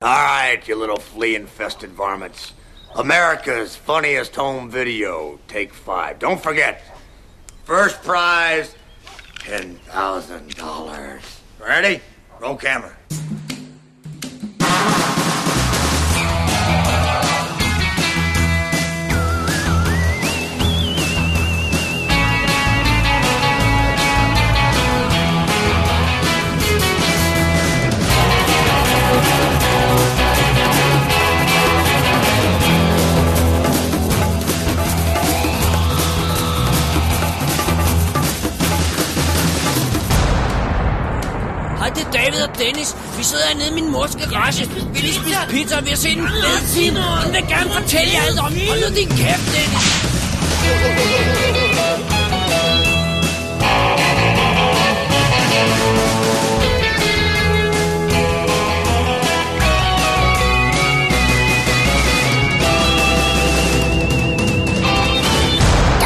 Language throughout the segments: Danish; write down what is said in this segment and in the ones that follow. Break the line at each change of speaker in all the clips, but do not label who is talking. All right, you little flea infested varmints. America's funniest home video, take five. Don't forget, first prize, $10,000. Ready? Roll camera.
Hej, det er David og Dennis. Vi sidder hernede i min mors garage. Vi lige spise pizza og vi har set en fed film. Hun vil gerne fortælle jer alt om. den. Hold nu din kæft, Dennis.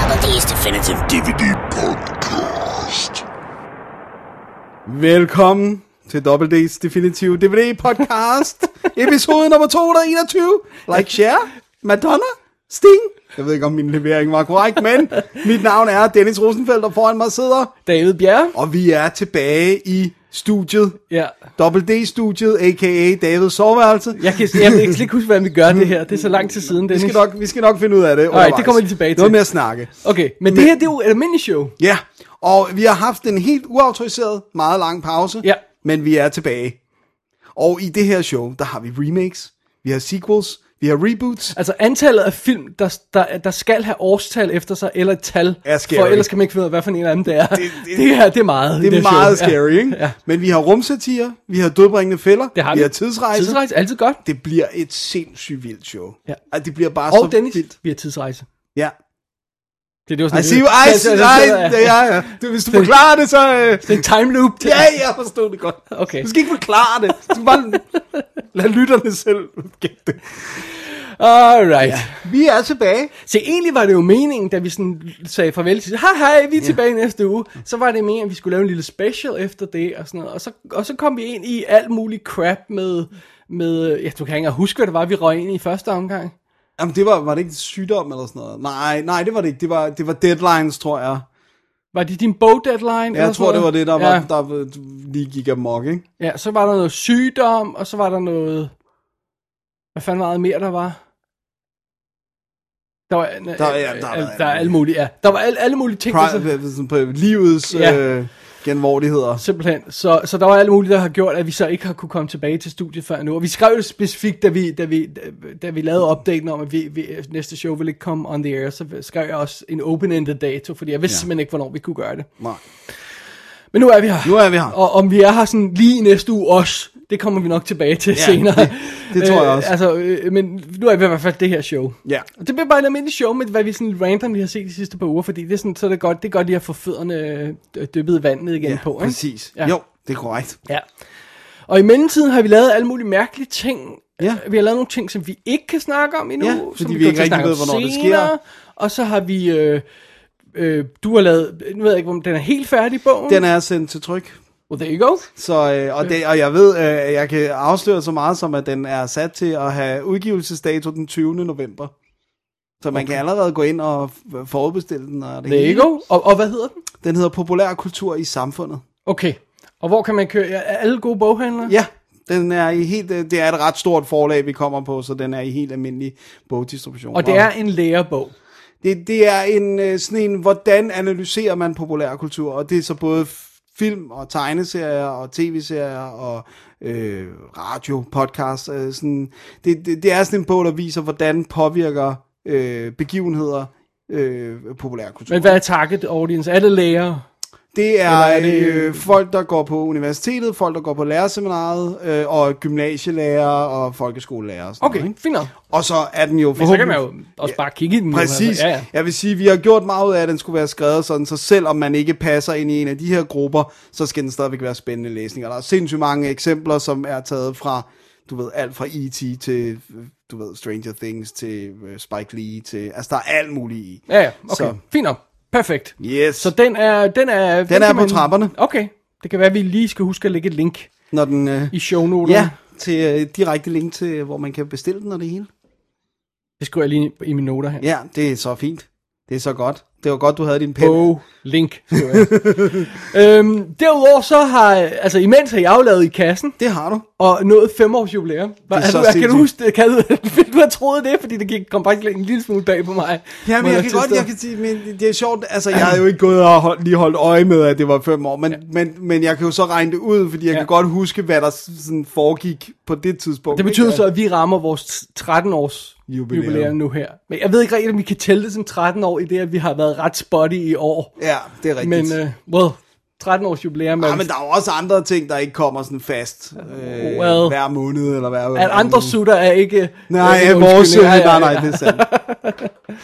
Double D's Definitive DVD
Velkommen til Double D's Definitive DVD Podcast, episode nummer 221. Like, share, Madonna, Sting. Jeg ved ikke, om min levering var korrekt, men mit navn er Dennis Rosenfeldt, og foran mig sidder,
David Bjerre.
og vi er tilbage i studiet.
Ja.
Double D-studiet, a.k.a. Davids soveværelse.
Jeg kan, jeg kan slet ikke huske, hvordan vi gør det her. Det er så lang tid siden,
Vi
Dennis.
skal, nok, vi skal nok finde ud af det undervejs.
det kommer vi tilbage til.
Noget med at snakke.
Okay, men, det her, det er jo et almindeligt show.
Ja, og vi har haft en helt uautoriseret, meget lang pause,
Ja.
men vi er tilbage. Og i det her show, der har vi remakes, vi har sequels, vi har reboots.
Altså antallet af film, der, der, der skal have årstal efter sig, eller et tal,
Er scary.
for ellers kan man ikke finde ud af, hvad for en af dem det er. Det,
det-
det, det, her, det er meget.
Det er
her show.
meget scary,
ja.
ikke?
Ja.
Men vi har rumsatire, vi har dødbringende fælder,
Det har
vi
vi.
har tidsrejse.
Tidsrejse, altid godt.
Det bliver et sindssygt vildt show.
Ja.
Ej, Det bliver bare
Og
så
Dennis,
vildt.
vi har tidsrejse.
Ja.
Det, det var sådan,
I
det-
see you, I
Ja,
see
ja,
you,
ja,
ja,
ja.
ja, ja. Du, Hvis du forklarer det, så... øh,
Det er en time loop. Det
Ja, jeg forstod det godt.
Okay.
Du skal ikke forklare det. Du skal bare lade lytterne selv gætte det.
Alright. Ja.
Vi er tilbage.
Se, egentlig var det jo meningen, da vi sådan sagde farvel til, hej hej, vi er tilbage næste uge, så var det meningen, at vi skulle lave en lille special efter det, og sådan noget, og så, og så kom vi ind i alt muligt crap med, med, ja, du kan ikke engang huske, hvad det var, vi røg ind i første omgang.
Jamen, det var, var det ikke sygdom eller sådan noget? Nej, nej, det var det ikke. Det var, det var deadlines, tror jeg.
Var det din bog deadline? eller
Jeg
sådan
tror, det var
noget?
det, der,
ja,
var, der lige gik amok, ikke?
Ja, så var der noget sygdom, og så var der noget, hvad fanden var det mere, der var? Der var, der,
ja, der var
der,
alt
der er
muligt.
alle mulige, ja. Der var alle, alle mulige ting, der så-
Pri- sådan på livets
altså- Ja.
øh, genvordigheder.
Simpelthen. Så, så der var alt muligt, der har gjort, at vi så ikke har kunne komme tilbage til studiet før nu. Og vi skrev det specifikt, da vi, da vi, da, da vi lavede opdateringen om, at vi, vi, næste show ville ikke komme on the air, så skrev jeg også en open-ended dato, fordi jeg vidste
Ja.
ja. simpelthen ikke, hvornår vi kunne gøre det.
Nej.
Men nu er vi her.
Nu er vi her.
Og om vi er her sådan lige i næste uge også, det kommer vi nok tilbage til ja, senere.
det- det tror jeg
Øh,
også.
altså, øh, men nu er vi i hvert fald det her show.
Ja.
Og det bliver bare et almindeligt show med, hvad vi sådan random vi har set de sidste par uger, fordi det er sådan, så er det godt, det er godt lige at få fødderne øh, dyppet i vandet igen
Ja,
på. Ikke?
præcis.
Ja.
Jo, det er korrekt.
Ja. Og i mellemtiden har vi lavet alle mulige mærkelige ting.
Ja.
Vi har lavet nogle ting, som vi ikke kan snakke om endnu.
Ja,
som
fordi vi
kommer
ikke
til at
rigtig
snakke
ved,
om
hvornår det
senere. Og så har vi... Øh, øh, du har lavet... Nu ved jeg ikke, om den er helt færdig, bogen.
Den er sendt til tryk.
Well, there you go.
Så, øh, og, det, og jeg ved, øh, jeg kan afsløre så meget som, at den er sat til at have udgivelsesdato den 20. november. Så man kan allerede gå ind og f- forudbestille den. Og det
There
hele.
you go. Og, og hvad hedder den?
Den hedder Populær Kultur i Samfundet.
Okay. Og hvor kan man køre... Er alle gode boghandlere?
Ja, den er i helt, øh, det er et ret stort forlag, vi kommer på, så den er i helt almindelig bogdistribution.
Og det er en lærebog.
det, det er en øh, sådan en, hvordan analyserer man populærkultur, og det er så både f- film og tegneserier og tv-serier og øh, radio, podcast. Øh, sådan. Det, det, det er sådan en bog, der viser, hvordan påvirker øh, begivenheder øh, populærkultur.
Men hvad er target audience? Er det lærere?
Det er,
Eller
er
er det-
det... Øh, folk, der går på universitetet, folk, der går på lærerseminaret, øh, og gymnasielærer og folkeskolelærer. Og, sådan
Okay,
noget, ikke?
fint nok.
og så er den jo
Men så kan
forhåbentlig...
man jo også bare kigge i den. nu,
Præcis.
altså. Ja, ja.
Jeg vil sige, vi har gjort meget ud af, at den skulle være skrevet sådan, så selvom man ikke passer ind i en af de her grupper, så skal den stadigvæk være spændende læsning. Og der er sindssygt mange eksempler, som er taget fra, du ved, alt fra E.T. til, øh, du ved, Stranger Things til øh, Spike Lee til, altså der er alt muligt i.
Ja, ja. Okay,
Så.
så. fint nok. Perfekt.
Yes.
Så den er... Den er, den
er
kan
på trapperne.
Okay. Det kan være, at vi lige skal huske at lægge et link
Når den... Øh,
i shownoterne.
ja, til øh, direkte link til, hvor man kan bestille den og det hele.
Det skriver jeg lige i mine noter her.
Ja, det er så fint. Det er så godt. Det var godt, du havde din pen.
Bo Link. skriver jeg. øhm, derudover så har, altså imens har jeg jo lavet i kassen,
Det har du.
og nået femårsjubilæum. Hva,
Det er så
altså, hvad, kan du
sindssygt.
huske det? Kan du, ville du have troet det? Fordi det gik, kom faktisk en lille smule bag på mig.
Ja,
må
men jeg kan
tilstå.
godt, jeg kan sige, men det er sjovt, altså jeg havde jo ikke gået og hold, lige holdt øje med, at det var fem år, men, ja. men, men jeg kan jo så regne det ud, fordi jeg
Ja.
ja. kan godt huske, hvad der s- sådan foregik på det tidspunkt.
Det betyder
ikke?
så, at vi rammer vores 13-års
Jubilæum.
jubilæum. jubilæum nu her. Men jeg ved ikke rigtigt, om vi kan tælle det som 13 år, i det at vi har været ret spotty i år.
Ja, det er rigtigt.
Men,
Men, øh,
uh, well, 13-års jubilæum.
ja, men der er jo også andre ting, der ikke kommer sådan fast øh,
well.
hver måned, eller hver
at andre sutter er ikke...
Mm. Nej,
er ikke
ja,
en
vores
undskyldning.
nej, nej, nej, det er sandt.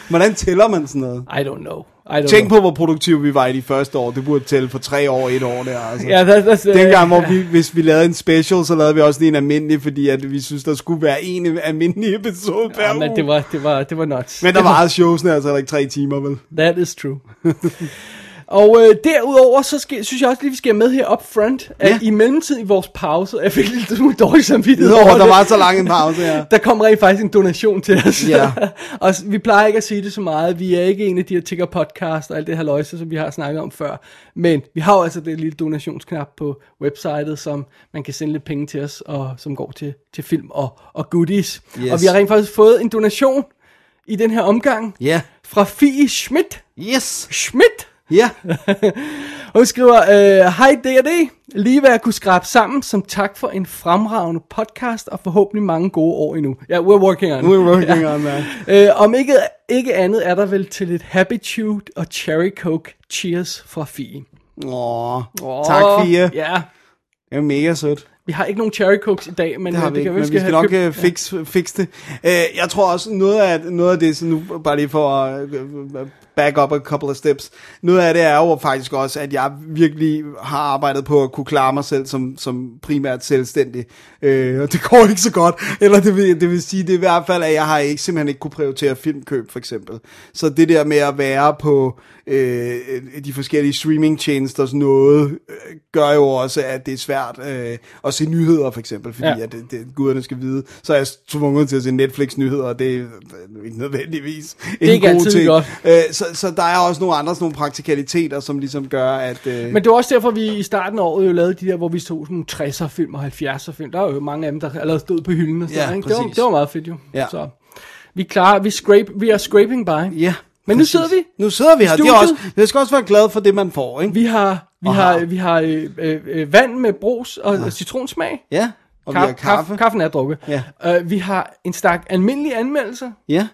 Hvordan tæller man sådan noget?
I don't know. I don't
Tænk
know.
på, hvor produktive vi var i de første år. Det burde tælle for tre år, et år der. Altså.
Ja, that's, that's, øh,
Dengang, hvor vi, hvis vi lavede en special, så lavede vi også lige en almindelig, fordi at vi synes, der skulle være en almindelig episode per
Ja,
uge.
men det var, det var, det var nuts.
men der var showsene altså heller ikke tre timer, vel?
That is true. Og øh, derudover, så skal, synes jeg også lige, vi skal have med her up front, at
Ja.
i mellemtiden i vores pause, jeg fik lidt smule dårlig samvittighed
Udover,
over
der
det.
var så lang en pause, ja.
Der kom rent faktisk en donation til os.
Ja.
og s- vi plejer ikke at sige det så meget. Vi er ikke en af de her tigger podcast og alt det her løjse, som vi har snakket om før. Men vi har jo altså det lille donationsknap på websitet, som man kan sende lidt penge til os, og som går til, til film og, og goodies.
Yes.
Og vi har rent faktisk fået en donation i den her omgang
Ja.
fra Fie Schmidt.
Yes.
Schmidt!
Ja.
Hun skriver, øh, Hej D&D, lige hvad jeg kunne skrabe sammen som tak for en fremragende podcast og forhåbentlig mange gode år endnu. Ja, yeah, we're working on it.
We're working on that.
Øh, om ikke, ikke andet er der vel til lidt Habitude og Cherry Coke Cheers fra Fie.
Åh, tak, Fie.
Ja,
Det er mega sødt.
vi har ikke nogen Cherry Cokes i dag, men
Det har
øh,
vi ikke,
kan
men vi skal
have
nok
købt-
øh, fix, fix det. Øh, jeg tror også, noget af, noget af det, så nu bare lige for at øh, back up a couple of steps, noget af det er jo faktisk også, at jeg virkelig har arbejdet på at kunne klare mig selv som, som primært selvstændig. Øh, og det går ikke så godt. Eller det vil, det vil sige, det er i hvert fald, at jeg har ikke simpelthen ikke kunne prioritere filmkøb, for eksempel. Så det der med at være på øh, de forskellige streamingtjenesters noget, øh, gør jo også, at det er svært øh, at se nyheder, for eksempel, fordi
Ja.
ja. at det, det, guderne skal vide. Så er jeg tvunget til at se Netflix-nyheder, og det er øh, ikke nødvendigvis en
ikke
god
altid
ting.
godt.
Øh, så, så der er også nogle andre sådan nogle praktikaliteter, som ligesom gør, at... Øh,
Men det var også derfor, vi i starten af året jo lavede de der, hvor vi tog sådan 60'er film og 70'er film. Der er jo mange af dem, der allerede stod på hylden og sådan
Ja,
noget, ikke? det, var,
præcis.
det var meget fedt jo.
Ja.
Så vi er klar, vi, scrape, vi er scraping by.
ja,
Men nu sidder vi.
Nu sidder vi her. Det er
Studiet.
også, jeg skal også være glad for det, man får, ikke?
Vi har, vi
Aha.
har, vi har øh, øh, øh, vand med brus og ja. citronsmag.
Ja, og vi har kaffe.
Kaffen er drukket.
Ja.
Uh, vi har en stak almindelige anmeldelser.
Ja,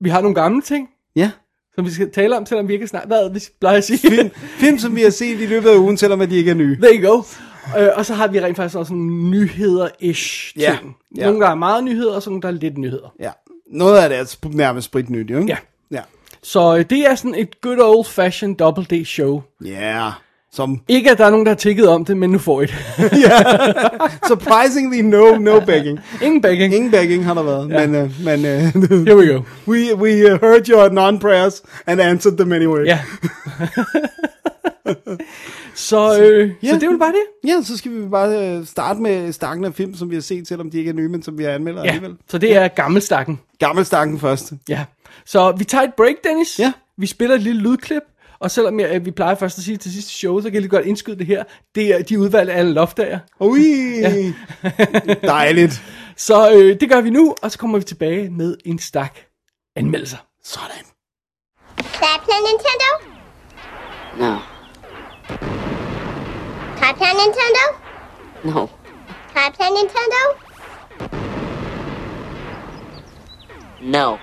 Vi har nogle gamle ting,
ja.
som vi skal tale om, selvom vi ikke har snakket. Hvad er det, vi plejer at sige?
Film, film, som vi har set i løbet af ugen, selvom at de ikke er nye.
There you go. Uh, og så har vi rent faktisk også nogle nyheder-ish ting.
Ja, ja.
Nogle, der er meget nyheder, og sådan nogle, der er lidt nyheder.
Ja. Noget af det er sp- nærmest spritnyt, jo, ikke?
Ja.
Ja.
Så øh, det er sådan et good old-fashioned double D-show.
Ja. Som
Ikke, at der er nogen, der har tikket om det, men nu får I det.
surprisingly no, no begging.
Ingen begging.
Ingen begging har der været, ja. men, øh, men øh,
Here we go.
we, we uh, heard your non-prayers and answered them anyway.
Ja. så, øh, yeah. så det var bare det.
ja, så skal vi bare øh, starte med stakken af film, som vi har set, selvom de ikke er nye, men som vi har anmeldt ja. alligevel.
Så det er gammelstakken.
Gammel stakken først.
Ja. Så vi tager et break, Dennis.
Ja.
Vi spiller et lille lydklip. Og selvom jeg, øh, vi plejer først at sige til sidste show, så kan jeg lige godt indskyde det her. Det er de udvalgte alle loftager.
Ui, ja. dejligt.
Så øh, det gør vi nu, og så kommer vi tilbage med en stak anmeldelser.
Sådan.
Can I play Nintendo?
No,
Can I play Nintendo?
no,
Can I play Nintendo?
no,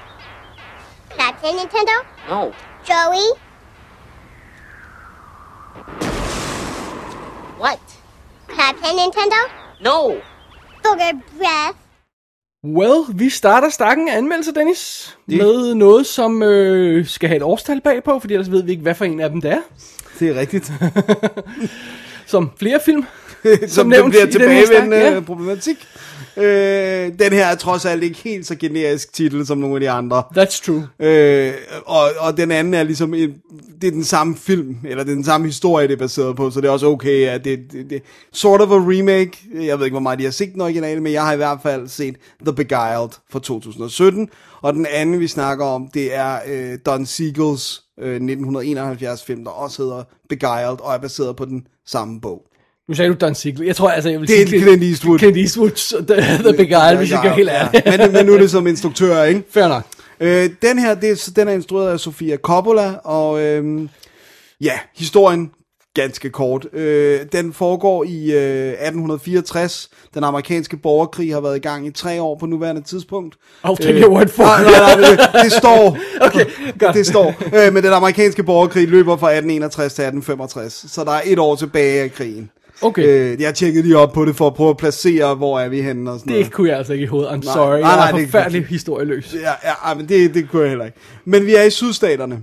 Can I play Nintendo?
no.
Joey?
What?
Can I play Nintendo?
No!
Booger breath.
Well, vi starter stakken af anmeldelser, Dennis.
Det-
Med noget, som øh, skal have et årstal bagpå, for ellers ved vi ikke, hvad for en af dem det er.
Det er rigtigt.
Som flere film.
Som, som
nævnt
den bliver
i den her snak,
tilbagevendende
ja.
ja. problematik. Øh, den her er trods alt ikke helt så generisk titel som nogle af de andre.
That's true.
Øh, og, og den anden er ligesom, en, det er den samme film, eller det er den samme historie, det er baseret på, så det er også okay, at det, det, det sort of a remake, jeg ved ikke, hvor meget de har set den originale, men jeg har i hvert fald set The Beguiled fra 2017, og den anden, vi snakker om, det er øh, Don Siegels øh, 1971 film, der også hedder Beguiled, og er baseret på den samme bog.
Nu sagde du Don Siegel. Jeg tror altså, jeg vil
Det er en Clint Eastwood.
Clint Eastwood, The, the Big Eye, hvis jeg kan helt ærlig.
ja. men, men nu er det som instruktør, ikke?
Fair nok.
Øh, den her, det, er- så den er instrueret af Sofia Coppola, og øhm, ja, historien ganske kort. Øh, den foregår i øh, 1864. Den amerikanske borgerkrig har været i gang i tre år på nuværende tidspunkt.
I'll take your word for
nej,
it.
nej, nej, det, det står.
Okay, godt.
Det står. Øh, men den amerikanske borgerkrig løber fra 1861 til 1865, så der er et år tilbage af krigen.
Okay.
Øh, jeg tjekkede lige op på det for at prøve at placere, hvor er vi henne og sådan noget.
Det kunne jeg altså ikke i hovedet. I'm
nej,
sorry.
nej,
jeg
det
er
er
forfærdelig historieløs.
Ja, ja ej, men det, det kunne jeg heller ikke. Men vi er i sydstaterne,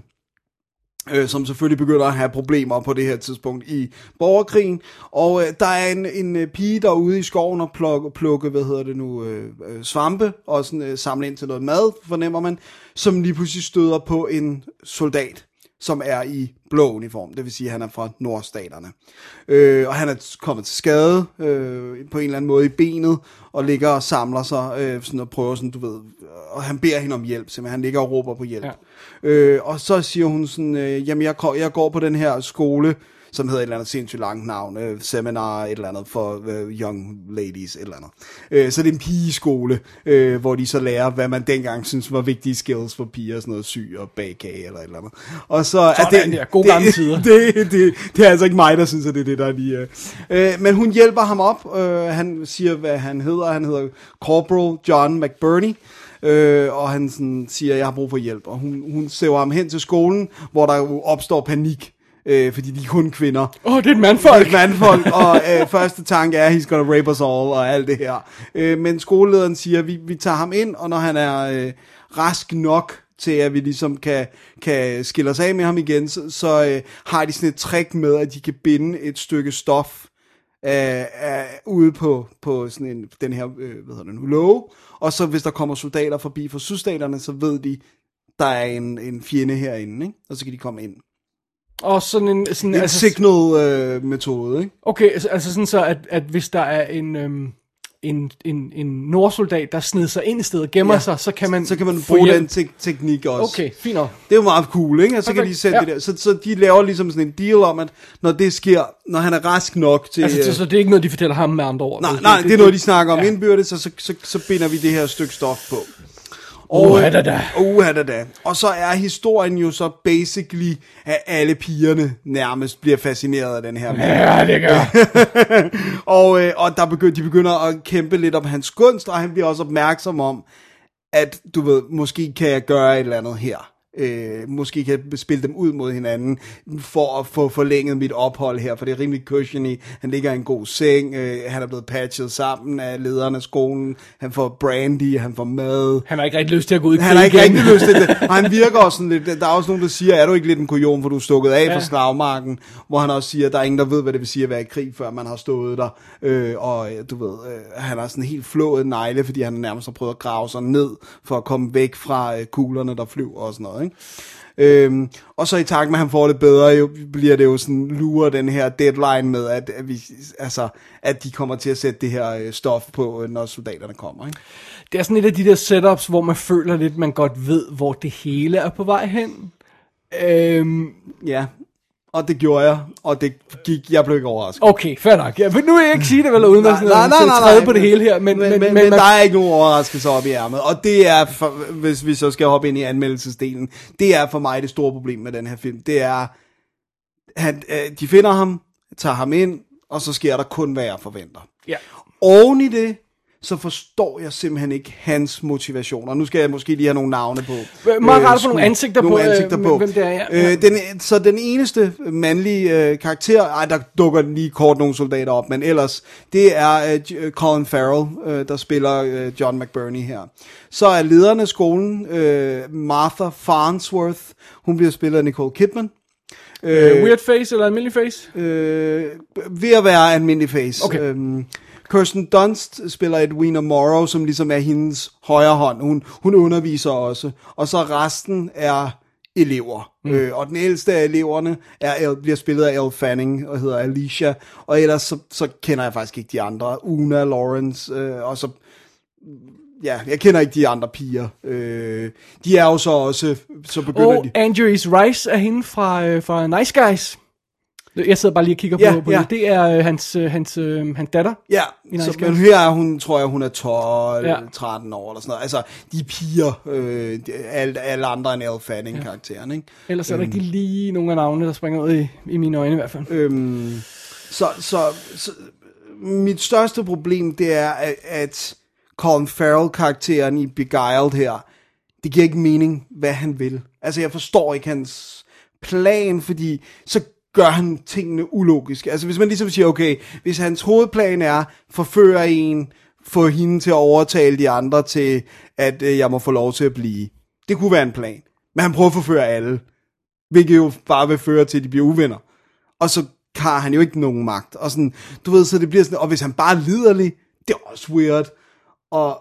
øh, som selvfølgelig begynder at have problemer på det her tidspunkt i borgerkrigen. Og øh, der er en, en øh, pige derude i skoven og plukke, plukke hvad hedder det nu, øh, øh, svampe og sådan, øh, samle ind til noget mad, fornemmer man, som lige pludselig støder på en soldat som er i blå uniform, det vil sige, at han er fra nordstaterne. Øh, og han er kommet til skade øh, på en eller anden måde i benet, og ligger og samler sig øh, sådan og prøver sådan, du ved, og han beder hende om hjælp, simpelthen. Han ligger og råber på hjælp. Ja. Øh, og så siger hun sådan, øh, jamen jeg, går- jeg går på den her skole, som hedder et eller andet sindssygt langt navn, øh, seminar, et eller andet for øh, young ladies, et eller andet. Øh, så det er en pigeskole, øh, hvor de så lærer, hvad man dengang synes var vigtige skills for piger, sådan noget syg og bagkage eller et eller andet. Og så er
Sådan der, gode gamle tider.
det, det, det er altså ikke mig, der synes, at det er det, der er lige... Øh. Øh, men hun hjælper ham op. Øh, han siger, hvad han hedder. Han hedder Corporal John McBurney. Øh, og han sådan, siger, jeg har brug for hjælp. Og hun, hun sæver ham hen til skolen, hvor der jo opstår panik. Øh, fordi de er kun kvinder.
Åh, oh, det er et mandfolk.
Et mandfolk, og øh, første tanke er, he's gonna rape us all, og alt det her. Øh, men skolelederen siger, vi, vi tager ham ind, og når han er øh, rask nok til, at vi ligesom kan, kan skille os af med ham igen, så, så øh, har de sådan et trick med, at de kan binde et stykke stof øh, øh, ude på, på sådan en, den her, øh, hvad hedder det nu, låge, og så hvis der kommer soldater forbi fra sydstaterne, så ved de, der er en, en fjende herinde, ikke? og så kan de komme ind.
Og sådan en... Sådan, altså,
En signal-metode, øh, metode, ikke?
Okay, altså- altså sådan så, at, at hvis der er en, øhm, en, en, en nordsoldat, der sned sig ind i stedet og gemmer ja. sig, så kan man
så kan man
få
bruge
hjælp.
den te- teknik også.
Okay, fint nok.
Det er jo meget cool, ikke? Og så kan
Perfekt,
de sætte
ja.
ja. det der. Så, så de laver ligesom sådan en deal om, at når det sker, når han er rask nok til...
Altså,
øh,
så, så det er ikke noget, de fortæller ham med andre ord.
nej, nej, det er noget, de snakker om ja. indbyrdes, og så, så, så binder vi det her stykke stof på. øh,
Uha da da.
Uha da da. Og så er historien jo så basically, at alle pigerne nærmest bliver fascineret af den her mand.
Ja, det gør.
og, øh, og der begynder, de begynder at kæmpe lidt om hans kunst, og han bliver også opmærksom om, at du ved, måske kan jeg gøre et eller andet her. Øh, måske kan jeg spille dem ud mod hinanden, for at få forlænget mit ophold her, for det er rimelig cushiony. Han ligger i en god seng, øh, han er blevet patchet sammen af lederen af skolen, han får brandy, han får mad.
Han har ikke rigtig lyst til at gå ud i
Han har
krig
ikke
igen.
rigtig lyst til det. Og han virker også sådan lidt, der er også nogen, der siger, er du ikke lidt en kujon, for du er stukket af ja. fra slagmarken, hvor han også siger, at der er ingen, der ved, hvad det vil sige at være i krig, før man har stået der. Øh, og øh, du ved, øh, han har sådan helt flået negle, fordi han nærmest har prøvet at grave sig ned, for at komme væk fra øh, kuglerne, der flyver og sådan noget, ikke? Øhm, og så i takt med, at han får det bedre, jo, bliver det jo sådan, lurer den her deadline med, at, at, vi, altså, at de kommer til at sætte det her øh, stof på, øh, når soldaterne kommer. Ikke?
Det er sådan et af de der setups, hvor man føler lidt, man godt ved, hvor det hele er på vej hen. Øhm,
Ja, og det gjorde jeg, og det gik, jeg blev ikke overrasket.
okay, fair nok. Ja, men nu vil jeg ikke sige det, vel, uden at sådan at træde på det hele her. Men,
men, men, men, men der er ikke nogen overraskelse op i ærmet, og det er, for, hvis vi så skal hoppe ind i anmeldelsesdelen, det er for mig det store problem med den her film, det er, han, øh, de finder ham, tager ham ind, og så sker der kun, hvad jeg forventer.
ja.
Oven i det, så forstår jeg simpelthen ikke hans motivation, og nu skal jeg måske lige have nogle navne på.
Øh, meget rart at få
skud.
nogle ansigter på,
nogle
øh,
ansigter på.
hvem det er, ja.
Øh, den, så den eneste mandlige øh, karakter, ej, der dukker lige kort nogle soldater op, men ellers, det er øh, J- øh, Colin Farrell, øh, der spiller øh, John McBurney her. Så er lederen af skolen, øh, Martha Farnsworth, hun bliver spillet af Nicole Kidman.
Øh, weird face eller almindelig face?
Øh, ved at være almindelig face.
Okay.
Øhm, Kirsten Dunst spiller et Wiener Morrow, som ligesom er hendes højre hånd. Hun, hun underviser også. Og så resten er elever. Mm. Øh, og den ældste af eleverne er, El- bliver spillet af Elle Fanning og hedder Alicia. Og ellers så, så kender jeg faktisk ikke de andre. Una, Lawrence øh, og så ja, jeg kender ikke de andre piger. Øh, de er jo så også, så begynder
Og
de...
Andrews Rice er hende fra, øh, fra Nice Guys. Jeg sidder bare lige og kigger
Ja,
på, på
ja.
det. Det er øh, hans, øh, hans, øh, hans datter.
Ja,
Nice
så, men
Guys.
her er hun, tror jeg, hun er 12,
Ja.
ja. 13 år eller sådan noget. Altså, de er piger, øh, de- alle, alle andre end Elle Fanning-karakteren, ikke?
Ellers er der ikke lige nogle af navnene, der springer ud i, i mine øjne i hvert fald.
Øhm, så, så, så mit største problem, det er, at, at Colin Farrell-karakteren i Beguiled her, det giver ikke mening, hvad han vil. Altså, jeg forstår ikke hans plan, fordi så gør han tingene ulogiske. Altså, hvis man ligesom siger, okay, hvis hans hovedplan er, forføre en, få hende til at overtale de andre til, at øh, jeg må få lov til at blive. Det kunne være en plan. Men han prøver at forføre alle, hvilket jo bare vil føre til, at de bliver uvenner og så har han jo ikke nogen magt. Og sådan, du ved, så det bliver sådan, og hvis han bare er liderlig, det er også weird. Og,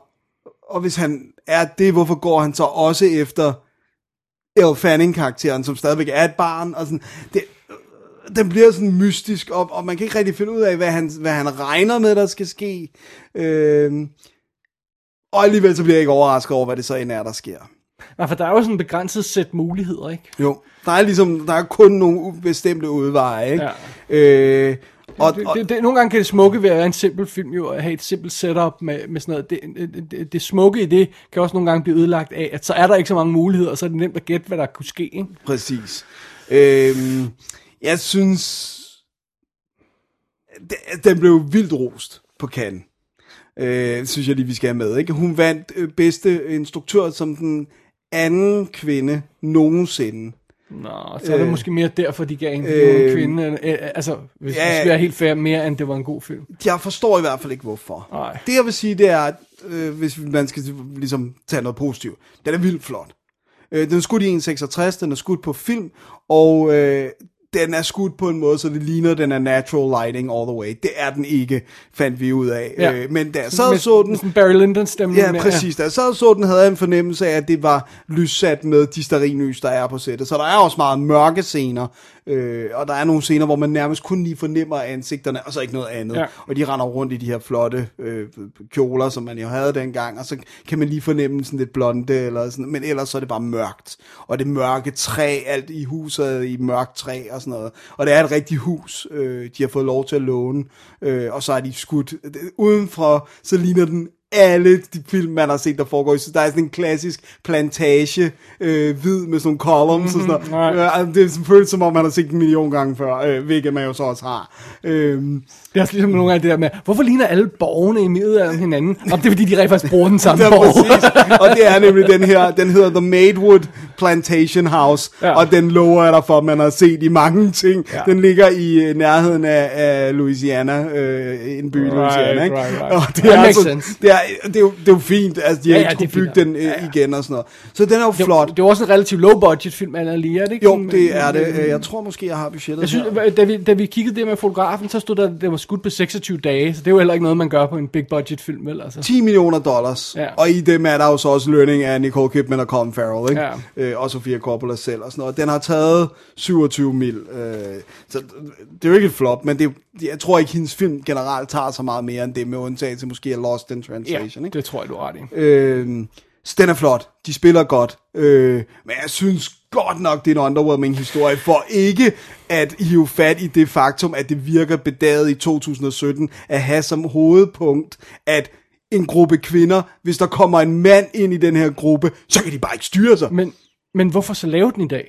og hvis han er det, hvorfor går han så også efter Elle Fanning-karakteren, som stadigvæk er et barn, og sådan, det, øh, den bliver sådan mystisk, og, og man kan ikke rigtig finde ud af, hvad han, hvad han regner med, der skal ske. Øhm, og alligevel så bliver jeg ikke overrasket over, hvad det så end er, der sker.
Nej, for der er jo sådan en begrænset sæt muligheder, ikke?
Jo, der er ligesom, der er kun nogle bestemte udveje, ikke? Ja. Øh, og,
Det,
og,
det, det, nogle gange kan det smukke ved at være en simpel film jo, at have et simpelt setup med, med sådan noget. Det, det- det, det smukke i det kan også nogle gange blive ødelagt af, at så er der ikke så mange muligheder, og så er det nemt at gætte, hvad der kunne ske, ikke?
Præcis. Øhm, jeg synes, den- den blev vildt rost på Cannes. Øh, synes jeg lige, vi skal have med. Ikke? Hun vandt øh, bedste instruktør som den anden kvinde nogensinde.
Nå, så er det
Øh.
måske mere derfor, de gav en
Øh.
øh, kvinde. Øh, altså, hvis
Ja.
ja, vi skal være helt fair, mere end det var en god film.
Jeg forstår i hvert fald ikke, hvorfor.
Nej.
Det jeg vil sige, det er, at øh, hvis man skal ligesom tage noget positivt, den er vildt flot. Øh, den er skudt i 1,66, den er skudt på film, og øh, den er skudt på en måde, så det ligner, den er natural lighting all the way. Det er den ikke, fandt vi ud af.
Ja.
Øh, men da jeg sad og så den...
Sådan Barry Lyndon stemning.
Ja, præcis. Da jeg sad og så den, havde jeg en fornemmelse af, at det var lyssat med de stearinlys, der er på sættet. Så der er også meget mørke scener, øh, og der er nogle scener, hvor man nærmest kun lige fornemmer ansigterne, og så ikke noget andet.
Ja.
Og de render rundt i de her flotte øh, kjoler, som man jo havde dengang, og så kan man lige fornemme sådan lidt blonde, eller sådan, men ellers så er det bare mørkt. Og det mørke træ, alt i huset er i mørkt træ og sådan noget. Og det er et rigtigt hus, øh, de har fået lov til at låne, øh, og så er de skudt. Udenfra, så ligner den alle de film, man har set, der foregår. i- Så der er sådan en klassisk plantage, øh, hvid med sådan nogle columns mm-hmm, og sådan noget.
nej.
Øh, det føles som om, man har set den en million gange før, øh, hvilket man jo så også har. Øh,
Det er også ligesom nogle gange det der med, hvorfor ligner alle borgerne i middelalderen hinanden? Om det er fordi, de rent faktisk bruger den samme
Ja,
borg.
præcis. Og det er nemlig den her, den hedder The Maidwood Plantation House, ja.
Ja.
og den lover jeg dig for, man har set i mange ting. Ja.
Ja.
Den ligger i øh, nærheden af, af Louisiana, øh, en by i
Right,
Louisiana, ikke?
right, right.
Og det
That
er,
makes
altså,
sense.
det, er, det, er jo, det er jo fint, altså de har
Ja,
ja,
ja,
ikke
det
kunne
er fint
bygge den øh, ja, ja. igen og sådan noget. Så den er jo flot.
Det, det var også en relativt low budget film, Anna Lee, er det ikke?
Jo,
sådan?
det er det. Øh, Jeg tror måske, jeg har budgettet
Jeg synes,
her.
da vi, da vi kiggede det med fotografen, så stod der, at det var skudt på 26 dage, så det er jo heller ikke noget, man gør på en big budget film, vel? Altså.
10 millioner dollars, ja.
Ja.
og i dem er der jo så også lønning af Nicole Kidman og Colin Farrell, ikke?
Ja.
Øh, og Sofia Coppola selv og sådan noget. Den har taget 27 mil, øh, så det er jo ikke et flop, men det, jeg tror ikke, hendes film generelt tager så meget mere end det, med undtagelse måske af Lost in Translation,
Ja,
ikke?
det tror jeg, du har ret i.
Øh, så den er flot, de spiller godt, øh, men jeg synes godt nok, det er en underwhelming historie, for ikke at hive fat i det faktum, at det virker bedaget i 2017, at have som hovedpunkt, at en gruppe kvinder, hvis der kommer en mand ind i den her gruppe, så kan de bare ikke styre sig.
Men, men hvorfor så lave den i dag?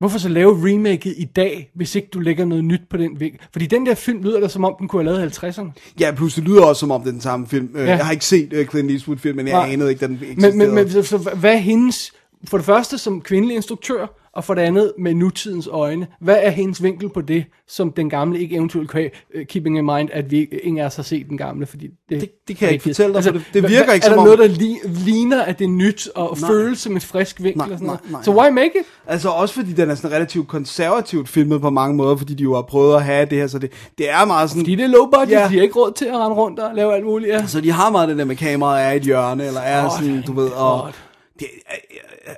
Hvorfor så lave remaket i dag, hvis ikke du lægger noget nyt på den vinkel? Fordi den der film lyder der, som om den kunne have lavet i 50'erne.
Ja, pludselig lyder det også som om, det er den samme film. Ja.
Ja.
Jeg har ikke set øh, Clint Eastwood-filmen, jeg
Nej.
anede ikke, den
Men,
eksisterede.
men, men så, så, hvad er hendes, for det første som kvindelig instruktør, Og for det andet, med nutidens øjne, hvad er hendes vinkel på det, som den gamle ikke eventuelt kan have, øh, keeping in mind, at vi ikke ingen af os har set den gamle, fordi det,
det kan jeg ikke
fedt.
fortælle dig, for det- det
hva-
virker
hva-
ikke
Er
som
der
om-
noget, der li- ligner, at det er nyt, og
Nej.
føles som et frisk vinkel
Nej,
og sådan noget?
nej, nej,
Så
nej.
why make it?
Altså også fordi den er sådan relativt konservativt filmet på mange måder, fordi de jo har prøvet at have det her, så det, det er meget sådan...
Fordi det er low budget,
Ja.
yeah. de har ikke råd til at rende rundt og lave alt muligt. Ja.
Så de har meget det der med kameraet er i et hjørne, eller er
Åh,
sådan, du ved, og...
godt.
Det, øh,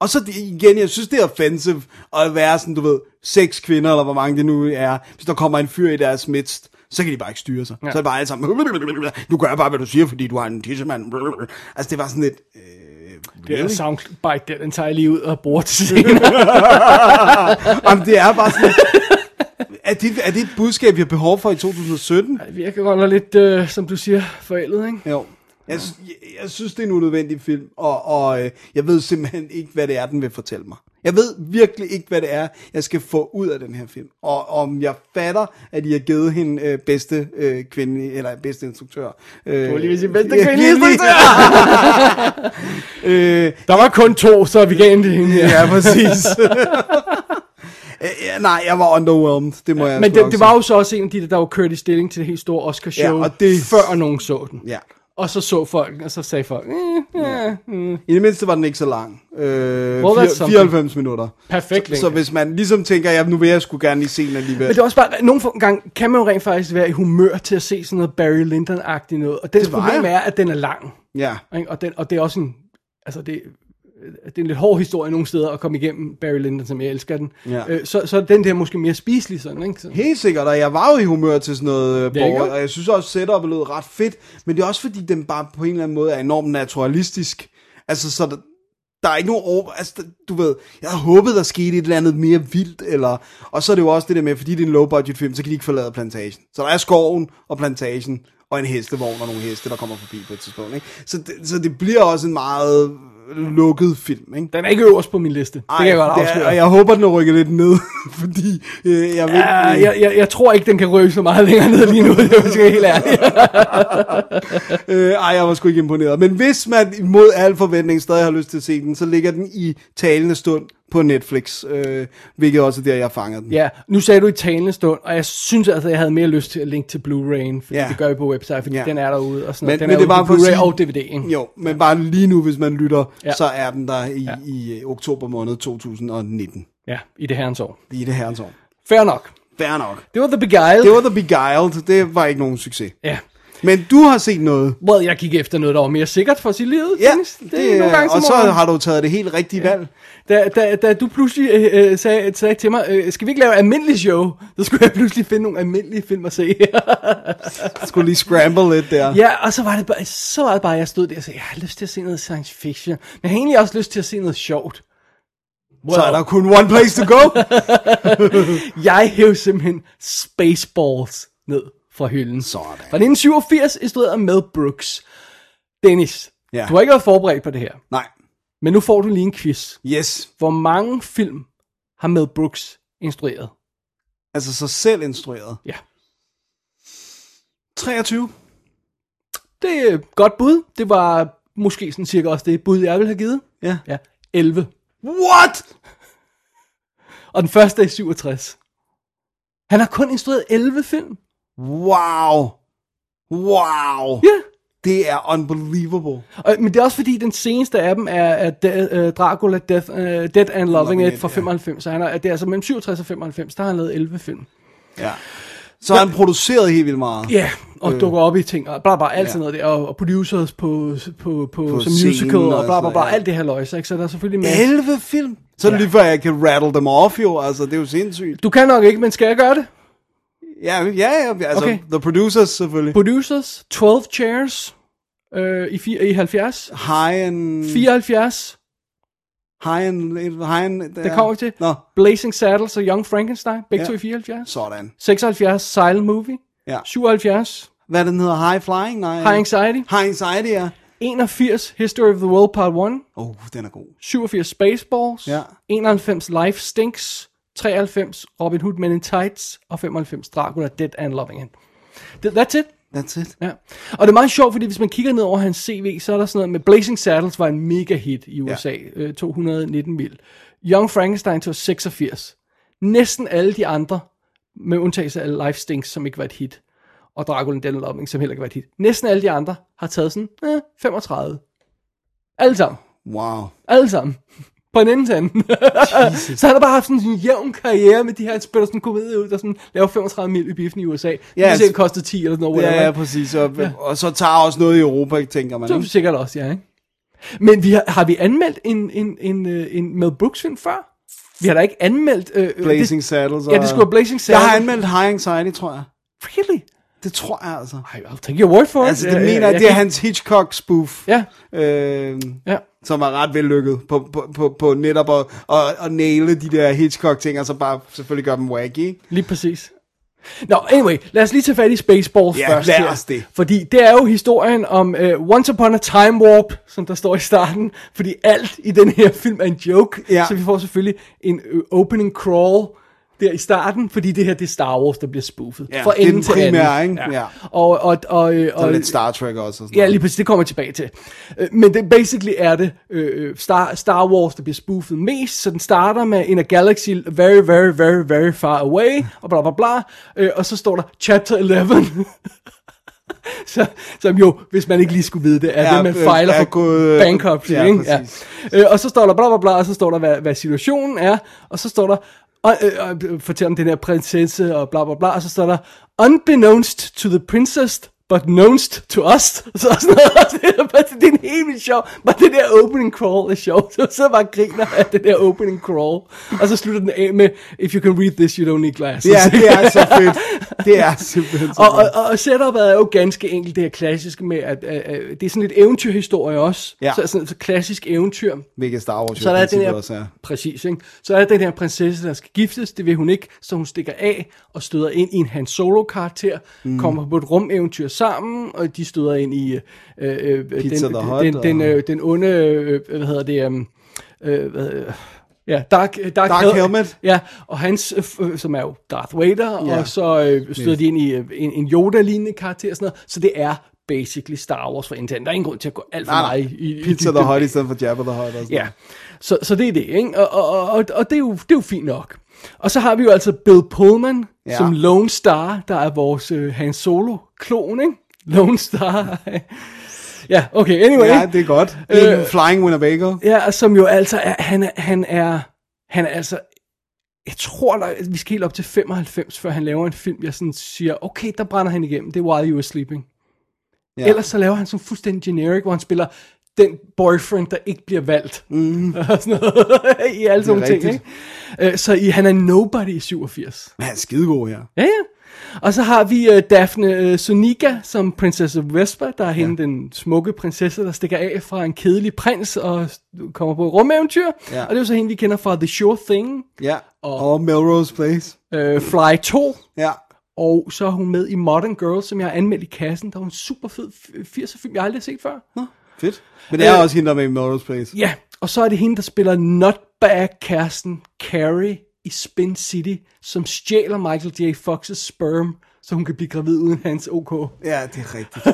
og så det, igen, jeg synes, det er offensive at være sådan, du ved, seks kvinder, eller hvor mange det nu er. Hvis der kommer en fyr i deres midst, så kan de bare ikke styre sig. Ja. Så er det bare alle sammen, du gør bare, hvad du siger, fordi du har en tissemand. Altså, det var sådan lidt... Øh,
Det er en soundbite, der den tager jeg lige ud og bruger til senere.
Jamen, det er bare sådan... Er det, er det et budskab, vi har behov for i 2017?
det virker godt nok lidt, øh, som du siger, forældet, ikke?
Jo. Jeg, sy- jeg, jeg synes, det er en unødvendig film, og, og øh, jeg ved simpelthen ikke, hvad det er, den vil fortælle mig. Jeg ved virkelig ikke, hvad det er, jeg skal få ud af den her film. Og om jeg fatter, at I har givet hende øh, bedste øh, kvinde, eller bedste instruktør. Øh,
Du var lige ved at sige, bedste
ja,
kvindelige
kvinde- øh,
Der var kun to, så vi gav en til hende. Ja.
ja, præcis. Øh, ja, nej, jeg var underwhelmed, det må jeg
Men
sgu
det,
nok
det
sige.
var jo så også en af de, der var kørt i stilling til det helt store Oscar-show,
Ja, og det-
før nogen så den.
Ja.
Og så så folk, den, og så sagde folk, eh, ja. mm,
I det mindste var den ikke så lang. Øh,
that's
fire-
something.
94 minutter.
perfekt
Så hvis man ligesom tænker, ja, nu vil jeg sgu gerne lige se den alligevel.
Men det er også bare, nogle gange kan man jo rent faktisk være i humør til at se sådan noget Barry Lyndon-agtigt noget. Og dens
Det var
problem
jeg.
er, at den er lang.
Ja.
Ikke? Og, den, og det er også en, altså det, det er en lidt hård historie nogle steder at komme igennem Barry Lyndon, som jeg elsker den.
Ja.
Øh, så, så er den der måske mere spiselig sådan, ikke? Så,
Helt sikkert, og jeg var jo i humør til sådan noget øh,
Lækker.
borger, og jeg synes også, at setup'et lød ret fedt, men det er også fordi, den bare på en eller anden måde er enormt naturalistisk. Altså, så der, der er ikke nogen over... Altså, der- du ved, jeg havde håbet, der skete et eller andet mere vildt, eller... Og så er det jo også det der med, fordi det er en low-budget film, så kan de ikke forlade plantagen. Så der er skoven og plantagen, og en hestevogn og nogle heste, der kommer forbi på et tidspunkt, ikke? Så det, så det bliver også en meget lukket film, ikke?
Den er ikke øverst på min liste. Ej, det kan jeg godt
er-
afsløre.
og
jeg,
jeg håber, den rykker lidt ned, fordi øh, jeg ved...
jeg, jeg, jeg, tror ikke, den kan rykke så meget længere ned lige nu, det er jeg skal være helt ærligt.
Øh, ej, jeg var sgu ikke imponeret. Men hvis man mod al forventning stadig har lyst til at se den, så ligger den i talende stund på Netflix, øh, hvilket også er der, jeg fanger den.
Ja, nu sagde du i talende stund, og jeg synes altså, jeg havde mere lyst til at linke til Blu-ray'en, fordi
Ja.
det gør vi på website, fordi
Ja.
den er derude og sådan
Men,
noget. Den
men
er
det
ude
var
på
for at
Blu-ray
sige-
og DVD, ikke?
Jo, men bare lige nu, hvis man lytter,
Ja.
ja. så er den der i,
Ja.
ja. i øh, oktober måned 2019.
Ja, i det herrens år.
I det herrens år.
Fair nok.
Fair nok.
Det var The Beguiled.
Det var The Beguiled. Det var ikke nogen succes.
Ja.
Men du har set noget.
Well, jeg gik efter noget, der var mere sikkert for sit liv.
Ja,
Dennis.
det, det,
nogle gange,
og
må
så
man-
har du taget det helt rigtige valg.
Da, da, da du pludselig øh, øh, sagde, sagde til mig, øh, skal vi ikke lave et almindeligt show? Så skulle jeg pludselig finde nogle almindelige film at se.
Jeg skulle lige scramble lidt der.
ja, og så var, det bare, så var det bare, jeg stod der og sagde, jeg har lyst til at se noget science fiction. Men jeg har egentlig også lyst til at se noget sjovt.
Så er der kun one place to go.
Jeg hævde simpelthen Spaceballs ned fra hylden.
Sådan.
Fra 1987, instrueret af Mel Brooks. Dennis,
Ja.
du har ikke været forberedt på det her.
Nej.
Men nu får du lige en quiz.
Yes.
Hvor mange film har Mel Brooks instrueret?
Altså så selv instrueret.
Ja,
23.
det er et godt bud. Det var måske sådan cirka også det bud, jeg ville have givet.
Ja.
Ja, 11.
What?
Og den første er i 67. Han har kun instrueret 11 film.
Wow. Wow.
Ja.
Det er unbelievable.
Og, men det er også fordi, den seneste af dem er, er de, uh, Dracula Death, uh, Dead and Loving It
It,
fra
ja.
95. Så han er, det er altså mellem 67 og 95, der har han lavet 11 film.
Ja. Så han produceret helt vildt meget.
Ja, og øh. dukker op i ting, og bla bla, alt
Ja.
sådan noget der, og, og producers på, på, på, på som
scenen
musical, og
og
bla bla
sådan
bla,
noget, ja.
alt det her løjse, ikke? Så der er selvfølgelig med.
11 film. Så er det lige før, jeg kan rattle dem off jo. Altså, det er jo sindssygt.
Du kan nok ikke, men skal jeg gøre det?
Ja, ja, ja. Altså,
Okay.
okay. The Producers selvfølgelig.
Producers, 12 Chairs øh, i, fir- i 70,
High and...
74,
High and... High and
det kommer vi til,
Nå,
Blazing Saddles og Young Frankenstein, begge
Ja.
to i 74,
sådan.
76, Silent Movie,
Ja.
77,
Hvad er det, den hedder? High Flying? Nej.
High Anxiety,
High Anxiety, ja.
81, History of the World Part 1,
Oh, den er god.
87, Spaceballs,
Ja.
91, Life Stinks, 93, Robin Hood Men in Tights, og 95, Dracula Dead and Loving It. Th- That's it.
That's it.
Ja. Og det er meget sjovt, fordi hvis man kigger ned over hans CV, så er der sådan noget med Blazing Saddles var en mega hit i USA, ja. øh, 219 mil. Young Frankenstein tog 86. Næsten alle de andre, med undtagelse af Life Stinks, som ikke var et hit, og Dracula den Loving, som heller ikke var et hit. Næsten alle de andre har taget sådan eh, 35. Alle sammen.
Wow.
Alle sammen. På en anden tand. så han har bare haft sådan en jævn karriere med de her, han spiller sådan en komedie ud, der sådan laver 35 mil i biffen i USA. Ja,
Ja,
det sikkert
altså-
kostede 10 eller sådan
Ja,
noget. whatever,
ja,
ikke?
præcis. Og, ja. og så tager også noget i Europa, tænker man.
Det er
Ikke?
sikkert også, ja, ikke? Men vi har, har vi anmeldt en, en, en, øh, en Mel Brooks film før? Vi har da ikke anmeldt... Øh, øh,
Blazing
det,
Saddles.
Ja, det skulle være Blazing Saddles.
Jeg har anmeldt High Anxiety, tror jeg.
Really?
Det tror jeg altså.
Ej, I'll take your word for it.
Altså, det
Ja, ja,
mener jeg,
jeg
det er
kan-
hans Hitchcock-spoof.
Ja,
Øh,
ja.
som er ret vellykket på, på, på, på netop at, at, at næle de der Hitchcock-ting, og så bare selvfølgelig gøre dem wacky. ikke?
Lige præcis. Nå, anyway, lad os lige tage fat i Spaceballs
Ja,
først.
lad
her.
os det.
Fordi det er jo historien om uh, Once Upon a Time Warp, som der står i starten. Fordi alt i den her film er en joke.
Ja.
Så vi får selvfølgelig en ø, opening crawl der i starten, fordi det her det er Star Wars, der bliver spoofet.
Ja,
Fra
det er
ende
den
til
primære,
anden.
ikke? Ja.
Og, og, og, øh,
Og
og,
lidt Star Trek også. Og sådan
Ja,
noget.
lige præcis, det kommer jeg tilbage til. Øh, Men det, basically er det øh, Star, Star Wars, der bliver spoofet mest, så den starter med In a galaxy very, very, very, very far away, og bla bla bla, øh, og så står der Chapter 11, så, som jo, hvis man ikke lige skulle vide det, er ja,
Ja,
det, man
øh,
fejler
er
for
gået-
bankruptcy,
ja,
ikke? Ja.
præcis.
Øh, og så står der bla bla bla, og så står der, hvad, hvad situationen er, og så står der, og, øh, og, øh, fortæl om den her prinsesse, og bla bla bla, og så står der, unbeknownst to the princess, but knownst to us, og så sådan noget, og det, det er en helt vildt sjov, bare det der opening crawl er sjovt, så så bare og griner af det der opening crawl, og så slutter den af med, if you can read this, you don't need glasses.
Ja, det er så fedt. Det er simpelthen så
Og, og,
fedt.
og- og setupet er jo ganske enkelt det her klassiske med, at øh, øh, det er sådan lidt eventyrhistorie også.
Ja.
Så, sådan, så klassisk eventyr.
Hvilket Star Wars
Så
jo
der
i
er den
princippet
her,
også er.
præcis, ikke? Så er der den her prinsesse, der skal giftes, det vil hun ikke, så hun stikker af og støder ind i en Han Solo-karakter, mm. kommer på et rumeventyr sammen, og de støder ind i øh, øh, øh,
Pizza
den,
the Hutt
den, den,
og-
øh, den onde, øh, hvad hedder det, øh, øh, hvad, hedder- ja, Dark, øh, Dark,
Dark
Hel-
Helmet.
Ja, og hans, øh, f- øh, som er jo Darth Vader,
Ja.
og så øh, støder de ind i øh, en, en Yoda-lignende karakter og sådan noget, så det er basically Star Wars for Nintendo. Der er ingen grund til at gå alt for
Nej,
meget
nej.
i, i, i
Pizza the
dybden.
Hot i stedet for Jabba the Hot. Og sådan.
Ja, så, så det er det, ikke? Og, og, og, og det, er jo, det er jo fint nok. Og så har vi jo altså Bill Pullman ja.
Ja.
som Lone Star, der er vores øh, Han Solo-klon, ikke? Lone Star. ja, okay, anyway.
Ja,
ikke?
det er godt.
Øh,
Øh, Flying Winnebago.
Ja, og som jo altså er, han, er- han er, han er altså, jeg tror, der, vi skal helt op til 95, før han laver en film, jeg sådan siger, okay, der brænder han igennem, det er While You Were Sleeping. Ja. Ellers så laver han sådan fuldstændig generic, hvor han spiller den boyfriend, der ikke bliver valgt. Mm. Og sådan noget, I alle sådan nogle ting,
rigtigt.
ikke? Øh, Så i, han er nobody i 87.
Han er skidegod her.
Ja, ja. Og så har vi uh, Daphne uh, Sonika som prinsesse Vesper, der er hende den smukke prinsesse, der stikker af fra en kedelig prins og kommer på et rumeventyr.
Ja.
Og det er jo så hende, vi kender fra The Sure Thing,
Ja.
Og-
Og Melrose Place.
uh, Fly 2,
Ja.
og så er hun med i Modern Girl, som jeg har anmeldt i kassen. Der er hun en super fed 80'er film, jeg aldrig har set før.
Nå, fedt. Men det er
Øh,
også hende, der er med i Melrose Place.
Ja, og så er det hende, der spiller Nutbag-kæresten Carrie i Spin City, som stjæler Michael J. Fox's sperm, så hun kan blive gravid uden hans OK.
Ja, det er rigtigt.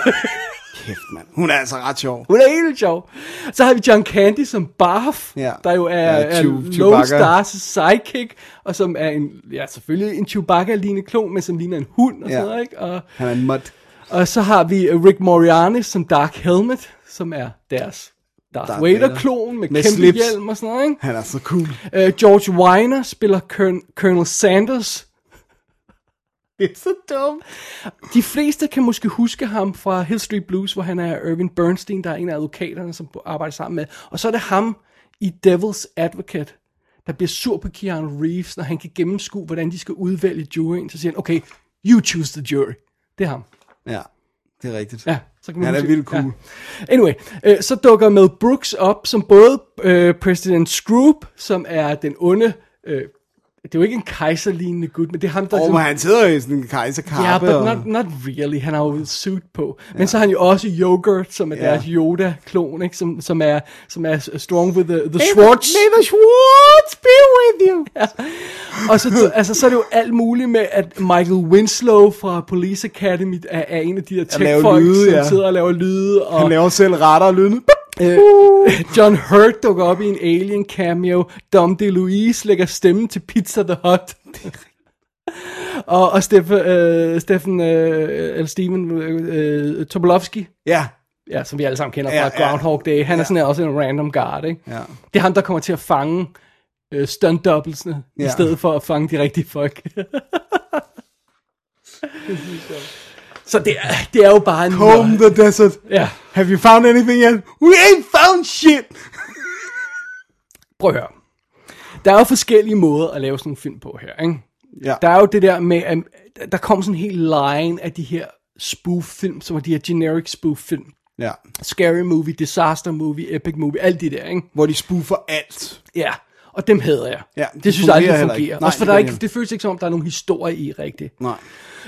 Kæft, mand. Hun er altså ret sjov.
Hun er helt vildt sjov. Så har vi John Candy som Barf,
Ja.
der jo er,
Ja,
er
Chew-
Lone
Chewbacca.
Star's sidekick, og som er en, ja, selvfølgelig en Chewbacca-lignende klon, men som ligner en hund og ja.
Ja.
sådan noget, ikke? Og,
Han er en mud.
og så har vi øh, Rick Moriarty som Dark Helmet, som er deres Darth,
Darth
Vader-klon med, med
Med
kæmpe
slips.
hjelm og sådan noget, ikke?
Han er så cool.
Øh, George Weiner spiller Kern- Colonel Sanders. Det er så dumt. De fleste kan måske huske ham fra Hill Street Blues, hvor han er Irving Bernstein, der er en af advokaterne, som arbejder sammen med. Og så er det ham i Devil's Advocate, der bliver sur på Keanu Reeves, når han kan gennemskue, hvordan de skal udvælge juryen. Så siger han, okay, you choose the jury. Det er ham.
Ja, det er rigtigt.
Ja, så kan man
Han er
huske-
vildt cool.
Ja. Anyway, øh, så dukker Mel Brooks op som både øh, President Scroop, som er den onde, øh, det er jo ikke en kejserlignende gut, men det er ham, der...
Og
ligesom-
han sidder i sådan en kejserkappe.
Ja, but
og-
not, not really. Han har jo et suit på. Men så har han jo også Yogurt, som er
Ja.
deres Yoda-klon, ikke? Som, som, er, som er strong with the, the
May the-
swords.
May the Schwartz be with you.
Og så, altså, så er det jo alt muligt med, at Michael Winslow fra Police Academy er, er en af de der
laver
tech-folk,
lyde,
som
ja.
sidder og laver lyde. Og,
Han laver selv retter og lyden.
Øh, John Hurt dukker op i en Alien cameo. Dom DeLuise lægger stemme til Pizza the Hut. og og Steffen, øh, Steffen øh, eller Steven øh, øh, Tobolowski,
Ja,
ja, som vi alle sammen kender
Ja,
fra
ja.
Groundhog Day, han er sådan her også en random guard, ikke?
Ja.
Det er ham, der kommer til at fange øh, stunt
Ja.
ja. i stedet for at fange de rigtige folk. Så det er, det er jo bare en...
home the desert.
Ja,
Have you found anything yet? We ain't found shit!
prøv at høre. Der er jo forskellige måder at lave sådan en film på her, ikke?
Ja,
Der er jo det der med, at der kom sådan en hel line af de her spoof-film, som var de her generic spoof-film.
ja.
Scary movie, disaster movie, epic movie, alt det der, ikke?
Hvor de spoofer alt.
Ja, og dem hader jeg.
Ja, de
det synes jeg aldrig
fungerer heller
fungerer.
ikke.
Ikke.
Nej,
Også for
det
det, der
gør
er
de
ikke,
ikke.
det føles ikke som om, der er nogen historie i rigtigt.
Nej.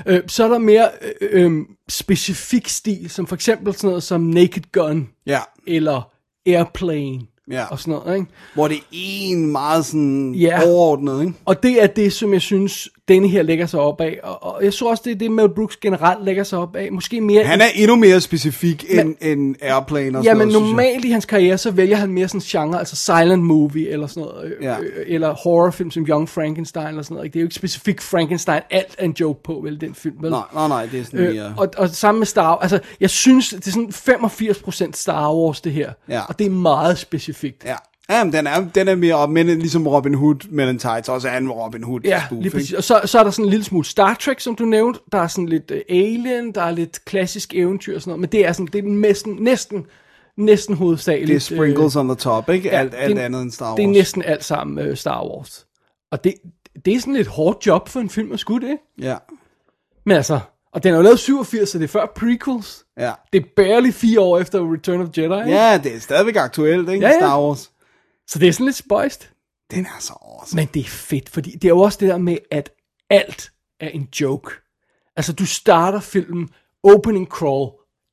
Øh, så er der mere øh, øh, specifik stil, som for eksempel sådan noget som Naked Gun,
Ja,
eller Airplane,
Ja.
og sådan noget, ikke?
hvor det er en meget sådan
Ja.
overordnet, ikke?
Og det er det, som jeg synes, denne her lægger sig op af. Og, og jeg tror også, det er det, Mel Brooks generelt lægger sig op af. Måske mere...
Han er endnu mere specifik end, end Airplane og
Ja,
sådan
men
noget, synes jeg.
normalt i hans karriere, så vælger han mere sådan genre, altså silent movie eller sådan noget, øh,
Ja.
ja. eller horrorfilm som Young Frankenstein eller sådan noget. Ikke? Det er jo ikke specifikt Frankenstein, alt er en joke på, vel, den film, vel?
Nej, nej, nej, det er sådan mere...
Øh, og, og samme med Star Wars, altså jeg synes, det er sådan 85% Star Wars det her,
Ja.
og det er meget specifikt.
Ja. Ja, men den er, den er mere op, men ligesom Robin Hood, men en tights også er en Robin Hood.
Ja,
spoof,
lige
ikke?
præcis. Og så, så er der sådan en lille smule Star Trek, som du nævnte. Der er sådan lidt uh, Alien, der er lidt klassisk eventyr og sådan noget. Men det er sådan, det er næsten, næsten, næsten hovedsageligt. øh,
Det er sprinkles on the top, ikke?
Ja,
Alt, alt
det er-
andet end Star Wars.
Det er næsten alt sammen øh, Star Wars. Og det, det er sådan et hårdt job for en film at skulle det.
Ja,
Men altså, og den er jo lavet i 87, så det er før prequels.
ja.
Det er barely fire år efter Return of Jedi. ikke?
Ja, det er stadigvæk aktuelt, ikke?
Ja, ja.
Star Wars.
Så det er sådan lidt spøjst.
Den er så awesome.
Men det er fedt, fordi det er jo også det der med, at alt er en joke. Altså, du starter filmen, opening crawl,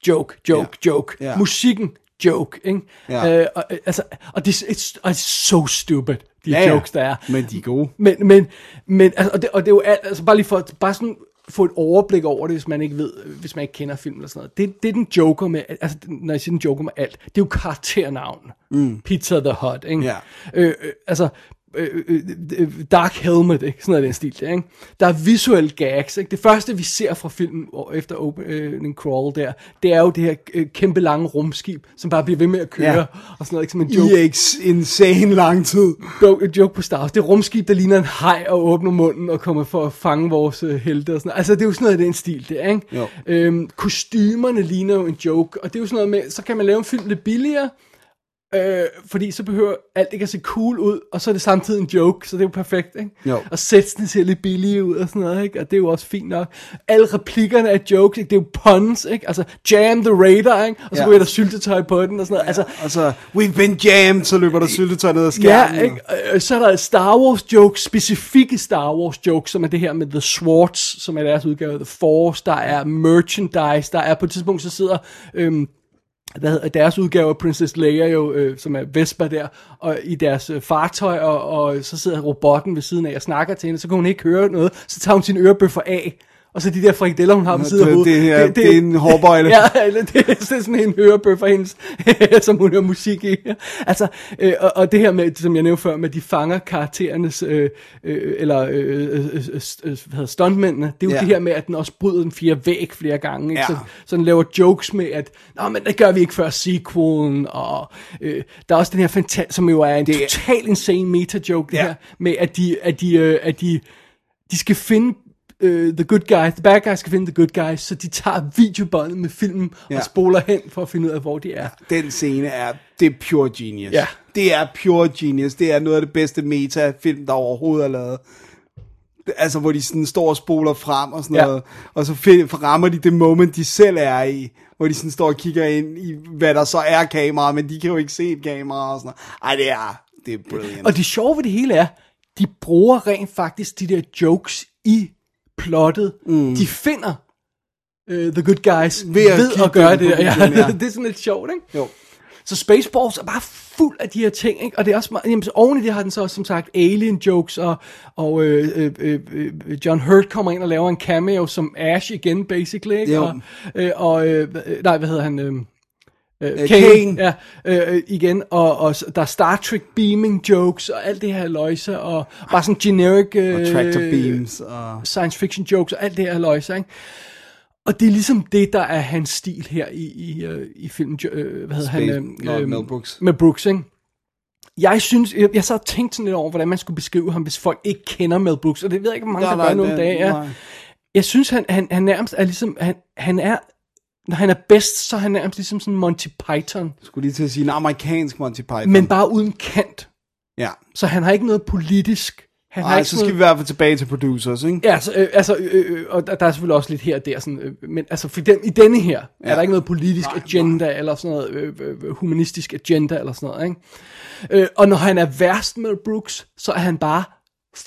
joke, joke,
Ja.
joke.
Ja.
Musikken, joke, ikke?
Ja.
Øh, og, øh, altså, og det er it's, it's so stupid, de
Ja, ja.
jokes, der er.
Men de er gode.
Men, men, men altså, og, det, og det er jo alt, altså bare lige for, bare sådan få et overblik over det, hvis man ikke ved, øh, hvis man ikke kender filmen eller sådan noget. Det, det er den joker med, altså når jeg siger den joker med alt, det er jo karakternavn. Mm. Pizza the Hut, ikke?
Ja.
Øh, øh, altså, øh, øh, øh, Dark Helmet, ikke? Sådan noget af den stil der, ikke? Der er visuelle gags, ikke? Det første, vi ser fra filmen og- efter opening crawl der, det er jo det her øh, kæmpe lange rumskib, som bare bliver ved med at køre,
Ja.
ja. og sådan noget, ikke? Som en joke
I ex insane lang tid.
joke, joke på Star Wars. Det er rumskib, der ligner en hej og åbner munden og kommer for at fange vores øh, helte og sådan noget. Altså, det er jo sådan noget af den stil der, ikke?
Jo.
Øhm, kostymerne ligner jo en joke, og det er jo sådan noget med, så kan man lave en film lidt billigere, øh, fordi så behøver alt ikke at se cool ud, og så er det samtidig en joke, så det er jo perfekt, ikke?
Jo.
Og sætsene ser lidt billige ud og sådan noget, ikke? Og det er jo også fint nok. Alle replikkerne er jokes, ikke? Det er jo puns, ikke? Altså, jam the radar, ikke? Og
Ja.
så ja. ryger der syltetøj på den og sådan noget. Altså,
Og så, we've been jammed, så løber der syltetøj ned ad skærmen.
Ja, ikke? Øh, så er der Star Wars jokes, specifikke Star Wars jokes, som er det her med The Swords, som er deres udgave af The Force, der er merchandise, der er på et tidspunkt, så sidder... Øhm, hvad hedder, deres udgave af Princess Leia jo, øh, som er Vespa der, og i deres øh, fartøj, og, og så sidder robotten ved siden af og snakker til hende, så kan hun ikke høre noget, så tager hun sine ørebøffer af, og så de der frikadeller, hun har ved
Nå,
siden af
det-
hovedet.
det er- det er en hårbøjle.
ja, Ja, eller det, det er sådan en hørebøf for hendes, som hun hører musik i. Altså, øh, og, og det her med, som jeg nævnte før, med at de fanger karakterernes, øh, øh, eller øh, øh, øh, øh, hvad hedder, stuntmændene, det er jo
Ja.
ja. det her med, at den også bryder den fjerde væg flere gange. Ikke?
Ja.
Så, så den laver jokes med, at Nå, men det gør vi ikke før sequelen, og øh, der er også den her fantastisk, som jo er en
Det er-
det... total insane meta-joke, det
Ja.
ja. her, med at de, at de, øh, at de de skal finde øh, the good guys, the bad guys skal finde the good guys, så de tager videobåndet med filmen
Ja.
ja. og spoler hen for at finde ud af, hvor de er.
Den scene er, det er pure genius.
Ja.
Det er pure genius. Det er noget af det bedste meta-film, der overhovedet er lavet. Altså, hvor de sådan står og spoler frem og sådan ja.
Ja.
noget. Og så find, rammer de det moment, de selv er i. Hvor de sådan står og kigger ind i, hvad der så er kamera, men de kan jo ikke se et kamera og sådan noget. Ej, det er, det er brilliant.
Og det sjove ved det hele er, de bruger rent faktisk de der jokes i plottet. Mm. De finder uh, the good guys ved at, ved
kigge
at gøre
dem
det.
på
Der. Ja,
videoen, ja.
det er sådan lidt sjovt, ikke?
Jo.
Så Spaceballs er bare fuld af de her ting, ikke? Og det er også meget, jamen, så oven i det har den så også, som sagt alien jokes, og, og øh, øh, øh, øh, John Hurt kommer ind og laver en cameo som Ash igen, basically, ikke?
Jo.
Og, øh, og øh, hva- øh, nej, hvad hedder han? Øh, Øh,
Kane.
Ja, øh, øh, igen, og, og s- der er Star Trek beaming jokes, og alt det her løjse, og bare sådan generic... Øh,
Og tractor beams, og...
science fiction jokes og alt det her løjse, ikke? Og det er ligesom det, der er hans stil her i, i, øh, i filmen, jo- øh, hvad hedder
Space-
han?
Nå, Mel Brooks.
Med Brooks, ikke? Jeg synes, jeg, jeg så tænkt sådan lidt over, hvordan man skulle beskrive ham, hvis folk ikke kender Mel Brooks, og det ved jeg ikke, hvor mange der gør nu om
det-
dagen. Ja.
nej.
Jeg synes, han, han, han nærmest er ligesom, han, han er, når han er bedst, så er han nærmest ligesom sådan Monty Python,
Jeg skulle lige til at sige en amerikansk Monty Python.
men bare uden kant.
Ja.
Så han har ikke noget politisk. Han har
Ej,
ikke
så
sådan
skal vi i hvert fald tilbage til producers, ikke?
Ja, så, øh, altså, øh, øh, og der, der er selvfølgelig også lidt her og der, sådan, øh, men altså for den, i denne her, ja. er der ikke noget politisk nej, agenda, nej. eller sådan noget øh, øh, humanistisk agenda, eller sådan noget, ikke? Øh, og når han er værst med Brooks, så er han bare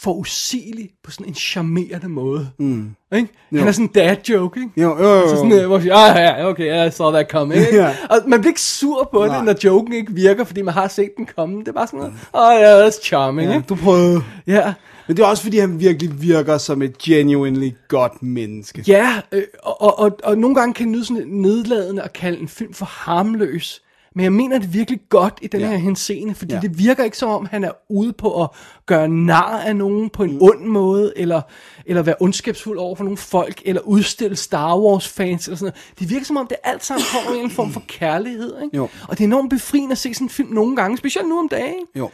forudsigelig på sådan en charmerende måde, mm. ikke? Han er sådan en dad joke, ikke?
Jo, jo, jo,
Altså sådan,
jo.
øh, hvor vi ah, ja, okay, I saw that coming. Ikke?
Ja.
Og man bliver ikke sur på Nej.
Nej.
det, når joken ikke virker, fordi man har set den komme. Det er bare sådan noget, åh oh, ja, that's charming. Ja.
Ja, du prøvede.
ja.
Men det er også, fordi han virkelig virker som et genuinely godt menneske.
Ja, øh, og, og, og, og nogle gange kan det lyde sådan lidt nedladende at kalde en film for harmløs. Men jeg mener det virkelig godt i den
Ja.
ja. her henseende, fordi
Ja.
ja. det virker ikke som om, han er ude på at gøre nar af nogen på en mm. ond måde, eller, eller være ondskabsfuld over for nogle folk, eller udstille Star Wars fans, eller sådan noget. Det virker som om, det alt sammen kommer med en form for kærlighed, ikke?
Jo.
Og det er enormt befriende at se sådan en film nogle gange, specielt nu om dagen.
Jo.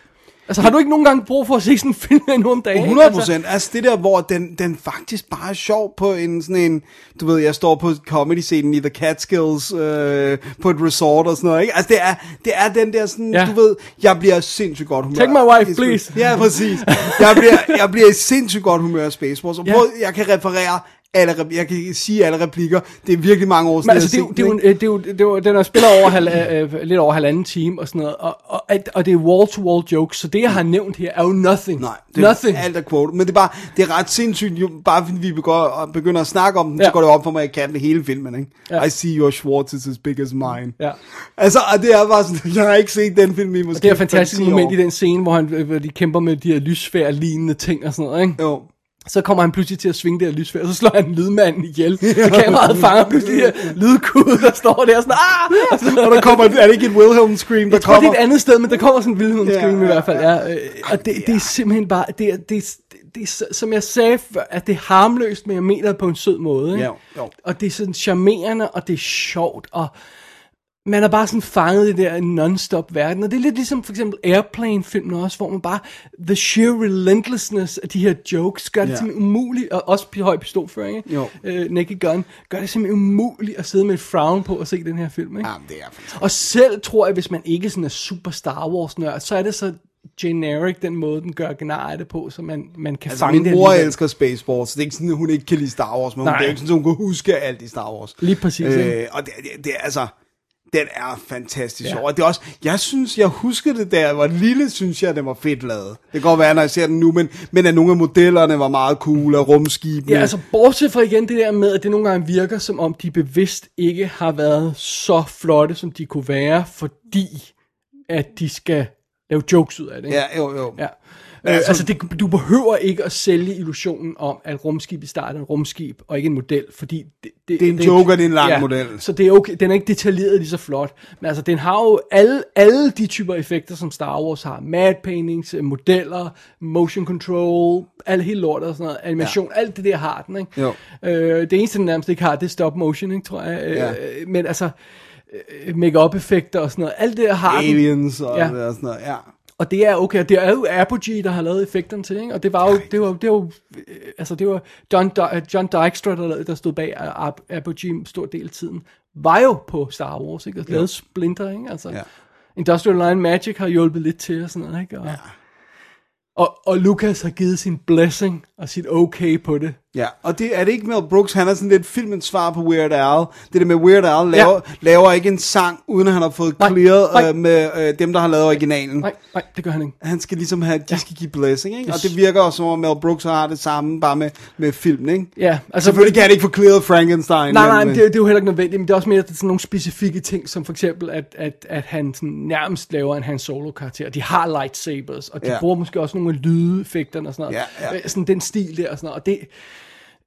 Altså har du ikke nogen gange brug for at se sådan en film nu om dagen?
100
Altså,
procent. Altså det der, hvor den, den faktisk bare er sjov på en sådan en, du ved, jeg står på comedy-scenen i The Catskills, øh, på et resort og sådan noget, ikke? Altså det er, det er den der sådan, ja.
Ja.
du ved, jeg bliver sindssygt godt humør.
Take my wife,
Det er sgu-
please.
Ja, præcis. Jeg bliver, jeg bliver i sindssygt godt humør af Space Wars, og
Ja.
prøv, jeg kan referere alle, rep- jeg kan sige alle replikker. Det er virkelig mange år siden,
Men altså, det,
jeg
er
har
jo-
set
det, er jo
den,
en- øh, det, er jo- det, er jo- den er spiller over halv, øh, øh, lidt over halvanden time og sådan noget, og, og, at- og det er wall-to-wall jokes, så det, jeg har nævnt her, er jo nothing.
Nej, det er
nothing.
alt er quote. Men det er bare, det er ret sindssygt, jo, bare fordi vi begår, og begynder at snakke om den, ja. så
Ja.
går det op for mig, at jeg kan det hele filmen, ikke? Ja.
Ja.
I see your Schwartz is as big as mine.
Ja.
Altså, og det er bare sådan, jeg har ikke set den film i måske
Det er et fantastisk
5-10
moment
år.
i den scene, hvor, han, øh, hvor de kæmper med de her lysfærd-lignende ting og sådan noget, ikke?
Jo.
Så kommer han pludselig til at svinge det her lysfærd, og så slår han lydmanden ihjel, og kameraet fanger pludselig det her lydkud, der står der sådan, ah! Og så,
Og der kommer, er det ikke et Wilhelm scream, der
Jeg tror, det
kommer?
er et andet sted, men der kommer sådan en vildhed
Ja,
yeah, i
ja,
hvert fald. Ja, øh, og det, det er simpelthen bare, det, er- det, er- det, er så- som jeg sagde før, at det er harmløst, men jeg mener det på en sød måde. Ikke?
Ja, jo.
Og det er sådan charmerende, og det er sjovt, og man er bare sådan fanget i det der non-stop verden, og det er lidt ligesom for eksempel Airplane-filmen også, hvor man bare, the sheer relentlessness af de her jokes, gør det
Ja.
yeah. simpelthen umuligt, og også høj pistolføring, ikke?
Jo.
Øh, Naked Gun, gør det simpelthen umuligt at sidde med et frown på og se den her film, ikke?
Jamen, det er fantastisk.
Og selv tror jeg, hvis man ikke sådan er super Star Wars nørd, så er det så generic den måde, den gør genar af det på, så man, man kan
Altså,
fange det
min mor
alligevel.
elsker Spaceballs, så det er ikke sådan, at hun ikke kan lide Star Wars, men hun,
Nej.
det er ikke sådan, at hun kan huske alt i Star Wars.
Lige præcis,
Øh,
ikke?
og det, det, det er altså, den er fantastisk sjov. Og det er også, jeg synes, jeg husker det, da jeg var lille, synes jeg, den var fedt lavet. Det kan godt være, når jeg ser den nu, men, men at nogle af modellerne var meget cool, og rumskibene.
Ja, altså bortset fra igen det der med, at det nogle gange virker som om, de bevidst ikke har været så flotte, som de kunne være, fordi at de skal lave jokes ud af det. ikke?
ja jo, jo.
Ja. Øh, altså, altså det, du behøver ikke at sælge illusionen om, at rumskibet starter en rumskib, og ikke en model, fordi... Det,
Det er en joke, og det er en lang model.
Så det er okay, den er ikke detaljeret lige så flot. Men altså, den har jo alle, alle de typer effekter, som Star Wars har. Mad paintings, øh, modeller, motion control, alt hele lortet og sådan noget, animation, ja. alt det der har den, ikke?
Jo.
Øh, det eneste, den nærmest ikke har, det er stop motion, ikke, tror jeg. Øh,
Ja.
Men altså, øh, make-up effekter og sådan noget, alt det der har den.
Aliens og, ja.
Ja.
og sådan noget, ja.
Og det er okay, og det er jo Apogee, der har lavet effekterne til, ikke? og det var jo, det var, det var, øh, altså det var John, Di- John Dykstra, der, lavede- der stod bag A- A- Apogee en stor del af tiden, var jo på Star Wars, ikke? og lavede Splinter, ikke? altså
Ja.
ja. Industrial Line Magic har hjulpet lidt til og sådan noget, ikke? Og, ja. og, og Lucas har givet sin blessing og sit okay på det.
Ja, og det, er det ikke Mel Brooks, han er sådan lidt filmens svar på Weird Al. Det der med Weird Al laver, ja. laver ikke en sang, uden at han har fået
Nej,
clearet
nej.
øh, med øh, dem, der har lavet originalen.
Nej, nej, det gør han ikke.
han skal ligesom have, de skal give blessing, ikke? Og
Yes.
det virker også som om Mel Brooks har det samme, bare med, med filmen, ikke?
Ja, altså...
Selvfølgelig kan han ikke få clearet Frankenstein.
Nej, nej,
men,
men det, er- det er jo heller ikke nødvendigt, men det er også mere at det er sådan nogle specifikke ting, som for eksempel, at, at, at han sådan nærmest laver en Han Solo-karakter. De har lightsabers, og de
Ja.
ja. bruger måske også nogle af lydeffekterne og sådan noget.
Ja, ja.
Øh, Sådan den stil der og sådan noget. Og det,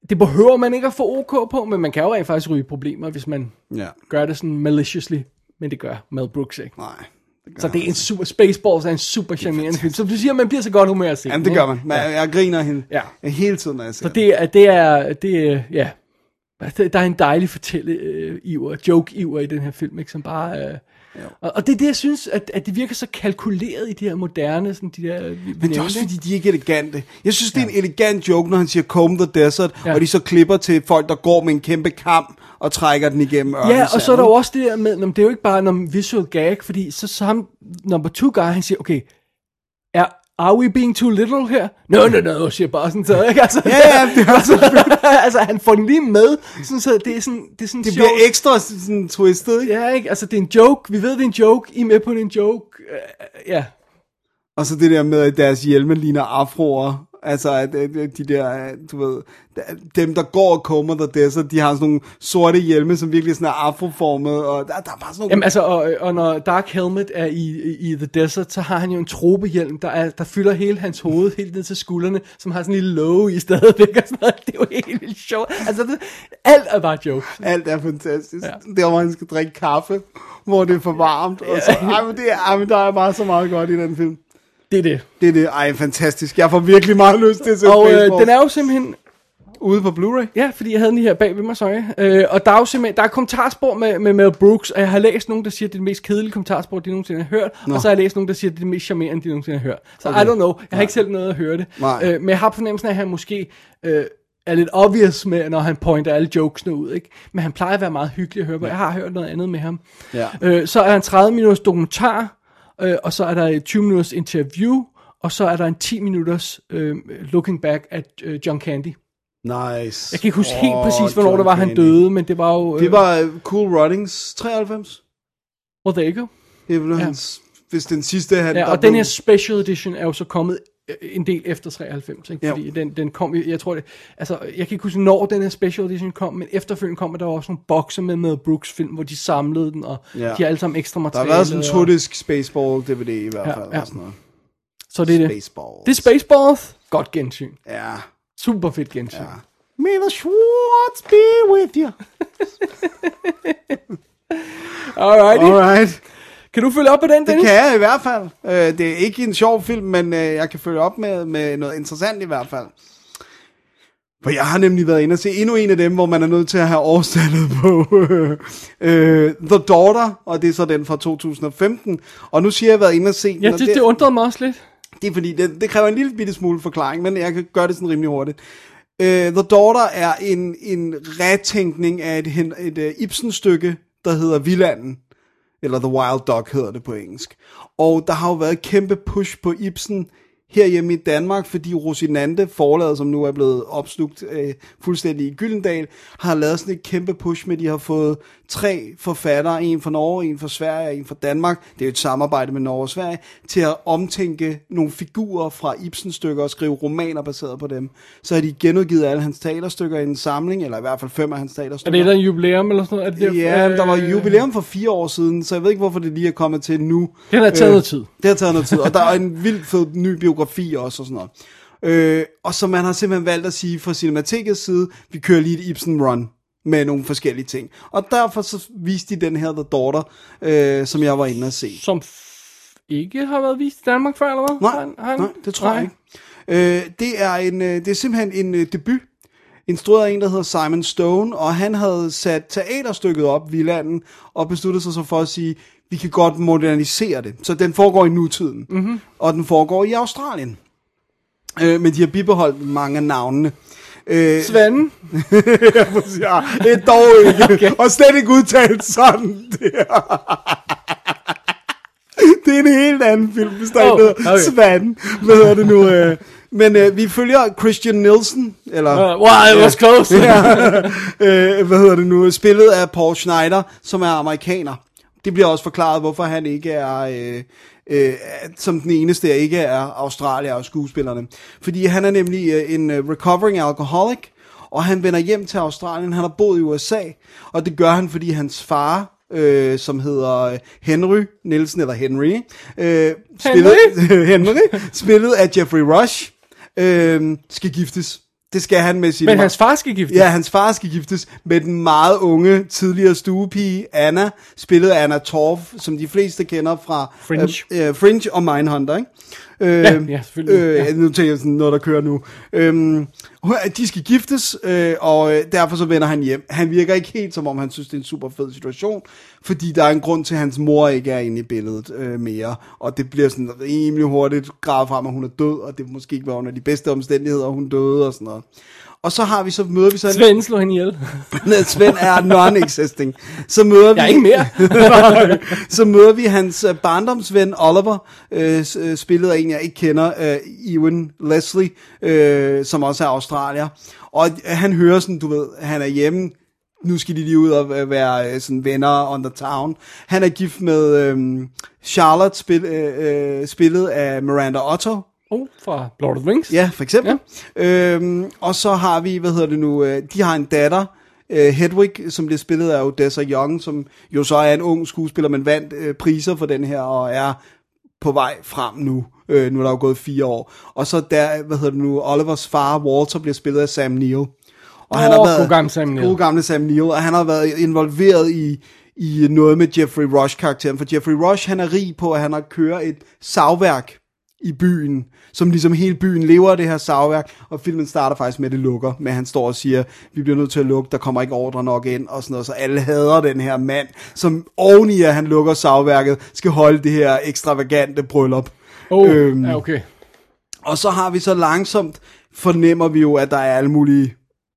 det behøver man ikke at få OK på, men man kan jo rent faktisk ryge i problemer, hvis man
Ja.
gør det sådan maliciously Men det gør Mel Brooks ikke.
Nej. Det gør
Så det er en super, Spaceballs er en super charmerende film. Som du siger, man bliver så godt humør at se
Jamen,
den,
det gør
ikke?
man. man ja. Jeg griner hende
Ja.
hele tiden, når jeg ser
Så det er, det er, det er, ja. Altså, Der der er en dejlig fortælle-iver, joke-iver i den her film, ikke? Som bare... Øh, og, og det er det, jeg synes, at, at det virker så kalkuleret i de her moderne, sådan de der...
Men det er også fordi, de er ikke elegante. Jeg synes, det er en elegant joke, når han siger, comb the desert,
Ja.
ja. og de så klipper til folk, der går med en kæmpe kamp og trækker den igennem ørkesandet.
Ja, og så er der jo også det der med, om det er jo ikke bare en visual gag, fordi så, så ham, number two guy, han siger, okay, er, are we being too little her? No, no, no, siger bare sådan så, ikke? Altså,
Ja, ja, det er også-
altså, han får den lige med, sådan så det er sådan, det er sådan
Det
sjovt.
bliver ekstra sådan twistet, ikke?
Ja, ikke? Altså, det er en joke. Vi ved, det er en joke. I er med på, det er en joke. Uh, ja.
Og så det der med, at deres hjelme ligner afroer. Altså, at, at at de der, øh, du ved, dem der går og kommer der det, så de har sådan nogle sorte hjelme, som virkelig sådan er afroformede, og der, der er bare sådan nogle...
Jamen, altså, og, og når Dark Helmet er i, i, i The Desert, så har han jo en tropehjelm, der, er, der fylder hele hans hoved, helt ned til skuldrene, som har sådan en lille låge i stadigvæk og sådan noget. Det er jo helt vildt sjovt. Altså, det, alt er bare jokes.
Alt er fantastisk.
Ja.
Ja. Der, hvor han skal drikke kaffe, hvor det er for varmt. Og så, ej, men det er, ej, men der er bare så meget godt i den film.
Det er det.
Det er det. Ej, fantastisk. Jeg får virkelig meget lyst til at se
Og øh,
baseball.
den er jo simpelthen
ude på Blu-ray.
Ja, fordi jeg havde den lige her bag ved mig, sorry. Øh, og der er jo simpelthen, der er kommentarspor med, med Mel Brooks, og jeg har læst nogen, der siger, at det er det mest kedelige kommentarspor, de nogensinde har hørt, Nå. og så har jeg læst nogen, der siger, at det er det mest charmerende, de nogensinde har hørt. Så okay. I don't know, jeg har ikke selv noget at høre det.
Nej.
Øh, men jeg har fornemmelsen af, at han måske øh, er lidt obvious med, når han pointer alle jokesene ud, ikke? Men han plejer at være meget hyggelig at høre på. Jeg har hørt noget andet med ham.
Ja.
Øh, så er der en 30 minutters dokumentar, øh, og så er der et 20 minutters interview, og så er der en 10 minutters øh, looking back at øh, John Candy.
Nice.
Jeg kan ikke huske oh, helt
Åh,
præcis, hvornår
John
det var, han
Candy.
døde, men det var jo...
Det var øh, Cool Runnings 93.
Well, there you go.
Det blev
Ja.
ja. hans... Hvis den sidste, han...
øh, Ja,
der
og
blev-
den her special edition er jo så kommet øh, en del efter 93, ikke?
Ja.
fordi den, den kom, i- jeg tror det, altså jeg kan ikke huske, når den her special edition kom, men efterfølgende kom, at der var også nogle bokser med med Brooks film, hvor de samlede den, og ja.
Ja.
de har alle sammen ekstra
Der har
materiale.
været sådan en
og-
trudisk Spaceball-DVD i hvert
Ja,
fald.
ja.
Ja, Sådan noget.
Så det er det.
Spaceballs.
Det er Spaceballs. Godt gensyn.
Ja.
Super fedt gensyn. Ja.
May the Schwartz be with you.
Alrighty. Alright.
Alright.
Kan du følge op på den,
Det
Dennis?
kan jeg i hvert fald. Øh, det er ikke en sjov film, men øh, jeg kan følge op med, med noget interessant i hvert fald. For jeg har nemlig været inde og se endnu en af dem, hvor man er nødt til at have årstallet på øh, The Daughter, og det er så den fra 2015. Og nu siger jeg, at jeg har været inde og se den.
Ja,
og
det, det undrede mig også lidt.
det er fordi, det, det kræver en lille bitte smule forklaring, men jeg kan gøre det sådan rimelig hurtigt. Uh, The Daughter er en, en retænkning af et, hen- et uh, Ibsen-stykke, der hedder Villanden, eller The Wild Dog hedder det på engelsk. Og der har jo været et kæmpe push på Ibsen herhjemme i Danmark, fordi Rosinante, forlaget, som nu er blevet opslugt øh, fuldstændig i Gyldendal, har lavet sådan et kæmpe push med, at de har fået tre forfattere, en fra Norge, en fra Sverige og en fra Danmark, det er jo et samarbejde med Norge og Sverige, til at omtænke nogle figurer fra Ibsen-stykker og skrive romaner baseret på dem. Så har de genudgivet alle hans talerstykker i en samling, eller i hvert fald fem af hans
Er
talerstykker.
det et eller andet jubilæum eller sådan noget? Er det derfor,
Ja, men der var
øh,
jubilæum for fire år siden, så jeg ved ikke, hvorfor det lige er kommet til nu. Øh,
Det har taget noget tid.
Det har taget noget tid, og der er en vildt fed ny biografi også og sådan noget. Øh, og så man har simpelthen valgt at sige fra Cinematikets side, vi kører lige et Ibsen Run med nogle forskellige ting. Og derfor så viste de den her The Daughter, øh, som jeg var inde og se.
Som f- ikke har været vist i Danmark før, eller hvad? Har
Nej,
han- har
nej,
han-
nej det tror nej. jeg ikke. Øh, det, er en, øh, det er simpelthen en øh, debut, instrueret af en, der hedder Simon Stone, og han havde sat teaterstykket op, Villanden, og besluttede sig så for at sige, vi kan godt modernisere det. Så den foregår i nutiden,
Mhm.
mm-hmm. og den foregår i Australien. Øh, men de har bibeholdt mange af navnene. Øh,
Svenden.
ja, det er dog ikke. Okay. Og slet ikke udtalt sådan. der. det er en helt anden film, hvis der oh,
Oh,
ikke
okay.
okay. Svand. Hvad hedder det nu? øh? Men øh, vi følger Christian Nielsen, eller
Uh, wow, it was close.
øh, hvad hedder det nu, spillet af Paul Schneider, som er amerikaner. Det bliver også forklaret, hvorfor han ikke er, øh, øh, som den eneste, der ikke er australier og skuespillerne. Fordi han er nemlig øh, en øh, recovering alcoholic, og han vender hjem til Australien. Han har boet i USA, og det gør han, fordi hans far, øh, som hedder øh, Henry Nielsen, eller Henry, øh, spillet, Henry, spillet af Jeffrey Rush, øh, skal giftes. Det skal han med sin
Men
mor.
hans far skal giftes.
Ja, hans far skal giftes med den meget unge, tidligere stuepige Anna, spillet af Anna Torf, som de fleste kender fra
Fringe.
øh, øh, Fringe og Mindhunter, ikke? Øh,
Ja, ja, selvfølgelig,
Øh,
ja.
Nu tænker jeg sådan noget, der kører nu. Øhm, de skal giftes, øh, og øh, derfor så vender han hjem. Han virker ikke helt, som om han synes, det er en super fed situation, fordi der er en grund til, at hans mor ikke er inde i billedet øh, mere, og det bliver sådan rimelig hurtigt gravet frem, at hun er død, og det måske ikke var under de bedste omstændigheder, hun døde og sådan noget. Og så har vi så møder vi så en-
Svend slog hende ihjel.
Nej, øh, Svend er non-existing. Så møder vi,
Jeg er ikke mere.
så møder vi hans øh, barndomsven Oliver, øh, s- øh, spillet af en, jeg ikke kender, øh, Ewan Leslie, øh, som også er australier. Og øh, han hører sådan, du ved, han er hjemme, nu skal de lige ud og øh, være øh, sådan venner on the town. Han er gift med øh, Charlotte, spil, øh, øh, spillet af Miranda Otto.
Oh, fra Lord of the Rings.
Ja, for eksempel. Ja. Øhm, og så har vi, hvad hedder det nu, øh, de har en datter, øh, Hedwig, som bliver spillet af Odessa Young, som jo så er en ung skuespiller, men vandt øh, priser for den her, og er på vej frem nu. Øh, nu er der jo gået fire år. Og så der, hvad hedder det nu, Olivers far, Walter, bliver spillet af Sam Neill. Og
Åh, god gamle Sam Neill.
God gamle Sam Neill, og han har været involveret i, i noget med Jeffrey Rush-karakteren, for Jeffrey Rush, han er rig på, at han har kørt et savværk i byen, som ligesom hele byen lever af det her savværk, og filmen starter faktisk med, at det lukker, men han står og siger, vi bliver nødt til at lukke, der kommer ikke ordre nok ind, og sådan noget, så alle hader den her mand, som oveni, at han lukker savværket, skal holde det her ekstravagante bryllup. Øhm,
Oh, ja, okay.
Og så har vi så langsomt, fornemmer vi jo, at der er alle mulige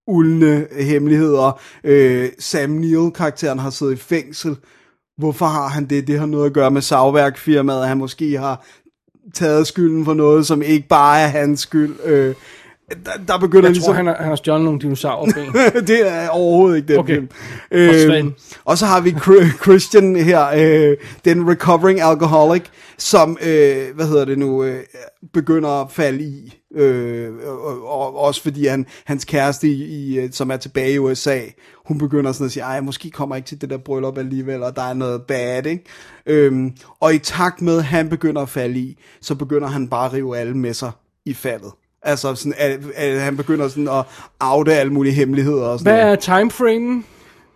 uldne hemmeligheder. Øh, Sam Neill-karakteren har siddet i fængsel. Hvorfor har han det? Det har noget at gøre med savværkfirmaet. Han måske har taget skylden for noget, som ikke bare er hans skyld. Øh, der, der begynder
Jeg tror,
ligesom...
han har, han har stjålet nogle dinosaurer.
det er overhovedet ikke den
Okay.
film. Øhm,
Svend.
og så har vi Chr- Christian her, øh, den recovering alcoholic, som, øh, hvad hedder det nu, øh, begynder at falde i. Øh, og, og, også fordi han, hans kæreste, i, i, øh, som er tilbage i USA, hun begynder sådan at sige, ej, måske kommer jeg ikke til det der bryllup alligevel, og der er noget bad, ikke? Øhm, og i takt med, at han begynder at falde i, så begynder han bare at rive alle med sig i faldet. Altså, sådan, at, at han begynder sådan at afde alle mulige hemmeligheder og sådan
Hvad
noget.
er timeframen?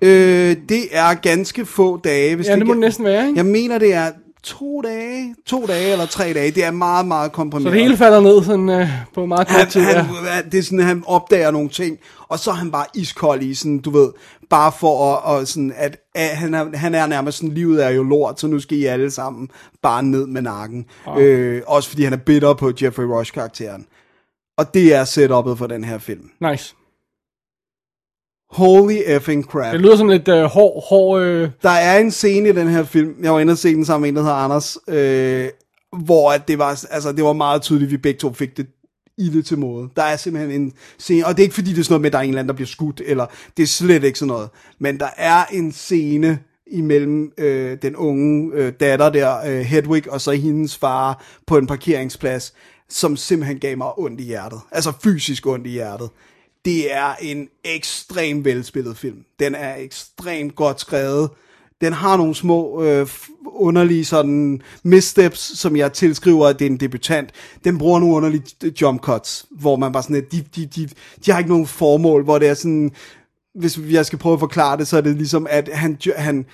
Øh, det er ganske få dage. Hvis
Ja, det må
ikke-
det næsten være, ikke?
Jeg mener, det er to dage, to dage eller tre dage. Det er meget, meget komprimeret.
Så det hele falder ned sådan, øh, på meget kort tid.
Han,
ja.
han, ja. Det er sådan, han opdager nogle ting, og så er han bare iskold i sådan, du ved, bare for at, og sådan, at, at han, er, han er nærmest sådan, livet er jo lort, så nu skal I alle sammen bare ned med nakken.
Ah.
Oh. Øh, også fordi han er bitter på Jeffrey Rush-karakteren. Og det er setupet for den her film.
Nice.
Holy effing crap.
Det lyder som lidt øh, hård, hård... Øh,
Der er en scene i den her film, jeg var inde og se den sammen med en, der hedder Anders, øh, hvor at det, var, altså, det var meget tydeligt, at vi begge to fik det ilde til måde. Der er simpelthen en scene, og det er ikke fordi, det er sådan noget med, at der er en eller anden, der bliver skudt, eller det er slet ikke sådan noget. Men der er en scene imellem øh, den unge øh, datter der, øh, Hedwig, og så hendes far på en parkeringsplads, som simpelthen gav mig ondt i hjertet. Altså fysisk ondt i hjertet. Det er en ekstrem velspillet film. Den er ekstremt godt skrevet. Den har nogle små øh, f- underlige sådan missteps, som jeg tilskriver, at det er en debutant. Den bruger nogle underlige øh, jump cuts, hvor man bare sådan, at de, de, de, de har ikke nogen formål, hvor det er sådan, hvis jeg skal prøve at forklare det, så er det ligesom, at han, han,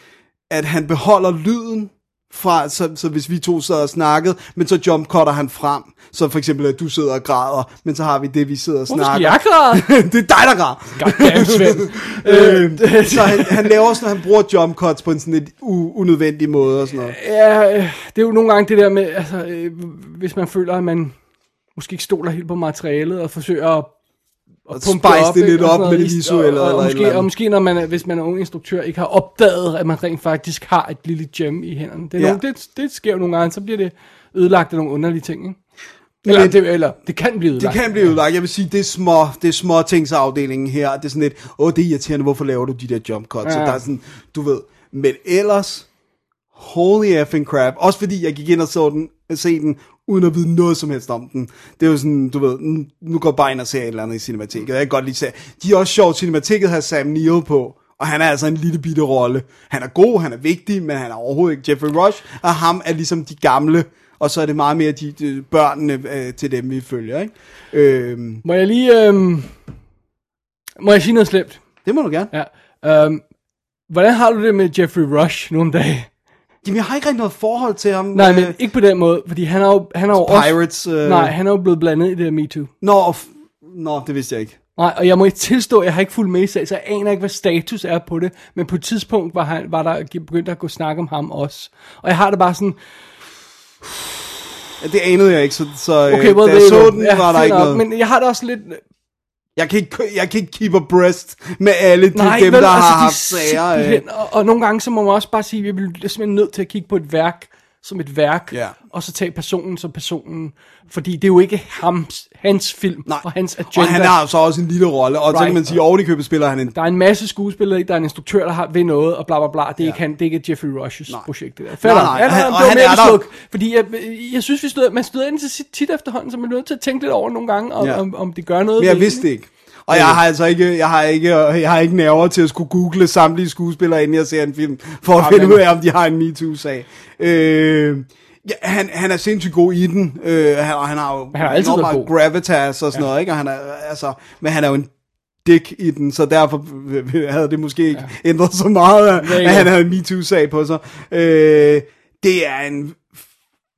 at han beholder lyden fra, så, så hvis vi to sad og snakkede, men så jumpcutter han frem. Så for eksempel, at du sidder og græder, men så har vi det, vi sidder og
hvorfor skal
snakker.
jeg græde?
det er dig, der græder.
Goddamn, Svend.
Øh, så han, han laver sådan, han bruger jump cuts på en sådan lidt u- unødvendig måde og sådan noget.
Ja, øh, det er jo nogle gange det der med, altså, øh, hvis man føler, at man måske ikke stoler helt på materialet, og forsøger at
Og
pumpe
spice det
ikke,
lidt
og
op
sådan
med
noget,
det visuelle
og, og,
eller et
måske,
eller
og
andet.
måske, når man, er- hvis man er ung instruktør, ikke har opdaget, at man rent faktisk har et lille gem i hænderne. Det, er
Ja.
ja. nogle, det, det sker jo nogle gange, så bliver det ødelagt af nogle underlige ting, ikke? Eller,
Men-
Men, det, eller det kan blive
Det
ødelagt.
kan blive udlagt. Jeg vil sige, det er små, det er små tingsafdelingen her. Det er sådan lidt, åh, det er irriterende, hvorfor laver du de der jump cuts? Ja. Så
Ja.
der er sådan, du ved. Men ellers, holy effing crap. Også fordi jeg gik ind og så den, se den, uden at vide noget som helst om den. Det er jo sådan, du ved, nu- nu går jeg bare ind og ser et eller andet i cinematikket. Jeg kan godt lige se. De er også sjovt, cinematikket har Sam Neill på. Og han er altså en lille bitte rolle. Han er god, han er vigtig, men han er overhovedet ikke Jeffrey Rush. Og ham er ligesom de gamle og så er det meget mere de, de børnene øh, til dem, vi følger. Ikke? Øh,
Må jeg lige... Øhm, må jeg sige noget slemt?
det må du gerne.
Ja. Øhm, hvordan har du det med Jeffrey Rush nogle dage?
Jamen, jeg har ikke rigtig noget forhold til ham.
Nej,
øh,
men ikke på den måde, fordi han er jo, han er jo
Pirates,
Også,
øh.
øh... Nej, han er jo blevet blandet i det her MeToo.
Nå, f- nå, det vidste jeg ikke.
Nej, og jeg må ikke tilstå, at jeg har ikke fulgt med i sag, så jeg aner ikke, hvad status er på det. Men på et tidspunkt var, han, var der begyndt at gå snak om ham også. Og jeg har det bare sådan,
Ja, Det anede jeg ikke, så, så øh,
okay, well,
da
there
jeg
you
så
go.
den, ja, var der
fair
ikke
nok,
noget. Men...
Men jeg har det også lidt...
Jeg, kan ikke, kø- jeg kan ikke keep abreast med alle de,
Nej,
dem,
vel, altså,
der har
de
haft sager. Øh.
simpelthen- og, og, nogle gange, så må man også bare sige, at vi bliver simpelthen nødt til at kigge på et værk som et værk,
Ja.
og så tage personen som personen. Fordi det er jo ikke hans, hans film
Nej.
og hans agenda.
Og han har jo så også en lille rolle, og right. så kan
Right.
man sige, at ovenikøbet spiller han en
Der er en masse skuespillere, i, der er en instruktør, der har ved noget, og bla bla bla. Det er, ja. ikke, han, det er ikke Jeffrey Rushes
Nej.
nej. projekt, det der. Fair
Nej,
nok.
nej,
Ja, nej,
han-
nej,
og
det var
han
mere
er der-
sluk, Fordi jeg, jeg synes, vi støder, man støder ind til sit- tit efterhånden, så man er nødt til at tænke lidt over nogle gange, om,
Ja.
ja. om, om det gør noget.
Men jeg
ved
vidste
en,
det ikke. Og jeg har altså ikke, jeg har ikke, jeg har ikke nerver til at skulle google samtlige skuespillere, inden jeg ser en film, for at
Amen.
finde ud af, om de har en MeToo-sag. Øh, ja, han, han er sindssygt god i den, øh, han- og han har jo
han har altid
enormt
været
meget
god.
gravitas og sådan ja. noget, ikke? Og han er, altså, men han er jo en dick i den, så derfor havde det måske ikke ja. ændret så meget, at,
Ja, ja.
at han havde en MeToo-sag på sig. Øh, det er en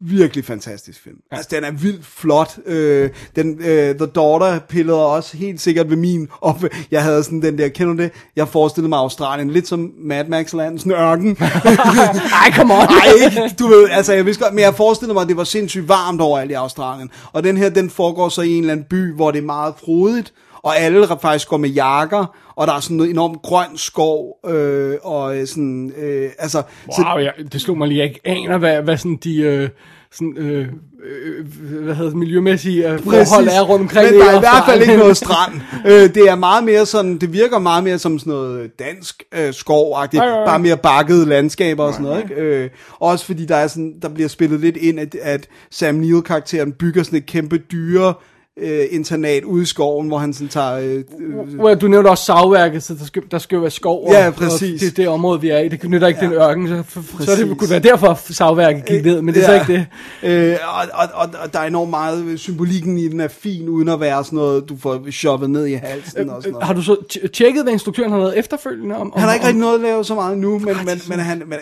virkelig fantastisk film. Ja. Altså, den er vildt flot. Øh, den, øh, The Daughter pillede også helt sikkert ved min op. Jeg havde sådan den der, kender du det? Jeg forestillede mig Australien lidt som Mad Max Land, sådan en ørken.
Ej, come on.
Nej, ikke, du ved, altså jeg vidste godt, men jeg forestillede mig, at det var sindssygt varmt overalt i Australien. Og den her, den foregår så i en eller anden by, hvor det er meget frodigt, og alle re- faktisk går med jakker, og der er sådan noget enormt grøn skov, øh, og øh, sådan, øh, altså... så-
Wow, jeg, det slog mig lige. Jeg ikke aner, hvad, hvad sådan de... Øh, sådan, øh, øh, hvad hedder det, miljømæssige øh, forhold er rundt omkring.
Men der er i hvert fald
Australien.
ikke noget strand. øh, det er meget mere sådan, det virker meget mere som sådan noget dansk øh, skovagtigt,
ja, ja.
bare mere bakkede landskaber og sådan noget. Ikke? Øh, også fordi der, er sådan, der bliver spillet lidt ind, at, at Sam Neill-karakteren bygger sådan et kæmpe dyre øh, internat ude i skoven, hvor han sådan tager... Øh, øh,
Well, du nævnte også savværket, så der skal, der skal jo være skov. og-
Ja, præcis.
Og det er det område, vi er i. Det nytter ikke ja. den ørken, så, f- så
Præcis.
det kunne være derfor, savværket gik ned, men det er
Ja.
så ikke det.
Øh, og, og, og, og der er enormt meget symbolikken i den er fin, uden at være sådan noget, du får shoppet ned i halsen og sådan noget.
Har du så t- tjekket, hvad instruktøren har lavet efterfølgende? Om, om,
Han har ikke
om,
rigtig noget at lave så meget nu, men, men, men, han, men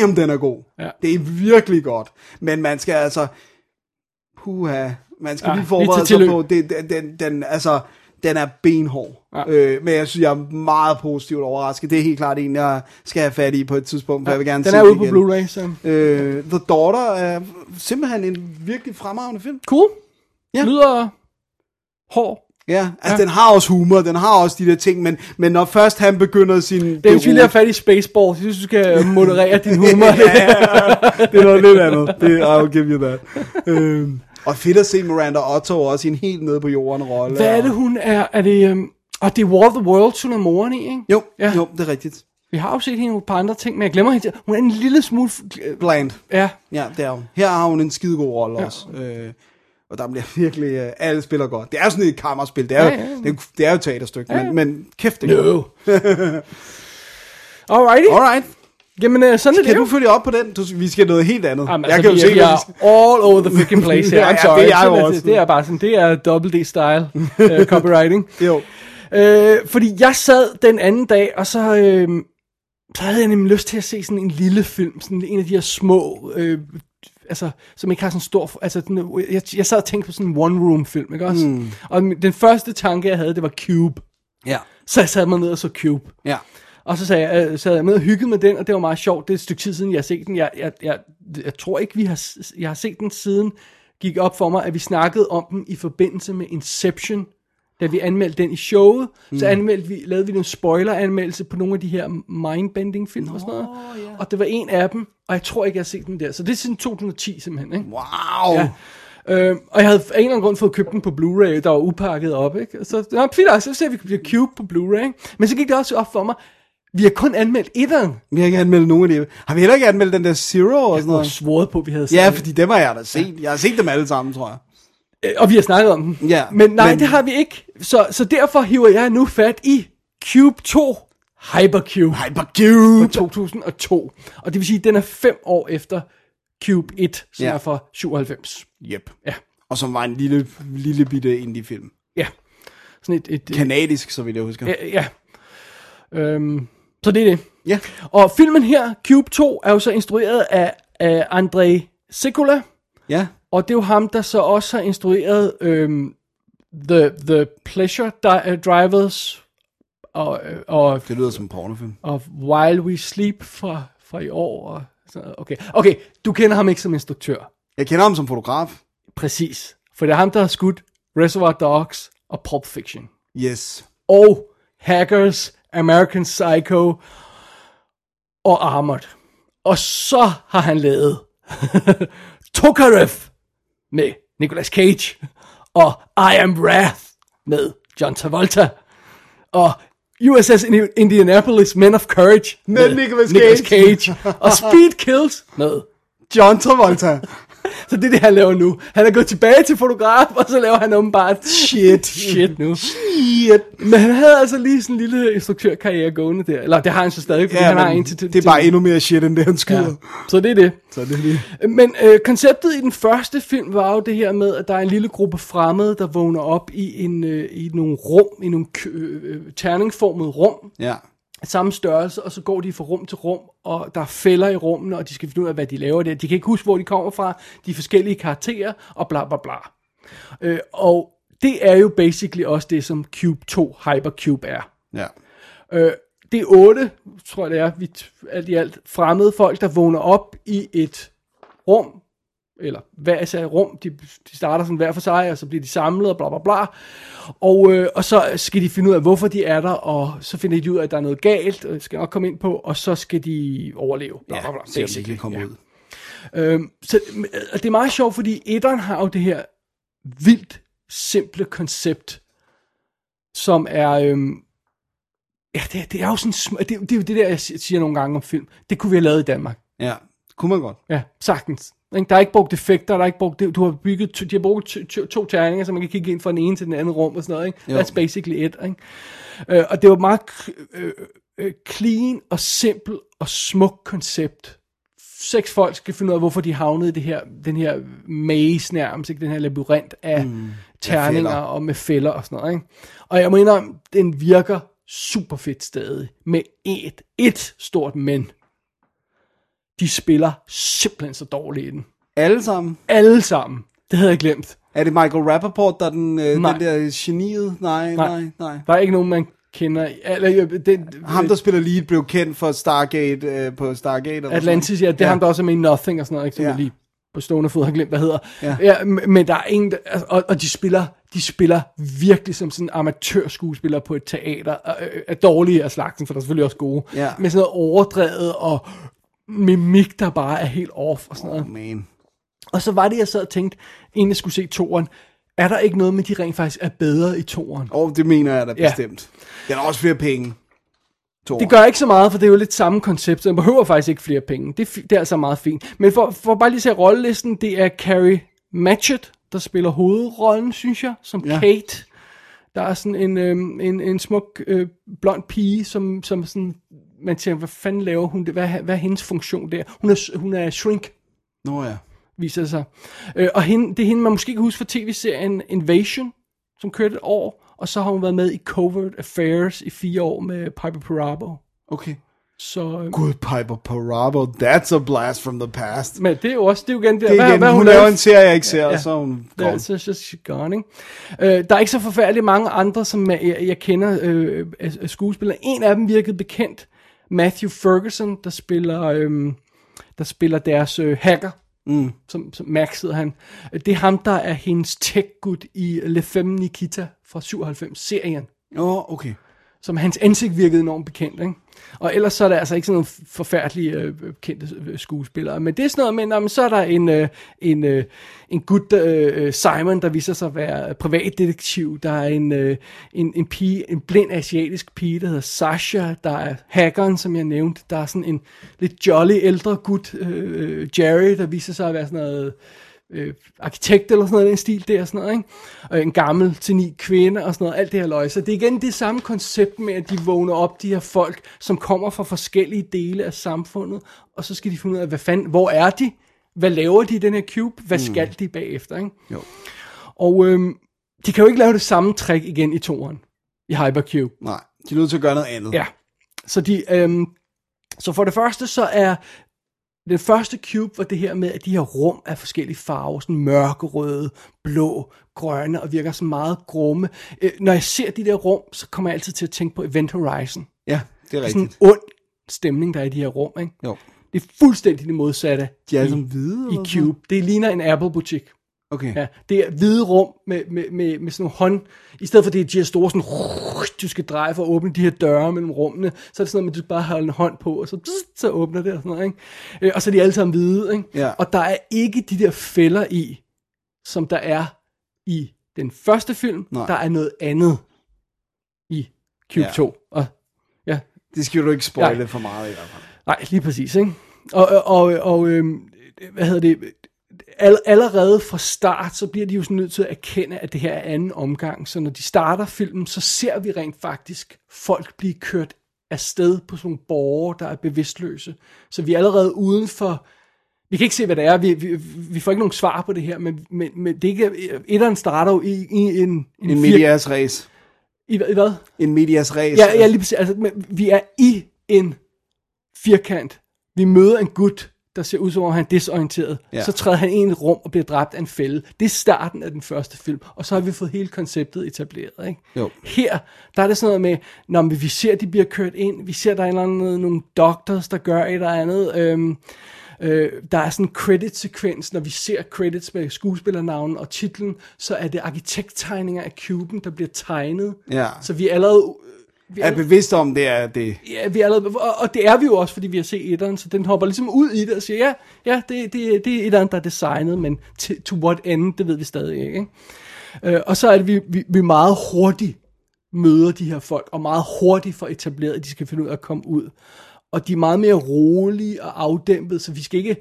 damn, den er god.
Ja.
Det er virkelig godt. Men man skal altså, puha, man skal ja,
Ja,
lige
lige
forberede
til
sig
tilløb.
på, det, den, den, den, altså, den er benhård.
Ja.
Øh, men jeg synes, jeg er meget positivt overrasket. Det er helt klart en, jeg skal have fat i på et tidspunkt, for jeg vil gerne
Den
se
er
det
ude på
igen.
Blu-ray, så...
Øh, The Daughter er simpelthen en virkelig fremragende film.
Cool.
Ja.
Ja. Lyder hård.
Ja, altså ja.
Ja.
den har også humor, den har også de der ting, men, men når først han begynder sin...
Det er fordi, jeg er fat i Spaceballs. Jeg synes, du skal moderere din humor.
ja, ja. det er noget lidt andet. Det, I'll give you that. Øhm, og fedt at se Miranda Otto også i en helt nede på jorden rolle.
Hvad er det, hun er? Er det... Øhm, og det er War of the Worlds, hun er moren i, ikke?
Jo, ja.
Ja.
jo, det er rigtigt.
Vi har jo set hende på andre ting, men jeg glemmer hende. Hun er en lille smule... f- øh,
Bland.
Ja,
Ja, det er hun. Her har hun en skidegod rolle ja. også. Øh, og der bliver virkelig... Øh, alle spiller godt. Det er sådan et kammerspil. Det er, ja,
Ja,
ja,
ja, ja.
Det, er, det er jo et teaterstykke, ja, ja. Men, men kæft det er godt.
No. Alrighty.
Alright.
Jamen, øh, sådan er det
Kan
jo.
du følge op på den? Du, vi skal noget helt andet.
Jamen, altså, vi,
hvad
er,
vi-
vi er all over the freaking place her.
Ja, ja,
I'm sorry.
det er jeg
Sådan
jo
det,
også.
det er bare sådan, det er double D-style uh, copywriting.
Jo.
Øh, fordi jeg sad den anden dag, og så, øh, så havde jeg nemlig lyst til at se sådan en lille film, sådan en af de her små, øh, altså, som ikke har sådan en stor, altså, den, jeg, jeg sad og tænkte på sådan en one-room-film, ikke også? Mm. Og min- den første tanke, jeg havde, det var Cube.
Ja.
Så jeg sad mig ned og så Cube.
Ja.
Og så sagde jeg, øh, sad jeg med og hyggede med den, og det var meget sjovt. Det er et stykke tid siden, jeg har set den. Jeg, jeg, jeg, jeg tror ikke, vi har, s- jeg har set den siden, gik op for mig, at vi snakkede om den i forbindelse med Inception. Da vi anmeldte den i showet, mm. så anmeldte vi, lavede vi nogle spoiler-anmeldelse på nogle af de her mindbending-film og sådan noget. Yeah. Og det var en af dem, og jeg tror ikke, jeg har set den der. Så det er siden 2010 simpelthen, ikke?
Wow. Ja.
Ja. Øh, og jeg havde af en eller anden grund fået købt den på Blu-ray, der var upakket op, ikke? Og Så, nå, fint, nok, så ser vi bliver Cube på Blu-ray. ikke? Men så gik det også op for mig, vi har kun anmeldt etteren.
Vi har ikke anmeldt nogen af de... Har vi heller ikke anmeldt den der Zero og sådan
Og
noget?
svoret på, at vi havde set
Ja,
den.
fordi dem har jeg da set. Jeg har set dem alle sammen, tror jeg.
Øh, Og vi har snakket om den.
Ja,
men nej,
men-
men... det har vi ikke. Så, så derfor hiver jeg nu fat i Cube 2 Hypercube
Hypercube!
fra 2002. Og det vil sige, at den er fem år efter Cube 1, som
Ja.
ja. er fra 97.
Yep.
Ja,
Og som var en lille, lille bitte indie-film.
ja. Sådan et... et
Kanadisk, så vidt jeg husker.
ja, ja. Øhm, så det er det.
Ja.
Og filmen her, Cube 2, er jo så instrueret af, af Andrei Sekula,
Ja.
og det er jo ham, der så også har instrueret øhm, The, The Pleasure Di- øh, Drivers og, øh, og
Det lyder som en pornofilm.
og While We Sleep fra, fra i år. Og sådan noget. Okay. okay, du kender ham ikke som instruktør.
Jeg kender ham som fotograf.
Præcis. For det er ham, der har skudt Reservoir Dogs og Pulp Fiction.
Yes.
Og Hackers, American Psycho og Armored. Og så har han lavet Tokarev med Nicolas Cage og I Am Wrath med John Travolta og USS Indi- Indianapolis Men of Courage
Med Nicolas
Nicolas
Cage.
Cage og Speed Kills med
John Travolta.
så det er det, han laver nu. Han er gået tilbage til fotograf, og så laver han åbenbart shit, shit nu. Shit. Men han havde altså lige sådan en lille instruktørkarriere gående der. Eller det har han så stadig, fordi ja, han har
men
en til til-
det er bare endnu mere shit, end det, han skyder. Ja.
Så det er det.
Så det er lige...
Men øh, konceptet i den første film var jo det her med, at der er en lille gruppe fremmede, der vågner op i, en, øh, i nogle rum, i nogle kø- øh, øh, terningformede rum,
Ja.
samme størrelse, og så går de fra rum til rum, og der er fælder i rummene, og de skal finde ud af, hvad de laver der. De kan ikke huske, hvor de kommer fra, de forskellige karakterer, og bla bla bla. Øh, og det er jo basically også det, som Cube 2 Hypercube er.
Ja.
Øh, det er otte, tror jeg det er, vi t- alt i alt fremmede folk, der vågner op i et rum, eller hver især et rum, de, de starter sådan hver for sig, og så bliver de samlet, og bla bla bla, og, øh, og så skal de finde ud af, hvorfor de er der, og så finder de ud af, at der er noget galt, og det skal jeg nok komme ind på, og så skal de overleve, bla bla bla,
Så det kan komme ud.
Øhm, så, og det er meget sjovt, fordi etteren har jo det her vildt simple koncept, som er... Øhm, ja, det, er- det er jo sådan... sm- Det, det er jo det der, jeg si- siger nogle gange om film. Det kunne vi have lavet i Danmark.
Ja. Kunne man godt.
Ja, sagtens. Ikke? Der er ikke brugt effekter, der er ikke brugt... det- Du har bygget... to- De har brugt to, to, to terninger, så man kan kigge ind fra den ene til den anden rum og sådan noget. Ikke?
Jo.
That's basically it. Ikke? Øh, og det var et meget k- øh, øh, clean og simpel og smuk koncept. Seks folk skal finde ud af, hvorfor de havnede i det her, den her maze nærmest, ikke? den her labyrint af mm, terninger
fælder.
og med fælder og sådan noget. Ikke? Og jeg må indrømme, den virker super fedt stadig, med et, et stort men. De spiller simpelthen så dårligt i den.
Alle sammen.
Alle sammen. Det havde jeg glemt.
Er det Michael Rappaport, der er den, øh,
Nej.
den der geniet? Nej, nej, nej. nej.
Der er ikke nogen, man kender. i- Eller, øh, det,
Ham, der spiller lead, blev kendt for Stargate øh, på Stargate. Eller
Atlantis, ja, det er ja. ham, der også er med i Nothing og sådan noget, ikke? Som
Ja.
ja. jeg lige på stående fod har glemt, hvad hedder.
Ja.
Ja. ja m- men der er ingen, der, altså, og, og de spiller, de spiller virkelig som sådan amatørskuespillere på et teater, og, øh, er dårlige af slagsen, for der er selvfølgelig også gode,
Ja.
med sådan noget overdrevet og mimik, der bare er helt off og sådan noget.
Man.
Og så var det, jeg sad og tænkte, inden jeg skulle se toren, er der ikke noget med, de rent faktisk er bedre i toren?
Og det mener jeg da
Ja.
bestemt. Den er også flere penge. To
Det gør ikke så meget, for det er jo lidt samme koncept, så den behøver faktisk ikke flere penge. Det, er fi- det er altså meget fint. Men for, for bare lige at se rollelisten, det er Carrie Matchett, der spiller hovedrollen, synes jeg, som
Ja.
ja. Kate. Der er sådan en, øhm, en, en smuk øh, blond pige, som, som sådan, man tænker, hvad fanden laver hun det? Hvad, hvad er hendes funktion der? Hun er, hun er shrink,
Nå ja.
viser det sig. Øh, og hende, det er hende, man måske kan huske fra tv-serien Invasion, som kørte et år, og så har hun været med i Covert Affairs i fire år med Piper Parabo.
Okay.
Så, øh,
Good Piper Parabo, that's a blast from the past.
men det er jo også, det er jo igen det,
Det er
hvad,
igen,
hvad
hun,
hun
laver
lavede-
en serie, jeg ikke ser, og
ja.
så er hun
Det er
gone.
altså just gone, ikke? Øh, der er ikke så forfærdeligt mange andre, som jeg, jeg kender øh, af- af skuespillere. En af dem virkede bekendt, Matthew Ferguson, der spiller, øh, der spiller deres øh, hacker, mm. som, som Max hedder han. Det er ham, der er hendes tech-gud i øh, Le Femme Nikita fra 97-serien
Nå, okay.
som hans ansigt virkede enormt bekendt, ikke? Og ellers så er der altså ikke sådan nogle forfærdelige øh, kendte øh, skuespillere. Men det er sådan noget med, nå, men så er der en, øh, en, øh, en gut, øh, Simon, der viser sig at være privatdetektiv. Der er en, øh, en, en, pige, en blind asiatisk pige, der hedder Sasha. Der er hackeren, som jeg nævnte. Der er sådan en lidt jolly ældre gut, øh, Jerry, der viser sig at være sådan noget øh, arkitekt eller sådan noget, i den stil der og sådan noget, ikke? Og en gammel til ni kvinde og sådan noget, alt det her løg. Så det er igen det samme koncept med, at de vågner op, de her folk, som kommer fra forskellige dele af samfundet, og så skal de finde ud af, hvad fanden, hvor er de? hvad laver de i den her cube? Hvad skal de bagefter? Ikke?
Jo.
Og øhm, de kan jo ikke lave det samme trick igen i toeren. I Hypercube.
Nej, de er nødt til at gøre noget andet.
Ja. Så de, øhm, så for det første, så er den første cube var det her med, at de her rum er forskellige farver, sådan mørkerøde, blå, grønne, og virker sådan meget grumme. Øh, når jeg ser de der rum, så kommer jeg altid til at tænke på Event Horizon.
ja det er
Det er sådan en
rigtigt.
ond stemning, der er i de her rum, ikke?
Jo.
Det er fuldstændig det modsatte
De er alle
i,
sammen hvide,
i
eller hvad?
Cube. Det ligner en Apple-butik.
Okay.
Ja, det er hvide rum med, med, med, med sådan nogle hånd. I stedet for det, at de her store sådan, du skal dreje for at åbne de her døre mellem rummene, så er det sådan noget, med, at du bare har en hånd på, og så, så åbner det og sådan noget, ikke? Øh, Og så er de alle sammen hvide, ikke?
Ja.
Og der er ikke de der fælder i, som der er i den første film.
Nej.
Der er noget andet i Cube
Ja.
ja. 2. Og, ja,
Det skal du ikke spoile
Nej.
for meget i hvert fald.
Nej, lige præcis, ikke? Og, og, og, og øhm, hvad hedder det? All, allerede fra start, så bliver de jo sådan nødt til at erkende, at det her er anden omgang. Så når de starter filmen, så ser vi rent faktisk folk blive kørt afsted på sådan nogle borgere, der er bevidstløse. Så vi er allerede uden for... Vi kan ikke se, hvad det er. Vi, vi, vi får ikke nogen svar på det her, men, men, men det er ikke... Etteren starter jo i, i en... En,
En
fir-
medias race.
I, hvad- I hvad?
En medias race.
Ja, ja lige præcis. Altså, men vi er i en firkant. Vi møder en gut, der ser ud som om han er desorienteret.
Ja.
Ja. Så træder han ind i et rum og bliver dræbt af en fælde. Det er starten af den første film, og så har vi fået hele konceptet etableret. Ikke?
Jo.
Her, der er det sådan noget med, når vi ser, de bliver kørt ind, vi ser, der er en eller anden, nogle doctors, der gør et eller andet. Øhm, Øh, der er sådan en credit-sekvens, når vi ser credits med skuespillernavnen og titlen, så er det arkitekttegninger af kuben, der bliver tegnet.
Ja.
Så vi er allerede vi
Jeg er bevidst om, det er det.
ja, vi er allerede, og, og det er vi jo også, fordi vi har set etteren, så den hopper ligesom ud i det og siger, ja, ja det, det, det er etteren, der er designet, men to, to what end, det ved vi stadig ikke. ikke? Øh, og så er det, vi, vi, vi meget hurtigt møder de her folk, og meget hurtigt får etableret, at de skal finde ud af at komme ud. Og de er meget mere rolige og afdæmpet, så vi skal ikke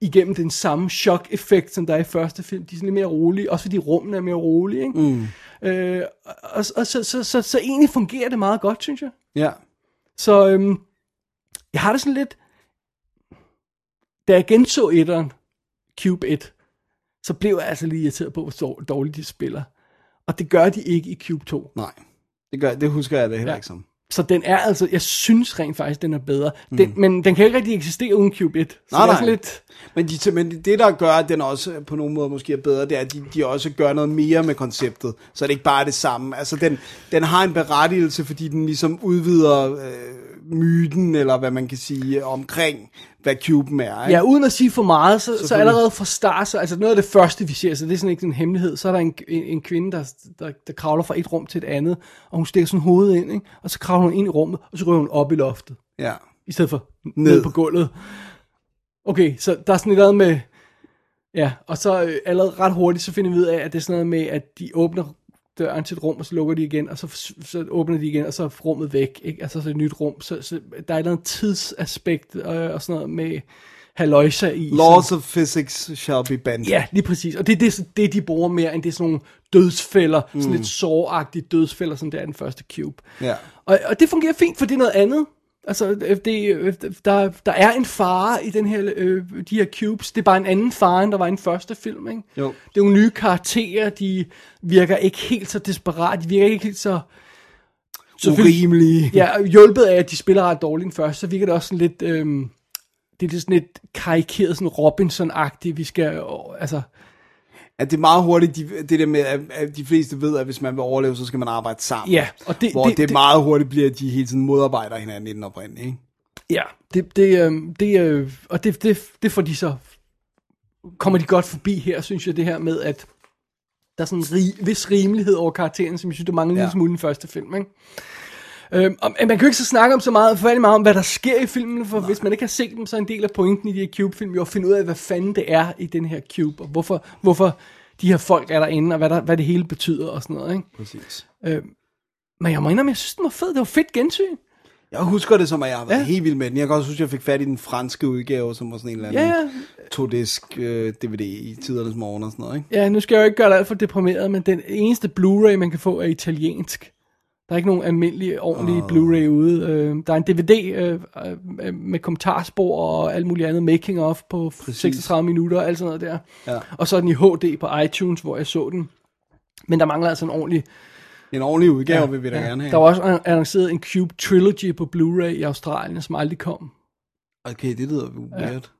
igennem den samme chok-effekt, som der er i første film. De er sådan lidt mere rolige, også fordi rummene er mere rolige. Ikke? Mm. Øh, og og, og så, så, så, så egentlig fungerer det meget godt, synes jeg.
Ja.
Så øhm, jeg har det sådan lidt... Da jeg genså etteren, Cube 1, så blev jeg altså lige irriteret på, hvor dår- dårligt de spiller. Og det gør de ikke i Cube 2.
Nej. Det, gør, det husker jeg da heller
Ja.
ikke som.
Så den er altså, jeg synes rent faktisk, den er bedre. Den, Men den kan ikke rigtig eksistere uden Cube 1. Så
Mm. Nej,
jeg er
nej.
sådan lidt...
Men, de, men det, der gør, at den også på nogle måder måske er bedre, det er, at de, de også gør noget mere med konceptet, så det ikke bare er det samme. Altså, den, den har en berettigelse, fordi den ligesom udvider øh, myten, eller hvad man kan sige, omkring, hvad Cuben er. Ikke?
Ja, uden at sige for meget, så, så
Selvfølgelig.
allerede fra start, så, altså noget af det første, vi ser, så det er sådan ikke en hemmelighed, så er der en, en, en kvinde, der, der, der kravler fra et rum til et andet, og hun stikker sådan hovedet ind, ikke? og så kravler hun ind i rummet, og så ryger hun op i loftet.
ja.
i stedet for
Ned.
ned, ned på gulvet. Okay, så der er sådan et eller andet med, ja, og så øh, allerede ret hurtigt, så finder vi ud af, at det er sådan noget med, at de åbner døren til et rum, og så lukker de igen, og så, så åbner de igen, og så er rummet væk, ikke? altså så er det et nyt rum, så, så der er et eller andet tidsaspekt, øh, og sådan noget med haløjser i.
Laws of physics shall be bent.
Ja, lige præcis. Og det er det, det, de bruger mere, end det er sådan nogle dødsfælder, mm. sådan lidt såragtige dødsfælder, som det er i den første Cube.
Ja.
Og, og det fungerer fint, for det er noget andet. Altså, øh, det, øh, der, der er en fare i den her, øh, de her cubes. Det er bare en anden fare, end der var i den første film, ikke?
Jo.
Det er jo nye karakterer, de virker ikke helt så desperat, de virker ikke helt så... Selvfølgelig-
Urimelige.
Ja, og hjulpet af, at de spiller ret dårligt den første, så virker det også sådan lidt... Øhm, det er lidt sådan lidt karikeret, sådan Robinson-agtigt. Vi skal... øh, Altså,
At det er meget hurtigt, de, det der med, at, at de fleste ved, at hvis man vil overleve, så skal man arbejde sammen.
Ja, og det-
Hvor det,
det-
det
det-
meget hurtigt bliver, at de hele tiden modarbejder hinanden i den oprindelige. Ikke?
Ja, det, det, øh, det, øh, og det, det, det får de så, kommer de godt forbi her, synes jeg, det her med, at der er sådan en ri, vis rimelighed over karakteren, som jeg synes, det mangler en
Ja.
lille smule i den første film, ikke? Øhm, og, man kan jo ikke så snakke om så meget, for meget om, hvad der sker i filmen, for Nej. hvis man ikke har set dem, så er en del af pointen i de her Cube-film jo at finde ud af, hvad fanden det er i den her Cube, og hvorfor, hvorfor de her folk er derinde, og hvad, der, hvad det hele betyder og sådan noget, ikke? Øhm,
Præcis.
Men jeg må indrømme, jeg synes, den var fed. Det var fedt gensyn.
Jeg husker det som, at jeg har været ja.
Ja.
helt vild med den. Jeg kan også huske, at jeg fik fat i den franske udgave, som var sådan en eller
Ja,
anden
ja.
todisk øh, DVD i tidernes morgen og sådan noget, ikke?
Ja, nu skal jeg jo ikke gøre dig alt for deprimeret, men den eneste Blu-ray, man kan få, er italiensk. Der er ikke nogen almindelige, ordentlige
Ah.
oh. Blu-ray ude. Øh, der er en DVD øh, øh, med kommentarspor og alt muligt andet making of på Præcis. 36 minutter og alt sådan noget der.
Ja.
Og så er den i HD på iTunes, hvor jeg så den. Men der mangler altså en ordentlig...
En ordentlig udgave ja, vil vi da gerne have.
Der var også an- annonceret en Cube Trilogy på Blu-ray i Australien, som aldrig kom.
Okay, det lyder jo weird.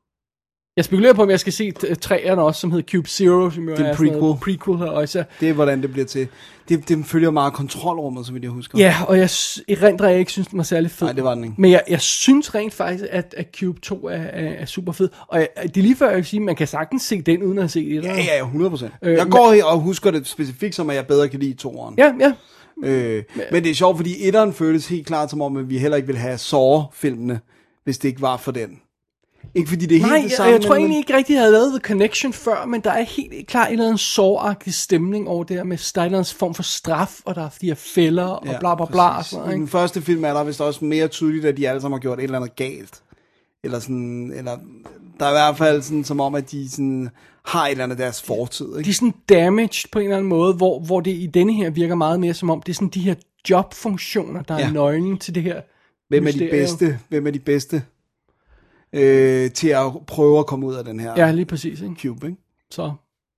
Jeg spekulerer på, om jeg skal se t- træerne også, som hedder Cube Zero, som jo
Det er en
sådan noget prequel her også.
Det er, hvordan det bliver til. Det, det følger meget kontrolrummet, så vidt jeg husker.
Ja, og jeg s- erindrer, at jeg ikke synes, den var særlig fed.
Nej, det var den ikke.
Men jeg, jeg synes rent faktisk, at, at Cube 2 er, er, er super fed. Og jeg, det er lige før, jeg vil sige, at man kan sagtens se den, uden at have set det.
Ja, ja, ja, 100%.
Øh,
Øh, jeg
men-
går her og husker det specifikt, som at jeg bedre kan lide toeren.
ja, ja.
Øh, men det er sjovt, fordi etteren føles helt klart som om, at vi heller ikke ville have Saw-filmene, hvis det ikke var for den. Ikke fordi det er
Nej,
helt
jeg,
det samme.
jeg, jeg tror
men-
egentlig ikke rigtig, jeg havde lavet The Connection før, men der er helt klart en eller anden såragtig stemning over det her med Steinerens form for straf, og der er de her fælder, og
Ja,
bla bla bla. Og
præcis.
sådan noget,
I
ikke?
den første film er der vist også mere tydeligt, at de alle sammen har gjort et eller andet galt. Eller sådan, eller der er i hvert fald sådan, som om, at de sådan har et eller andet af deres fortid,
de
ikke?
er sådan damaged på en eller anden måde, hvor, hvor det i denne her virker meget mere som om, det er sådan de her jobfunktioner, der ja.
Ja.
er nøglen til det her.
Hvem er de
mysterium.
bedste? Hvem er de bedste øh, til at prøve at komme ud af den her
Ja, lige præcis. Ikke?
cube, ikke?
Så.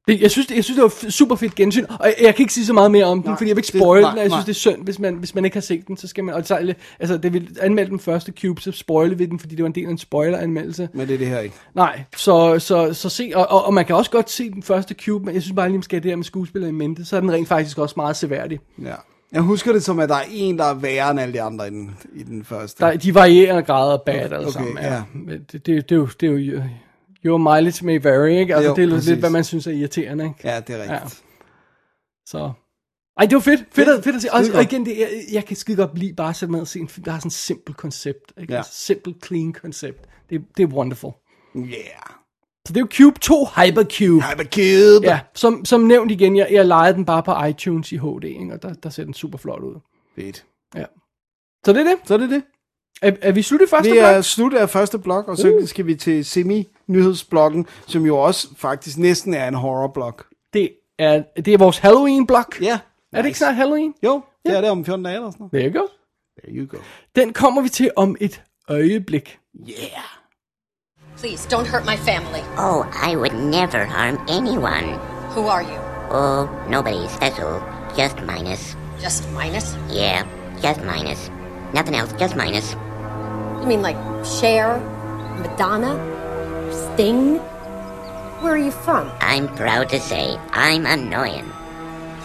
Det, jeg, synes, det, jeg synes, det var f- super fedt gensyn, og jeg, jeg kan ikke sige så meget mere om den,
Nej,
fordi jeg vil ikke
det-
spoil
nej,
den, og jeg synes,
nej.
det er synd, hvis man, hvis man ikke har set den, så skal man, og så, altså, det vil anmelde den første Cube, så spoile vi den, fordi det var en del af en spoiler-anmeldelse.
Men det er det her ikke.
Nej, så, så, så se, og, og, og, man kan også godt se den første Cube, men jeg synes bare lige, man skal have det der med skuespillere i mente, så er den rent faktisk også meget seværdig.
Ja. Jeg husker det som, at der er en, der er værre end alle de andre i den, i den første.
Der, de varierer grader af bad alle
Okay,
sammen.
ja.
Men Det, det, det, er jo, det er jo, your mileage may vary, ikke? Altså,
Jo,
det er jo lidt,
præcis.
hvad man synes er irriterende, ikke?
Ja, det er rigtigt.
Så... Ej, det var fedt. Fedt, fedt, fedt at se. Og,
Skidegodt.
og igen, det, jeg, jeg kan skide godt lide bare at sætte mig ned og se en film, der har sådan et simpelt koncept. Ikke?
Ja.
Altså, simpelt, clean koncept. Det, det er wonderful.
Ja. Yeah.
Så det er jo Cube 2 Hypercube.
I'm a kid.
Ja, som, som nævnt igen, jeg, jeg lejede den bare på iTunes i HD, ikke? og der, der ser den super flot ud.
Fedt.
Ja. Så det er det.
Så er det det.
Er, er vi sluttet første
Vi er
blok? Uh.
slut af første blok, og så skal vi til semi-nyhedsblokken, som jo også faktisk næsten er en horrorblok.
Det er, det er vores Halloween-blok.
Ja.
Er det ikke snart Halloween?
Jo, det er det om 14 dage eller sådan noget.
There you go.
There you go.
Den kommer vi til om et øjeblik.
Please don't hurt my family.
Oh, I would never harm anyone.
Who are you?
Oh, nobody special. Just minus.
Just minus?
Yeah, just minus. Nothing else, just minus.
You mean like Cher, Madonna, Sting? Where are you from?
I'm proud to say I'm annoying.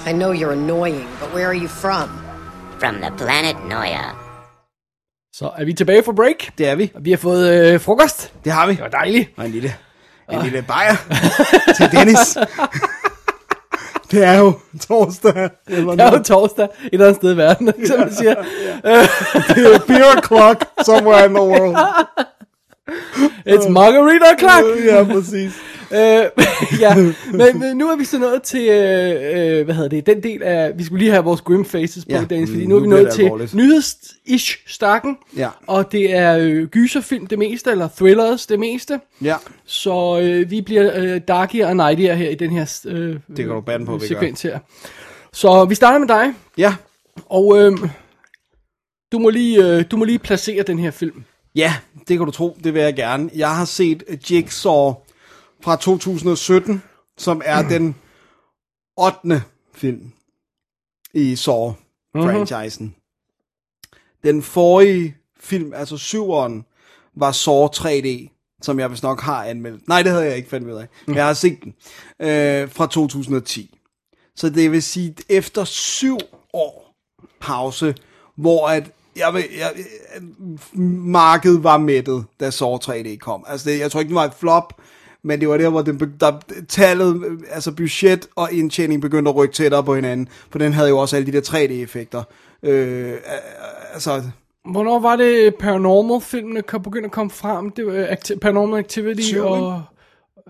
I know you're annoying, but where are you from?
From the planet Noia.
Så er vi tilbage fra break.
Det er vi.
Vi har fået øh, frokost.
Det har vi.
Det var dejligt. Ah.
Og en lille, en lille bajer til Dennis. det er jo torsdag. Eller
Det er jo
noget.
torsdag et eller andet sted i verden, som man siger.
Det er beer o'clock somewhere in the world.
It's margarita o'clock!
ja, præcis.
Øh, ja, men, men nu er vi så nået til, øh, øh, hvad hedder det, den del af, vi skulle lige have vores grim faces på, ja,
Ja,
Dennis, fordi
mm,
nu er vi
nu bliver
nået
det
til
alvorligt.
nyheds-ish-stakken,
Ja.
og det er øh, gyserfilm det meste, eller thrillers det meste,
Ja,
så øh, vi bliver øh, darkier og nightier her i den her øh,
det kan du bande på, vi gør.
sekvens her. Så vi starter med dig,
Ja,
og øh, du, må lige, øh, du må lige placere den her film.
Ja, det kan du tro, det vil jeg gerne. Jeg har set Jigsaw fra 2017, som er den 8. film i Saw-franchisen. Den forrige film, altså 7'eren, var Saw 3D, som jeg vist nok har anmeldt. Nej, det havde jeg ikke fandt ud af. Men jeg har set den øh, fra 2010. Så det vil sige, at efter syv år pause, hvor at jeg, vil, jeg, markedet var mættet, da Saw 3D kom. Altså, det, jeg tror ikke, det var et flop, men det var der, hvor den, be- der, tallet, øh, altså budget og indtjening begyndte at rykke tættere på hinanden, for den havde jo også alle de der 3D-effekter. Øh, øh, altså,
Hvornår var det Paranormal-filmene kom, begyndte at komme frem? Det var øh, acti- Paranormal Activity
Syv,
og,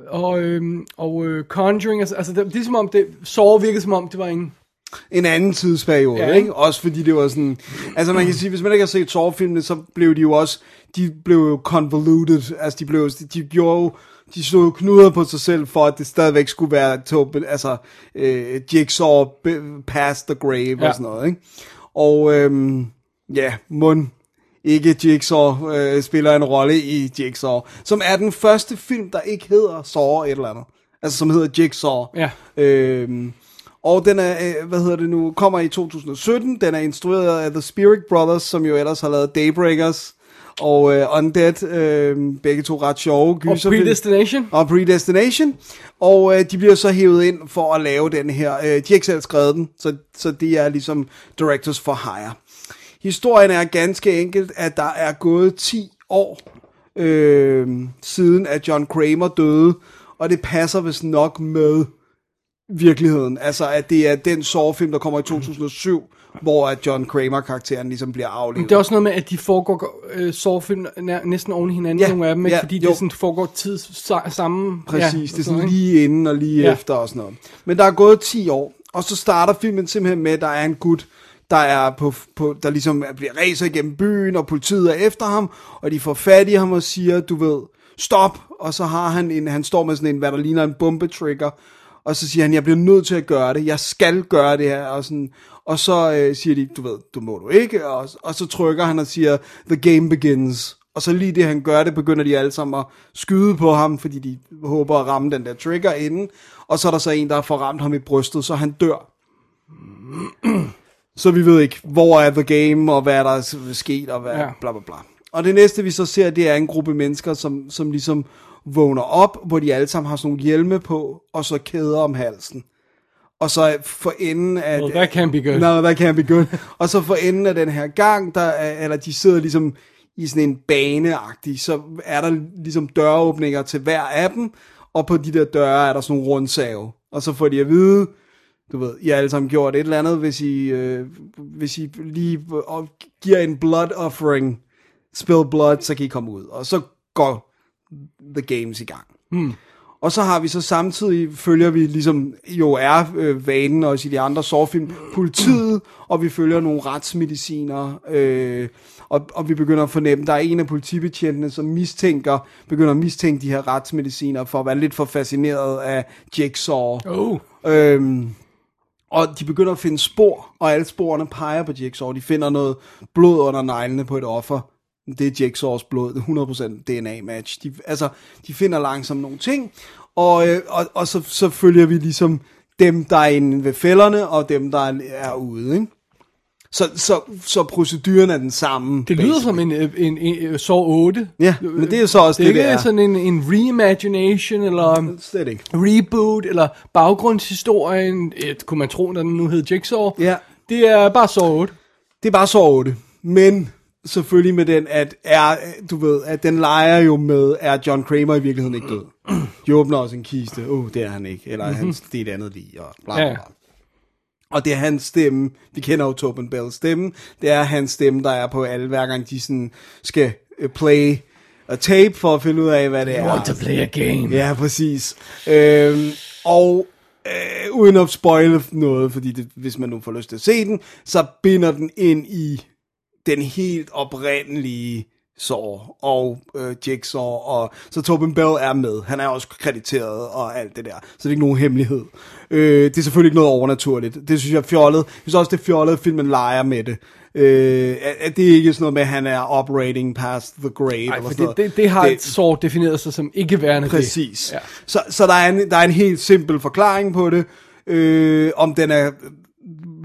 og, øhm, og øh, Conjuring. Altså, altså det, det er som om, det sår virkede som om, det var en...
en anden tidsperiode,
Ja.
ja. ikke? Også fordi det var sådan... Altså man kan sige, hvis man ikke har set Saw-filmene, så blev de jo også... De blev jo convoluted. Altså de blev de, de gjorde jo- de slog jo knuder på sig selv for, at det stadigvæk skulle være tåbe, altså, øh, Jigsaw b- past the grave ja.
Ja.
og sådan noget, ikke? Og øhm, ja, mund ikke Jigsaw øh, spiller en rolle i Jigsaw, som er den første film, der ikke hedder Saw et eller andet. Altså som hedder Jigsaw.
Ja.
Øhm, og den er, øh, hvad hedder det nu, kommer i 2017. Den er instrueret af The Spirit Brothers, som jo ellers har lavet Daybreakers og øh, Undead. Øh, begge to ret sjove
Og
gyserfilm.
Predestination.
Og Predestination. Og øh, de bliver så hævet ind for at lave den her. Øh, de har ikke selv skrevet den, så, så det er ligesom Directors for Hire. Historien er ganske enkelt, at der er gået 10 år øh, siden, at John Kramer døde, og det passer vist nok med virkeligheden. Altså, at det er den sårfilm, der kommer i 2007, hvor at John Kramer-karakteren ligesom bliver aflevet.
Det er også noget med, at de foregår øh, sårfilm nær, næsten oven i hinanden,
Ja,
ja, nogle af dem, ikke?
ja,
fordi
jo.
det sådan foregår tids sa- samme.
Præcis, ja,
og
det er sådan
ikke?
lige inden og lige ja.
Ja.
efter og sådan noget. Men der er gået 10 år, og så starter filmen simpelthen med, at der er en gut, der, er på, på, der ligesom bliver racer igennem byen, og politiet er efter ham, og de får fat i ham og siger, du ved, stop, og så har han en, han står med sådan en, hvad der ligner en bombetrigger, og så siger han, jeg bliver nødt til at gøre det, jeg skal gøre det her, og sådan, og så øh, siger de, du ved, du må du ikke, og, og så trykker han og siger, the game begins, og så lige det han gør det, begynder de alle sammen at skyde på ham, fordi de håber at ramme den der trigger inden. Og så er der så en, der får ramt ham i brystet, så han dør. så vi ved ikke, hvor er The Game, og hvad er der s- sket, og hvad, ja.
Ja.
bla bla bla. Og det næste vi så ser, det er en gruppe mennesker, som, som ligesom vågner op, hvor de alle sammen har sådan nogle hjelme på, og så kæder om halsen. Og så for enden af...
Well, that can't be good.
No, that can't be good. Og så for enden af den her gang, der er, eller de sidder ligesom i sådan en baneagtig, så er der ligesom døråbninger til hver af dem, og på de der døre er der sådan nogle rundsave. Og så får de at vide, du ved, I har alle sammen gjort et eller andet, hvis I, øh, hvis I lige øh, giver en blood offering, spill blood, så kan I komme ud. Og så går the games i gang. Og så har vi så samtidig, følger vi ligesom jo er øh, vanen også i de andre sårfilm, politiet, og vi følger nogle retsmediciner, øh, og, og vi begynder at fornemme, der er en af politibetjentene, som mistænker, begynder at mistænke de her retsmediciner for at være lidt for fascineret af Jigsaw.
Oh.
Øhm, og de begynder at finde spor, og alle sporene peger på Jigsaw. De finder noget blod under neglene på et offer. Det er Jigsaws blod, det er 100% DNA-match. De, altså, de finder langsomt nogle ting, og, øh, og, og så, så følger vi ligesom dem, der er inde ved fælderne, og dem, der er- er ude. Ikke? Så, så, så proceduren er den samme.
Det lyder som en, øh, en, en, en så 8.
Ja, men det er så også
det,
det,
ikke
det er.
sådan en, en reimagination, eller um,
Slet ikke.
reboot, eller baggrundshistorien, et, kunne man tro, når den nu hed Jigsaw.
Ja.
Det er bare så 8.
Det er bare så 8. Men selvfølgelig med den, at er, du ved, at den leger jo med, er John Kramer i virkeligheden ikke død? De åbner også en kiste. Åh, oh, det er han ikke. Eller han, det er et andet lige. Og bla, bla,
Ja.
bla. Og det er hans stemme, vi kender jo Tobin Bells stemme, det er hans stemme, der er på alle, hver gang de sådan skal øh, play a tape for at finde ud af, hvad det er.
play a game.
Ja, præcis. Øhm, og øh, uden at spoile noget, fordi det, hvis man nu får lyst til at se den, så binder den ind i den helt oprindelige Saw og øh, Jigsaw, og så Tobin Bell er med. Han er også krediteret og alt det der, så det er ikke nogen hemmelighed. Øh, det er selvfølgelig ikke noget overnaturligt. Det synes jeg er fjollet. Jeg synes også, det er fjollet, at filmen leger med det. Øh, at- at det er ikke sådan noget med, at han er operating past the grave. eller
Ej, for
sådan noget.
det, det, det har det, så defineret sig som ikke værende
Præcis.
det.
Ja. Så, så der, er en, der er en helt simpel forklaring på det. Øh, om den er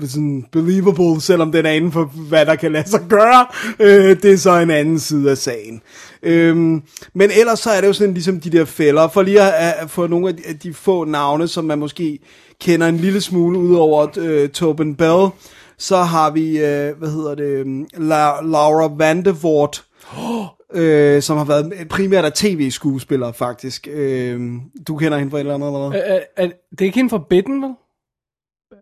øh, sådan believable, selvom den er inden for, hvad der kan lade sig gøre, øh, det er så en anden side af sagen. Øhm, men ellers så er det jo sådan ligesom de der fælder, for lige at, at få nogle af de, af de få navne, som man måske kender en lille smule, udover øh, Tobin Bell, så har vi, øh, hvad hedder det, øhm, La- Laura Vandevort, øh, som har været primært af tv-skuespiller, faktisk. Øh, du kender hende fra et eller andet, eller hvad?
Er, er, er, det er ikke hende fra Bitten, vel?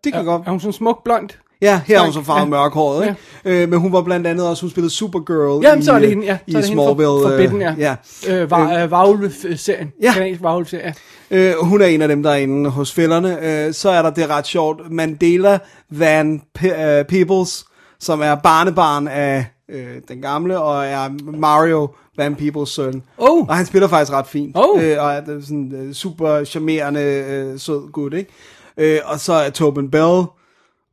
Det kan godt.
øh, Er hun sådan smuk blond?
Ja, her er hun så farvet ja.
Ja.
mørkhåret, ikke? Ja. Øh, men hun var blandt andet også, hun spillede Supergirl
Jamen, så er
i,
det hende, ja.
i
Så er det hende fra-
Smallville.
fra
øh,
Bitten, ja.
ja.
Øh, var, øh, Varulve-serien.
Ja.
Kanadisk Varulve-serie.
Øh, hun er en af dem, der er inde hos fælderne. Øh, så er der det ret sjovt, Mandela Van Pe- øh, Peebles, som er barnebarn af øh, den gamle, og er Mario Van Peebles søn.
Oh.
Og han spiller faktisk ret fint.
Oh.
Øh, og er øh, sådan øh, super charmerende, øh, sød gut, ikke? Øh, og så er Tobin Bell,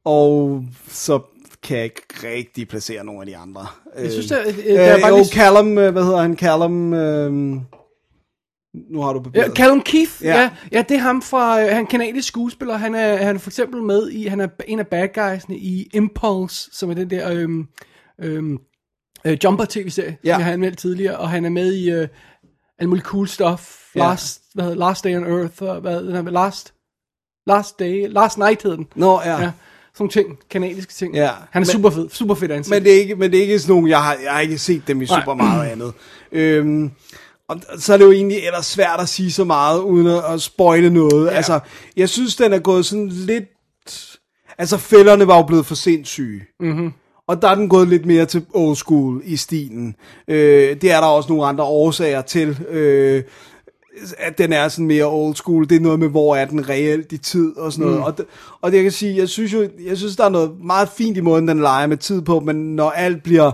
og så kan jeg ikke rigtig placere nogen af de andre.
Jeg synes, der,
øh,
der er bare
jo,
lige...
Callum, øh, hvad hedder han? Callum, øh, nu har du papiret.
Ja, Callum Keith,
Ja.
ja. Ja, ja, det er ham fra, øh, han er en kanadisk skuespiller, han er, han er for eksempel med i, han er en af bad guysene i Impulse, som er den der øhm, øhm, øh, Jumper tv-serie,
Ja.
ja. som jeg har anmeldt tidligere, og han er med i øh, alt muligt cool stuff,
Ja.
Last, hvad hedder, Last Day on Earth, og hvad hedder den, Last, Last Day, Last Night hed den,
Nå, ja.
ja, sådan nogle ting, kanadiske ting,
Ja.
han er
Men-
super fed, super fedt ansigt.
Men det er ikke, men det er ikke sådan nogle, jeg har, jeg har ikke set dem i
Nej.
super meget andet. Øhm, og så er det jo egentlig ellers svært at sige så meget, uden at, at spoile noget. Ja. Altså, jeg synes, den er gået sådan lidt... Altså, fælderne var jo blevet for sindssyge. Mm-hmm. Og der er den gået lidt mere til old school i stilen. Øh, det er der også nogle andre årsager til. Øh, at den er sådan mere old school. Det er noget med, hvor er den reelt i tid og sådan noget. Mm. Og, det, og det, jeg kan sige, jeg synes jo, jeg synes, der er noget meget fint i måden, den leger med tid på, men når alt bliver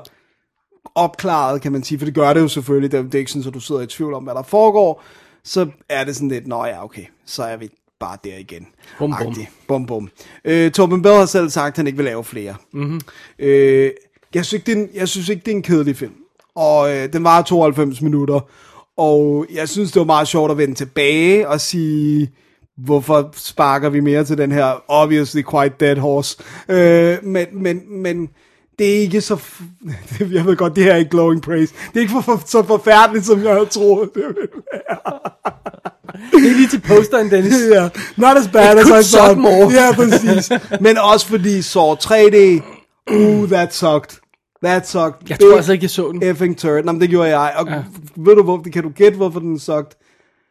opklaret, kan man sige, for det gør det jo selvfølgelig, det, det er ikke sådan, at du sidder i tvivl om, hvad der foregår, så er det sådan lidt, nå ja, okay, så er vi bare der igen.
Bum, bum.
Agtigt. Bum, bum. Øh, Torben Bell har selv sagt, at han ikke vil lave flere. Mm-hmm. Øh, jeg, synes ikke, det er en, jeg synes ikke, det er en kedelig film. Og øh, den var 92 minutter. Og jeg synes, det var meget sjovt at vende tilbage og sige, hvorfor sparker vi mere til den her obviously quite dead horse. Øh, men, men, men det er ikke så... F- jeg ved godt, det her er ikke glowing praise. Det er ikke for, for, så forfærdeligt, som jeg havde troet. Det ville
det er lige til posteren, Dennis.
ja, not as bad
It
as
could
I
suck
thought.
more.
Ja, præcis. Men også fordi Saw 3D, uh, that sucked. That sucked.
Jeg tror altså ikke, jeg så den,
Effing turd. Nå, men det gjorde jeg. Og ja. ved du, hvor, kan du gætte, hvorfor den sucked?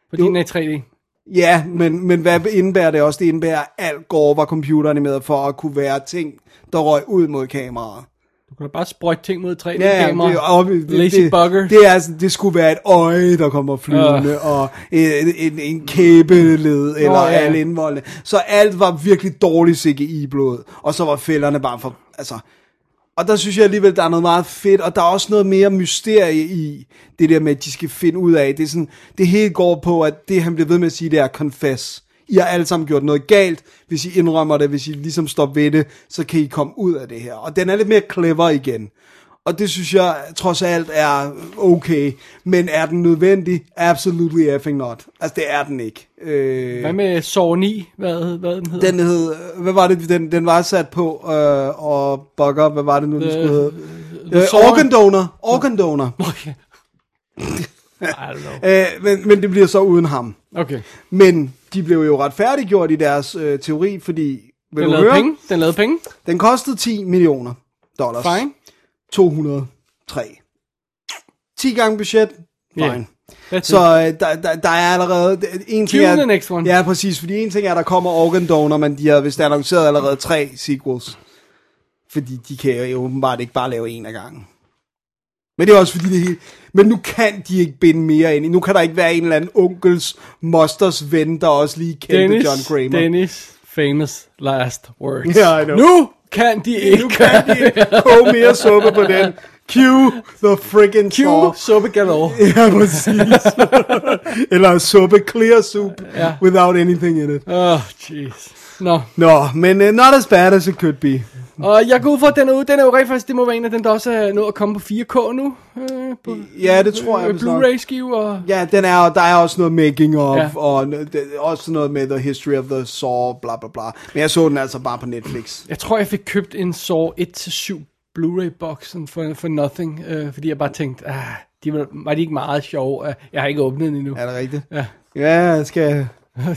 fordi den er i 3D.
Ja, men, men hvad indebærer det også? Det indebærer, at alt går var computeranimeret for at kunne være ting, der røg ud mod kameraet.
Du kan da bare sprøjte ting mod 3 d
Ja,
kamera
det, er obvi- det,
Lazy
det,
bugger.
Det, er sådan, det skulle være et øje, der kommer flyvende, uh. og en, en, en kæbeled, eller
ja.
alle indvoldene. Så alt var virkelig dårligt CGI-blod, og så var fælderne bare for... Altså, og der synes jeg alligevel, der er noget meget fedt, og der er også noget mere mysterie i det der med, at de skal finde ud af. Det, er sådan, det hele går på, at det han bliver ved med at sige, det er confess. I har alle sammen gjort noget galt. Hvis I indrømmer det, hvis I ligesom står ved det, så kan I komme ud af det her. Og den er lidt mere clever igen. Og det synes jeg trods alt er okay. Men er den nødvendig? Absolutely effing not. Altså det er den ikke. Øh,
Hvad med Saw 9? Hvad, hed- hvad den hedder?
den hed, hvad var det, den, den var sat på, øh, og bugger, hvad var det nu, den skulle hedde? Øh,
Saw-
organ donor, organ donor.
Okay. I don't know.
Øh, men, men det bliver så uden ham.
Okay.
Men de blev jo retfærdiggjort i deres øh, teori, fordi, vil
Den
du
lavede
høre?
penge. Den lavede penge.
Den kostede 10 millioner dollars.
Fine.
203. 10 gange budget. Fine.
Yeah. That's
Så
it.
øh, der, der, der er allerede... En ting
Cue
er,
the next one.
Ja, præcis. Fordi en ting er, der kommer Organ Donor, men de har vist annonceret allerede tre sequels. Fordi de kan jo åbenbart ikke bare lave en af gangen. Men det er også fordi det hele... Men nu kan de ikke binde mere ind i. Nu kan der ikke være en eller anden onkels, mosters ven, der også lige kendte
Dennis,
John Kramer.
Dennis, famous last words.
Yeah, I know.
Nu kan de ikke.
Nu kan de ikke koge mere suppe på den. Cue the friggin'
Cue
Saw.
suppe galore.
Ja, præcis. Eller suppe, clear soup,
Ja.
without anything in it.
Åh, jeez. Nå,
Nå, men uh, not as bad as it could be.
og jeg går ud fra, at den er ude. Den er jo rent faktisk, det må være en af dem, der også er nået at komme på 4K nu. Øh, på,
Ja, det tror jeg,
øh,
vist nok.
Blu-ray-skive og...
Ja, den er, der er også noget making of, ja.
Ja.
og n- det- også noget med The History of the Saw, bla bla bla. Men jeg så den altså bare på Netflix.
Jeg tror, jeg fik købt en Saw 1-7 Blu-ray-boksen for, for nothing, øh, fordi jeg bare tænkte, ah, de var, var de ikke meget sjove? Øh, Jeg har ikke åbnet den endnu.
Er det rigtigt?
Ja.
Ja, jeg skal...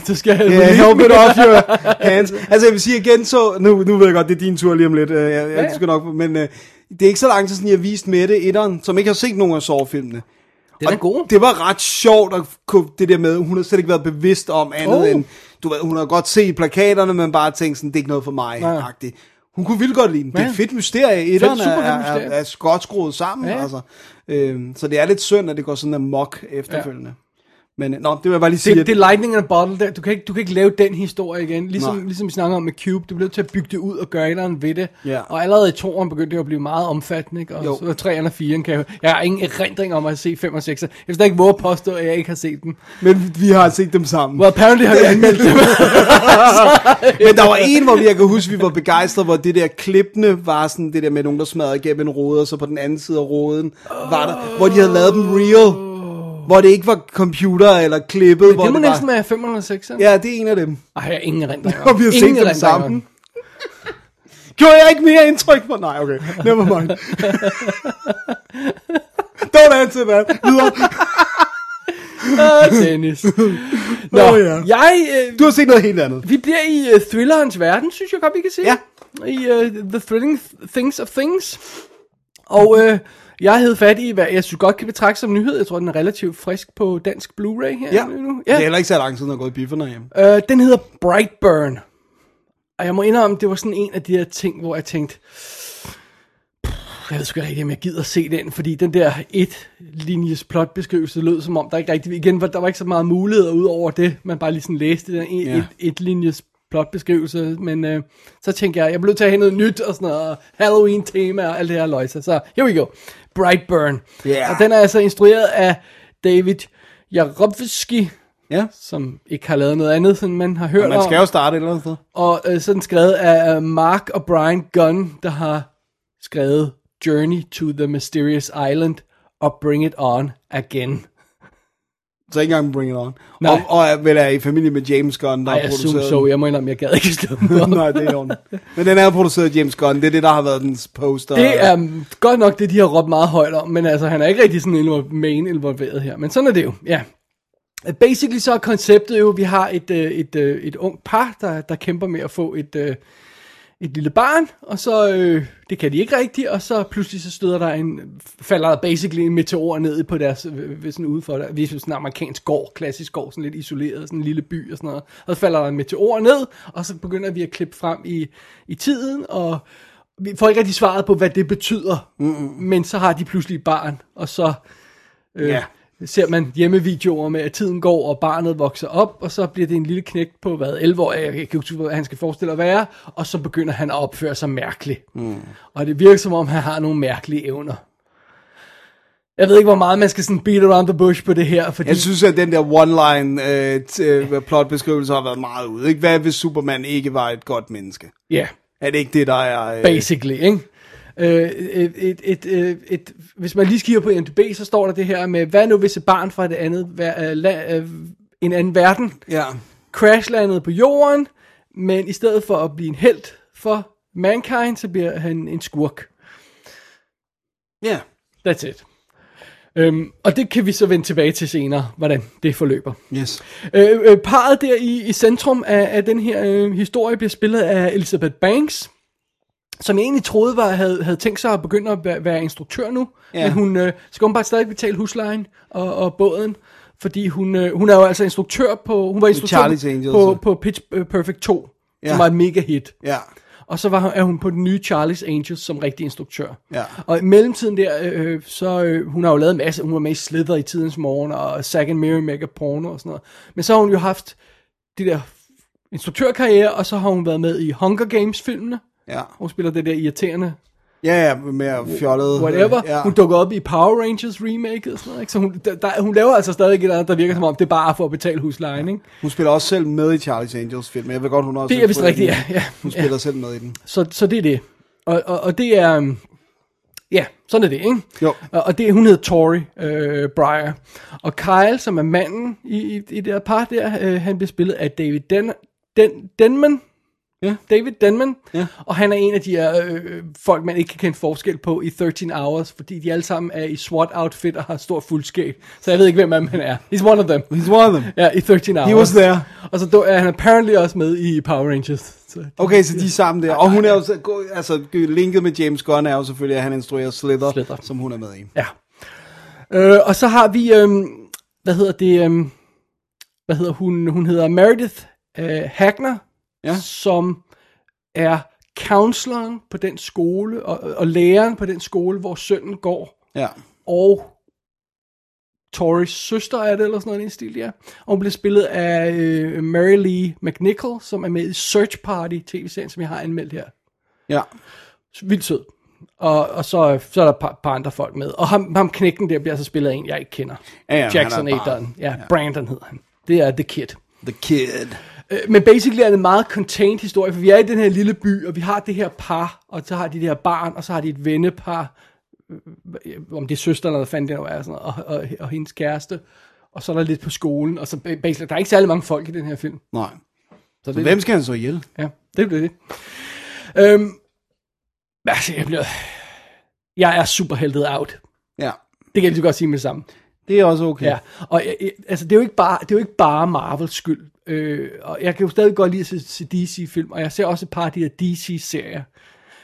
så skal jeg...
Yeah, help it off your hands. Altså, jeg vil sige, jeg genså... Nu, nu ved jeg godt, det er din tur lige om lidt. øh, Jeg, jeg
ja.
skal nok... Men øh, det er ikke så lang tid siden, jeg viste Mette etteren, som ikke har set nogen af Saw-filmene.
Den er god.
Det var ret sjovt at kunne det der med, hun har slet ikke været bevidst om andet oh.
Oh.
end, du ved, hun har godt set plakaterne, men bare tænkt sådan, det er ikke noget for mig,
Nej.
agtigt. Hun kunne vildt godt lide den. Det er
Ja.
et fedt mysterie. Etteren er,
super fedt
er,
mysterie.
er godt skruet sammen. Ja.
Ja.
Altså. Øhm, så det er lidt synd, at det går sådan amok efterfølgende. Men øh, nå, det vil jeg bare lige sige.
Det,
at-
det er lightning in a bottle der. Du kan ikke, du kan ikke lave den historie igen. Ligesom,
Nej.
ligesom vi snakker om med Cube. Du bliver nødt til at bygge det ud og gøre et eller andet ved det.
Ja.
Og allerede i toeren begyndte det at blive meget omfattende. Ikke? Og
Jo.
jo. så 3'eren og 4'eren kan jeg... Jeg har ingen erindring om at se 5 og 6. Jeg vil slet ikke våge at påstå, at jeg ikke har set dem.
Men vi har set dem sammen.
Well, apparently har vi anmeldt dem.
Men der var en, hvor vi- jeg kan huske, vi var begejstrede, hvor det der klippende var sådan det der med nogen, der smadrede igennem en rode, og så på den anden side af roden var der, hvor de havde lavet dem real. Hvor det ikke var computer eller klippet. hvor
det må
det var,
næsten være 506. Ja.
Ja, det er en af dem.
Ej, jeg har ingen erindring om.
Og vi har set
Ingen
dem
erindring
sammen.
om.
Gjorde jeg ikke mere indtryk på? Nej, okay. Never mind. Don't answer that. Videre.
Ah, Dennis. Nå,
Åh, ja.
jeg... Øh,
Du har set noget helt andet.
Vi bliver i uh, thrillerens verden, synes jeg godt, vi kan sige.
Ja.
I uh, The Thrilling Things of Things. Og uh, jeg havde fat i, hvad jeg synes godt kan betragte som nyhed. Jeg tror, den er relativt frisk på dansk Blu-ray her
Ja.
nu.
Det er heller ikke så lang tid, når jeg er gået i bifferne hjemme.
Øh, den hedder Brightburn. Og jeg må indrømme, det var sådan en af de her ting, hvor jeg tænkte, jeg ved sgu ikke rigtig, om jeg gider se den, fordi den der et linjes plotbeskrivelse lød som om, der ikke rigtig, igen, var- der var ikke så meget muligheder ud over det, man bare lige sådan læste den en,
Ja.
et, et linjes plotbeskrivelse, men øh, så tænkte jeg, jeg blev nødt til at have noget nyt og sådan noget, og Halloween-tema og alt det her løjse. Så here we go. Brightburn.
Yeah.
Og den er altså instrueret af David Jarobski,
Ja.
som ikke har lavet noget andet, som man har hørt
Og man skal
om.
jo starte et eller andet sted.
Og øh, sådan skrevet af øh, Mark og Brian Gunn, der har skrevet Journey to the Mysterious Island og Bring It On Again.
Så ikke engang Bring It On.
Nej.
Og, og er- vel er i familie med James Gunn, der
Ej,
har
jeg
produceret
zoom så,
den.
jeg må indrømme, jeg gad ikke slå den op.
Nej, det er jo Men den er jo produceret af James Gunn. Det er det, der har været dens poster.
Det er um, godt nok det, de har råbt meget højt om, men altså, han er ikke rigtig sådan involv- main involveret her. Men sådan er det jo, ja. Uh, Basically så er konceptet jo, vi har et, øh, et, øh, et ung par, der, der kæmper med at få et, øh, et lille barn, og så, øh, det kan de ikke rigtigt, og så pludselig så støder der en, falder der basically en meteor ned på deres, øh, ved sådan udenfor, der, vi er sådan en amerikansk gård, klassisk gård, sådan lidt isoleret, sådan en lille by og sådan noget, og så falder der en meteor ned, og så begynder vi at klippe frem i, i tiden, og vi får ikke rigtig svaret på, hvad det betyder, mm-hmm. men så har de pludselig et barn, og så øh,
Ja.
yeah. ser man hjemmevideoer med, at tiden går, og barnet vokser op, og så bliver det en lille knægt på, hvad, 11 år, jeg kan ikke huske, hvad han skal forestille at være, og så begynder han at opføre sig mærkeligt. Mm. Og det virker som om, han har nogle mærkelige evner. Jeg ved ikke, hvor meget man skal sådan beat around the bush på det her, fordi...
Jeg synes, at den der one-line øh, t- øh, plotbeskrivelse har været meget ude. Ikke? Hvad hvis Superman ikke var et godt menneske?
yeah.
Er det ikke det, der er... Øh,
Basically, ikke? Øh, et, et, et, øh, et, hvis man lige skiver på IMDb, så står der det her med, hvad nu hvis et barn fra et andet, ver- øh, la- øh, en anden verden
Ja.
crashlandet på jorden, men i stedet for at blive en held for mankind, så bliver han en skurk.
Ja.
That's it. Øhm, og det kan vi så vende tilbage til senere, hvordan det forløber.
Yes.
Øh, øh, parret der i, i centrum af, af den her øh, historie bliver spillet af Elizabeth Banks, som jeg egentlig troede var, havde, havde tænkt sig at begynde at være, være instruktør nu,
Ja.
ja. men hun øh, skal åbenbart stadig betale huslejen og, og båden, fordi hun, øh, hun er jo altså instruktør på, hun var instruktør
Charlie's Angels.
på, på Pitch Perfect 2, ja.
Ja.
som var et mega hit.
Ja.
Og så var, er hun på den nye Charlie's Angels som rigtig instruktør.
Ja.
Og i mellemtiden der, øh, så øh, hun har jo lavet en masse, hun var med i Slither i tidens morgen, og Zack and Mary Mega Porno og sådan noget. Men så har hun jo haft det der instruktørkarriere, og så har hun været med i Hunger Games-filmene.
Ja.
Hun spiller det der irriterende
Ja, ja, mere fjollet. øh,
whatever.
Ja.
Ja. Hun dukker op i Power Rangers remake og sådan noget. Ikke? Så hun, der, der, hun laver altså stadig et eller andet, der virker som om, det er bare for at betale huslejen. Ikke?
hun spiller også selv med i Charlie's Angels film. Jeg ved godt, hun har også...
Det er vist
fået
rigtigt,
den.
ja. ja.
Hun spiller selv med i den.
Så, så det er det. Og, og, og det er... øhm, Ja, sådan er det, ikke?
Jo.
Og, og det, hun hedder Tori øh, Breyer. Og Kyle, som er manden i, i, i det her par der, øh, han bliver spillet af David Den, Den, Denman.
Ja.
David Denman.
Ja.
Og han er en af de her øh, folk, man ikke kan kende forskel på i 13 Hours, fordi de alle sammen er i SWAT-outfit og har stor fuldskæg. Så jeg ved ikke, hvem af dem han er. He's one of them.
He's one of them.
Ja, i 13 Hours.
He was there.
Og så er han apparently også med i Power Rangers. Så
Okay, så de er sammen der. Og hun er jo... så- gå- Altså, linket med James Gunn er jo selvfølgelig, at han instruerer Slither,
Slither.
som hun er med i.
Ja. Øh, og så har vi, øhm, hvad hedder det, øhm, hvad hedder hun, hun hedder Meredith øh, Hagner,
Ja.
som er counseloren på den skole, og, og læreren på den skole, hvor sønnen går,
Ja.
og Torres søster er det, eller sådan noget i den stil, ja. Og hun blev spillet af øh, Mary Lee McNichol, som er med i Search Party tv-serien, som jeg har anmeldt her.
Ja.
Vildt sød. Og, og så, så er der et par, par andre folk med. Og ham, ham knækken der bliver så spillet af en, jeg ikke kender.
Ja, ja,
Jackson
han er bare-
Adon. Ja, ja, Brandon hedder han. Det er The Kid.
The Kid.
Øh, Men basically er det en meget contained historie, for vi er i den her lille by, og vi har det her par, og så har de det her barn, og så har de et vennepar, øh, om det er søster eller hvad fanden det nu er, sådan noget, og, og, og hendes kæreste, og så er der lidt på skolen, og så ba- basically, der er ikke særlig mange folk i den her film.
Nej.
Så
Så
det,
hvem skal han så ihjel?
Ja, det blev det. Øhm, altså, jeg bliver... Jeg er super heldet out.
Ja.
Det kan jeg lige så godt sige med det samme.
Det er også okay.
Ja, og jeg, jeg, altså, det er jo ikke bare, det er jo ikke bare Marvels skyld. Øh, og jeg kan jo stadig godt lide at se, se DC-film, og jeg ser også et par af de her DC-serier.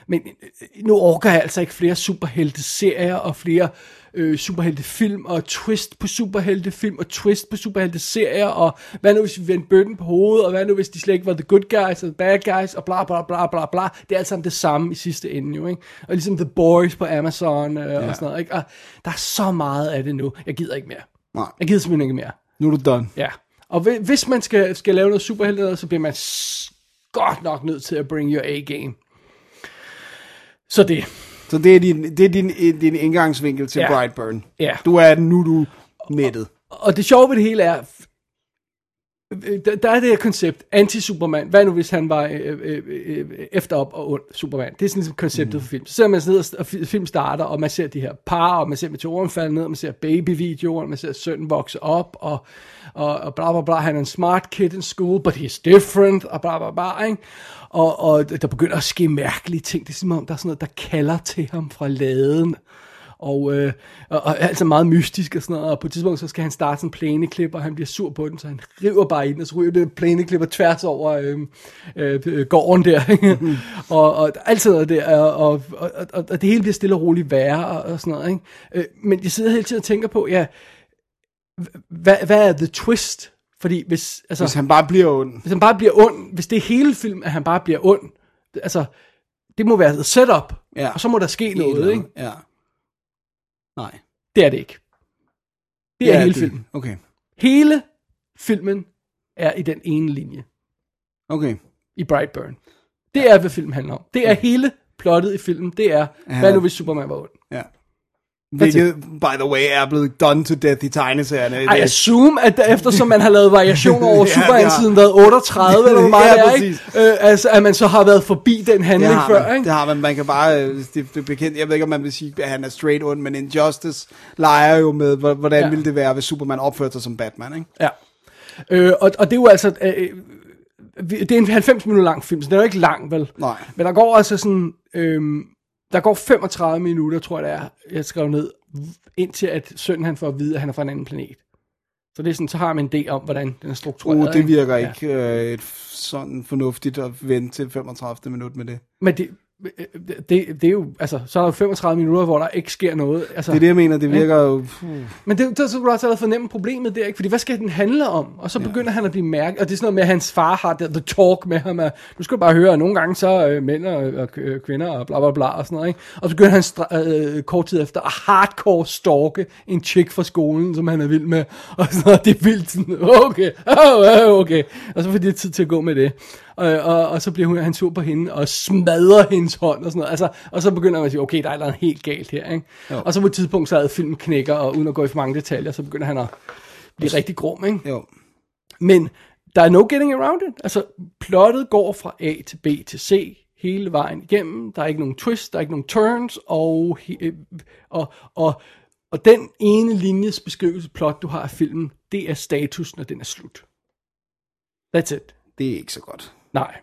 Men øh, nu orker jeg altså ikke flere superhelte-serier og flere øh, superhelte-film og twist på superhelte-film og twist på superhelte-serier og hvad nu hvis vi vendte bøtten på hovedet og hvad nu hvis de slet ikke var the good guys og the bad guys og bla bla bla bla bla. Det er alt sammen det samme i sidste ende jo, ikke? Og ligesom The Boys på Amazon øh, og sådan noget, ikke? Og der er så meget af det nu. Jeg gider ikke mere.
Nej.
Jeg gider simpelthen ikke mere.
Nu er du done.
Ja. Og hvi- hvis man skal, skal lave noget superhelte, noget, så bliver man s- godt nok nødt til at bring your A-game. Så det.
Så det er din, det er din, din indgangsvinkel til
Ja.
Brightburn.
Ja.
Du er nu er du mættet.
Og det sjove ved det hele er, øh, der, der er det her koncept, anti-Superman. Hvad nu, hvis han var øh, øh, øh, efterop og ond Superman? Det er sådan ligesom konceptet mm. for film. Så sidder man sådan ned, og st- og fi- film starter, og man ser de her par, og man ser meteoren falde ned, og man ser babyvideoer, man ser sønnen vokse op, og, og, og bla bla bla, han er en smart kid in school, but he's different, og bla bla bla, ikke? Og, og der begynder at ske mærkelige ting. Det er som om, der er sådan noget, der kalder til ham fra laden og, øh, og, og altså meget mystisk og sådan noget, og på et tidspunkt så skal han starte sådan en plæneklip, og han bliver sur på den, så han river bare ind, og så ryger det plæneklipper tværs over øh, øh, øh, gården der,
Mhm.
og, og der er altid noget der, og, og, og, og, og det hele bliver stille og roligt værre, og, og sådan noget, ikke? Øh, men jeg sidder hele tiden og tænker på, ja, hva- hvad, hvad er the twist? Fordi hvis, altså,
Hvis han bare bliver ond.
hvis han bare bliver ond, hvis det er hele film, at han bare bliver ond, altså, det må være setup,
Ja.
og så må der ske noget,
Eller-
ikke?
Ja. Nej.
Det er det ikke. Det er hele det. filmen.
Okay.
Hele filmen er i den ene linje
Okay.
i Brightburn. Det er, hvad filmen handler om. Det er hele plottet i filmen. Det er, hvad nu hvis Superman var ond?
Ja. Hvilket, by the way, er blevet done to death i tegneserierne.
I assume, at der, eftersom man har lavet variationer
Ja,
over Superman
det har-
siden været 38, eller hvor meget
Ja,
det er, ikke? Øh, altså, at man så har været forbi den
det
handling
har,
før,
man,
ikke?
det har man. Man kan bare, øh, det, det er bekendt, jeg ved ikke, om man vil sige, at han er straight on, men Injustice leger jo med, hvor- hvordan
Ja.
ja. ville det være, hvis Superman opførte sig som Batman, ikke?
Ja. Øh, og, og det er jo altså... Øh, vi- det er en 90 minutter lang film, så den er jo ikke lang, vel?
Nej.
Men der går altså sådan... Øh, der går 35 minutter, tror jeg det er, jeg skrev ned, indtil at sønnen han får at vide, at han er fra en anden planet. Så det er sådan, så har man en idé om, hvordan den er struktureret.
Uh, det virker
Ja.
ikke øh, et f- sådan fornuftigt at vente til 35. minut med det.
Men det, det, det er jo, altså, så er der jo 35 minutter, hvor der ikke sker noget. Altså,
Det er det, jeg mener, det virker jo... Puh.
Men det, det så kunne du også allerede fornemme problemet der, ikke? Fordi hvad skal den handle om? Og så begynder han at blive mærket, og det er sådan noget med, at hans far har der, the talk med ham, at nu skal du bare høre, at nogle gange så øh, mænd og, og k- øh, kvinder og bla bla bla og sådan noget, ikke? Og så begynder han stra- øh, kort tid efter at hardcore stalke en chick fra skolen, som han er vild med, og sådan noget, det er vildt sådan, okay, oh, oh, okay, og så får de tid til at gå med det. Og, og, og så bliver hun, han sur på hende og smadrer hendes hånd og sådan noget. Altså, og så begynder man at sige, okay, der er noget helt galt her. Ikke? Og så på et tidspunkt, så er filmen knækker, og uden at gå i for mange detaljer, så begynder han at blive rigtig grum. Ikke?
Jo.
Men der er no getting around it. Altså, plottet går fra A til B til C hele vejen igennem. Der er ikke nogen twists, der er ikke nogen turns, og, he- øh, og, og, og den ene linjes beskrivelse plot, du har af filmen, det er status, når den er slut. That's it.
Det er ikke så godt.
Nej.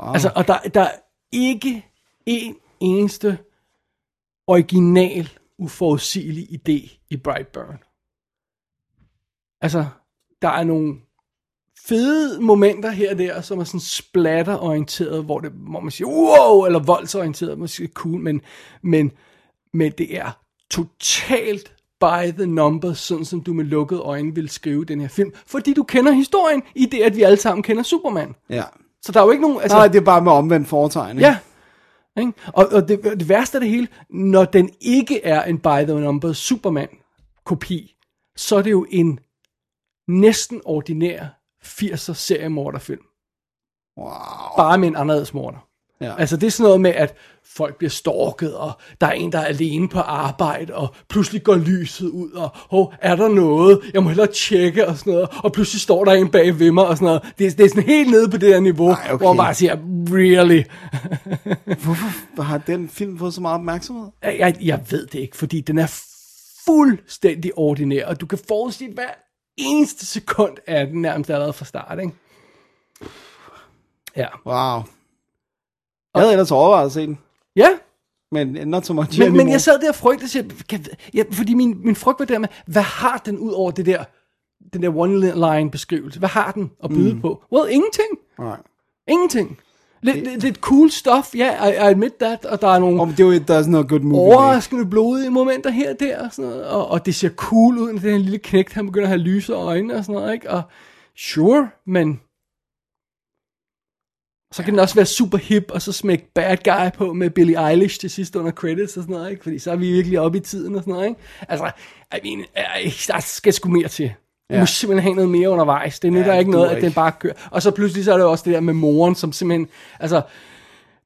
Wow.
Altså, og der, der er ikke en eneste original, uforudsigelig idé i Brightburn. Altså, der er nogle fede momenter her og der, som er sådan splatterorienteret, hvor, det, hvor man siger, wow, eller voldsorienteret, måske cool, men, men, men det er totalt by the numbers, sådan som du med lukkede øjne vil skrive den her film, fordi du kender historien i det, at vi alle sammen kender Superman.
ja.
Så der er jo ikke nogen... Altså,
Nej, det er bare med omvendt foretegn, ikke?
Ja. Ikke? Og, og det, det værste af det hele, når den ikke er en by the numbers Superman, kopi, så er det jo en næsten ordinær 80'er seriemorderfilm. Wow. Bare med en anderledes morder.
Ja.
Altså det er sådan noget med, at folk bliver stalket, og der er en, der er alene på arbejde, og pludselig går lyset ud, og hov, er der noget? Jeg må hellere tjekke, og sådan noget. Og pludselig står der en bag ved mig, og sådan noget. Det, er- det er sådan helt nede på det der niveau,
Ej, okay.
hvor man bare siger, really?
Hvorfor har den film fået så meget opmærksomhed?
Jeg, jeg, jeg ved det ikke, fordi den er fuldstændig ordinær, og du kan forudsige hver eneste sekund af den nærmest allerede fra start, ikke? Ja.
Wow. Jeg havde ellers overvejet at se den,
Ja,
men not so much
men, men
anymore.
jeg sad der og frygtede, siger, kan, ja, fordi min, min frygt var der med, hvad har den ud over det der, den der one-line beskrivelse? Hvad har den at byde mm. på? Well, ingenting.
Nej.
Ingenting. Lidt, lidt, lidt cool stuff, ja, yeah, I, I admit that, og der er nogle
Om det er jo et, der er sådan noget good movie. ikke?
overraskende blodige momenter her og der, og, sådan noget, og, og det ser cool ud, når den her lille knægt, han begynder at have lyse øjne og sådan noget, ikke? Og sure, men så kan den også være super hip, og så smække bad guy på med Billie Eilish til sidst under credits og sådan noget, ikke? Fordi så er vi virkelig oppe i tiden og sådan noget, ikke? Altså, I mean, øh, der skal sgu mere til. Ja. Du må simpelthen have noget mere undervejs. Det nytter ja,
det
ikke
duer
noget, at
ikke.
den bare kører. Og så pludselig så er det jo også det der med moren, som simpelthen, altså,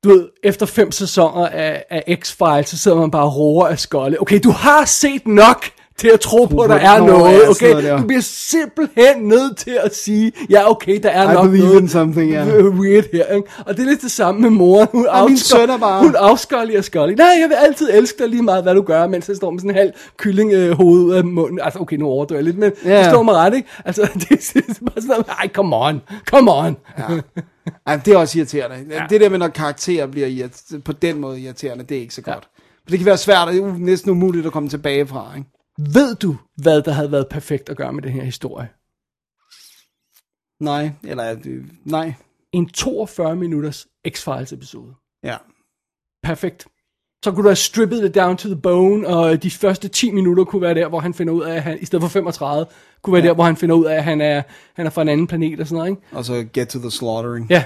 du ved, efter fem sæsoner af, af X-Files, så sidder man bare og roer af skolde. Okay, du har set nok til at tro på, at der
det.
er
Nå, ja,
noget,
sådan noget
okay?
der.
Du bliver simpelthen nødt til at sige, ja, okay, der er
I
nok
believe
noget
in something, ja.
weird her, ikke? Og det er lidt det samme med moren. Hun
Og min søn er bare-
Hun afskolder og skolder. Nej, jeg vil altid elske dig lige meget, hvad du gør, mens jeg står med sådan en halv kylling øh, hoved ud af munden. Altså, okay, nu overdøver jeg lidt, men
Ja.
yeah. forstår mig ret, ikke? Altså, det, er bare sådan noget, ej, come on, come on.
Ej, det er også irriterende. Ja. Det der med, når karakterer bliver irrit- på den måde irriterende, det er ikke så
Ja.
godt. For det kan være svært og u- næsten umuligt at komme tilbage fra, ikke?
Ved du, hvad der havde været perfekt at gøre med den her historie?
Nej, eller øh, nej.
en 42 minutters X-Files episode.
Ja.
Perfekt. Så kunne du have strippet det down to the bone, og de første 10 minutter kunne være der, hvor han finder ud af, at han, i stedet for 35, kunne være ja. der, hvor han finder ud af, at han er, han er fra en anden planet og sådan noget, ikke?
Og så get to the slaughtering.
Ja.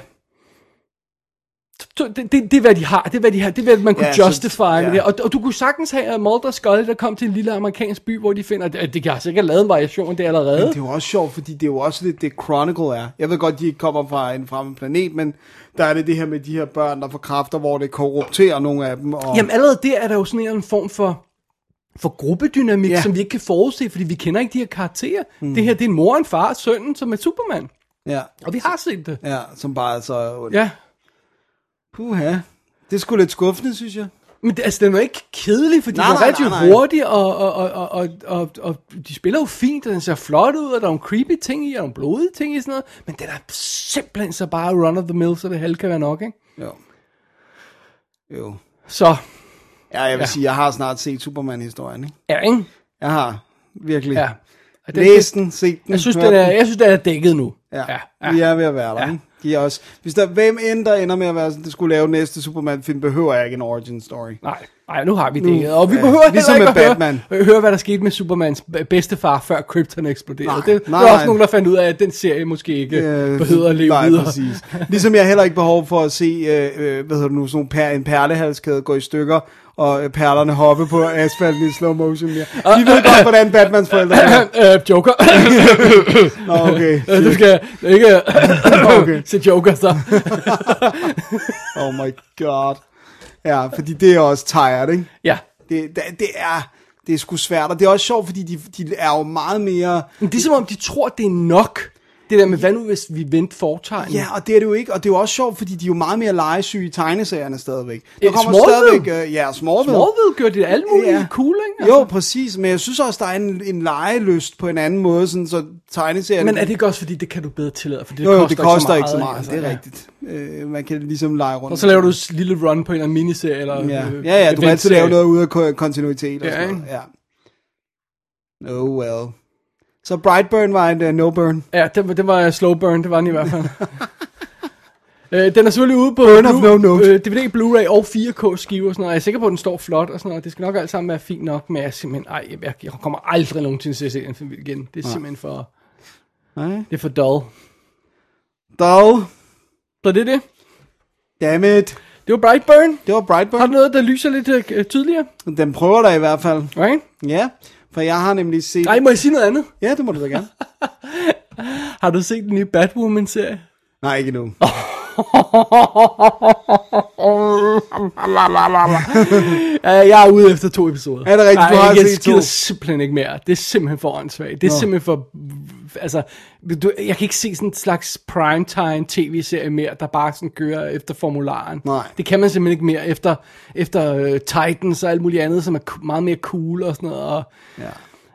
Så- så Det, det, det er, hvad de har. Det er, hvad de har. Det er, hvad man kunne
Ja,
ja,
så-
justify så,
ja.
med det. Og, og du kunne sagtens have at Mulder og Scully, der kom til en lille amerikansk by, hvor de finder... Det, det kan altså ikke have lavet en variation, det allerede.
Men det er jo også sjovt, fordi det er jo også lidt det Chronicle er. Jeg ved godt, de ikke kommer fra en fremmed planet, men der er det det her med de her børn, der får kræfter, hvor det korrupterer nogle af dem. Og...
Jamen allerede der er der jo sådan en eller anden form for, for gruppedynamik,
Ja.
ja. som vi ikke kan forudse, fordi vi kender ikke de her karakterer. Mm. Det her, det er en mor, en far og sønnen, som er Superman.
Ja.
Og vi har set det.
ja, som bare er så ondt.
Ja.
Puha. Det er sgu lidt skuffende, synes jeg.
Men det, altså, den var ikke kedelig, fordi
Nej,
nej, den
nej,
var rigtig
nej, nej.
hurtig, og, og, og, og, og, og, og de spiller jo fint, og den ser flot ud, og der er nogle creepy ting i, og nogle blodige ting i sådan noget, men den er simpelthen så bare run of the mill, så det hele kan være nok, ikke?
Jo. Jo.
Så,
Ja, jeg vil ja.
Ja.
sige, jeg har snart set Superman-historien, ikke?
ja, ikke?
Jeg har virkelig
Ja.
ja.
Og den-
læst den, set den,
Jeg synes,
hørt
den er, jeg synes, den er dækket nu.
Ja, ja, vi er ved at være der, ja.
Ja.
ikke? De er også... Hvis der hvem end der ender med at være sådan, det skulle lave næste Superman-film, behøver jeg ikke en origin story.
Nej, nej, nu har vi det. Og vi behøver
ja,
heller
ligesom
ikke
med
at høre,
Batman.
øh, høre, hvad der skete med Supermans b- bedstefar, før Krypton eksploderede.
Nej,
Nej, det,
nej,
nej, der var
nej.
også nogen, der fandt ud af, at den serie måske ikke øh, behøver at leve
nej,
videre.
præcis. Ligesom jeg heller ikke behov for at se, øh, øh, hvad hedder det nu, sådan nogle per, en perlehalskæde gå i stykker, og øh, perlerne hoppe på asfalten i slow motion. mere. Vi ved godt, hvordan Batmans forældre er.
Øh, Joker.
Nå, Ah, okay.
Øh, du skal ikke
Okay.
okay. se Joker så.
Oh my god. Ja, fordi det er også tired, ikke?
ja.
Det, det, det er... Det er sgu svært, og det er også sjovt, fordi de, de er jo meget mere...
Men det er som om, de tror, det er nok. Det der med, hvad nu hvis vi vendte foretegnet?
Ja, og det er det jo ikke, og det er jo også sjovt, fordi de er jo meget mere legesyge i tegneserierne stadigvæk. Der
Eh, Smallville?
stadigvæk... Øh, ja, Smallville.
Smallville gør det alle mulige
Ja.
ja. cool, ikke?
Jo, præcis, men jeg synes også, der er en, en legeløst på en anden måde, sådan så tegneserierne...
Men er det ikke også, fordi det kan du bedre tillade? For det,
Altså. jo, jo,
koster,
det koster ikke så meget,
altså,
det er
ja.
rigtigt. Øh, man kan ligesom lege rundt.
Og så laver du et lille run på en eller anden miniserie. Eller,
Ja,
øh,
ja, ja du kan altid
eventserie.
lave noget ud af ko- kontinuitet og
Ja,
sådan noget.
ikke?
Ja. Oh well. Så Brightburn var en uh, no-burn.
Ja, den, var- den var slow burn, det var den i hvert fald. øh, den er selvfølgelig ude på
of no note.
øh, DVD, Blu-ray og 4K-skive og sådan noget. Jeg er sikker på, at den står flot og sådan noget. Det skal nok alt sammen være fint nok, men jeg er simpelthen, ej, jeg, jeg- jeg kommer aldrig nogensinde til at se den film igen. Det er simpelthen for,
Nej.
det er for dull.
Dog.
Så det er det.
Damn it.
Det var Brightburn.
Det var
Har
Brightburn.
du noget, der lyser lidt øh, tydeligere?
Den prøver der i hvert fald.
Right?
Ja. For jeg har nemlig set...
Ej, må jeg sige noget andet?
Ja, det må du da gerne.
Har du set den nye Batwoman-serie?
Nej, ikke endnu.
Ja, Øh, jeg er ude efter to episoder.
Er det rigtigt?
Nej,
Du har altså
jeg
set
gider
to.
simpelthen ikke mere. Det er simpelthen for åndssvagt. Det er Nå. simpelthen for... Altså, du, jeg kan ikke se sådan en slags primetime tv-serie mere, der bare sådan kører efter formularen.
Nej.
Det kan man simpelthen ikke mere efter, efter uh, Titans og alt muligt andet, som er ku- meget mere cool og sådan noget. Og,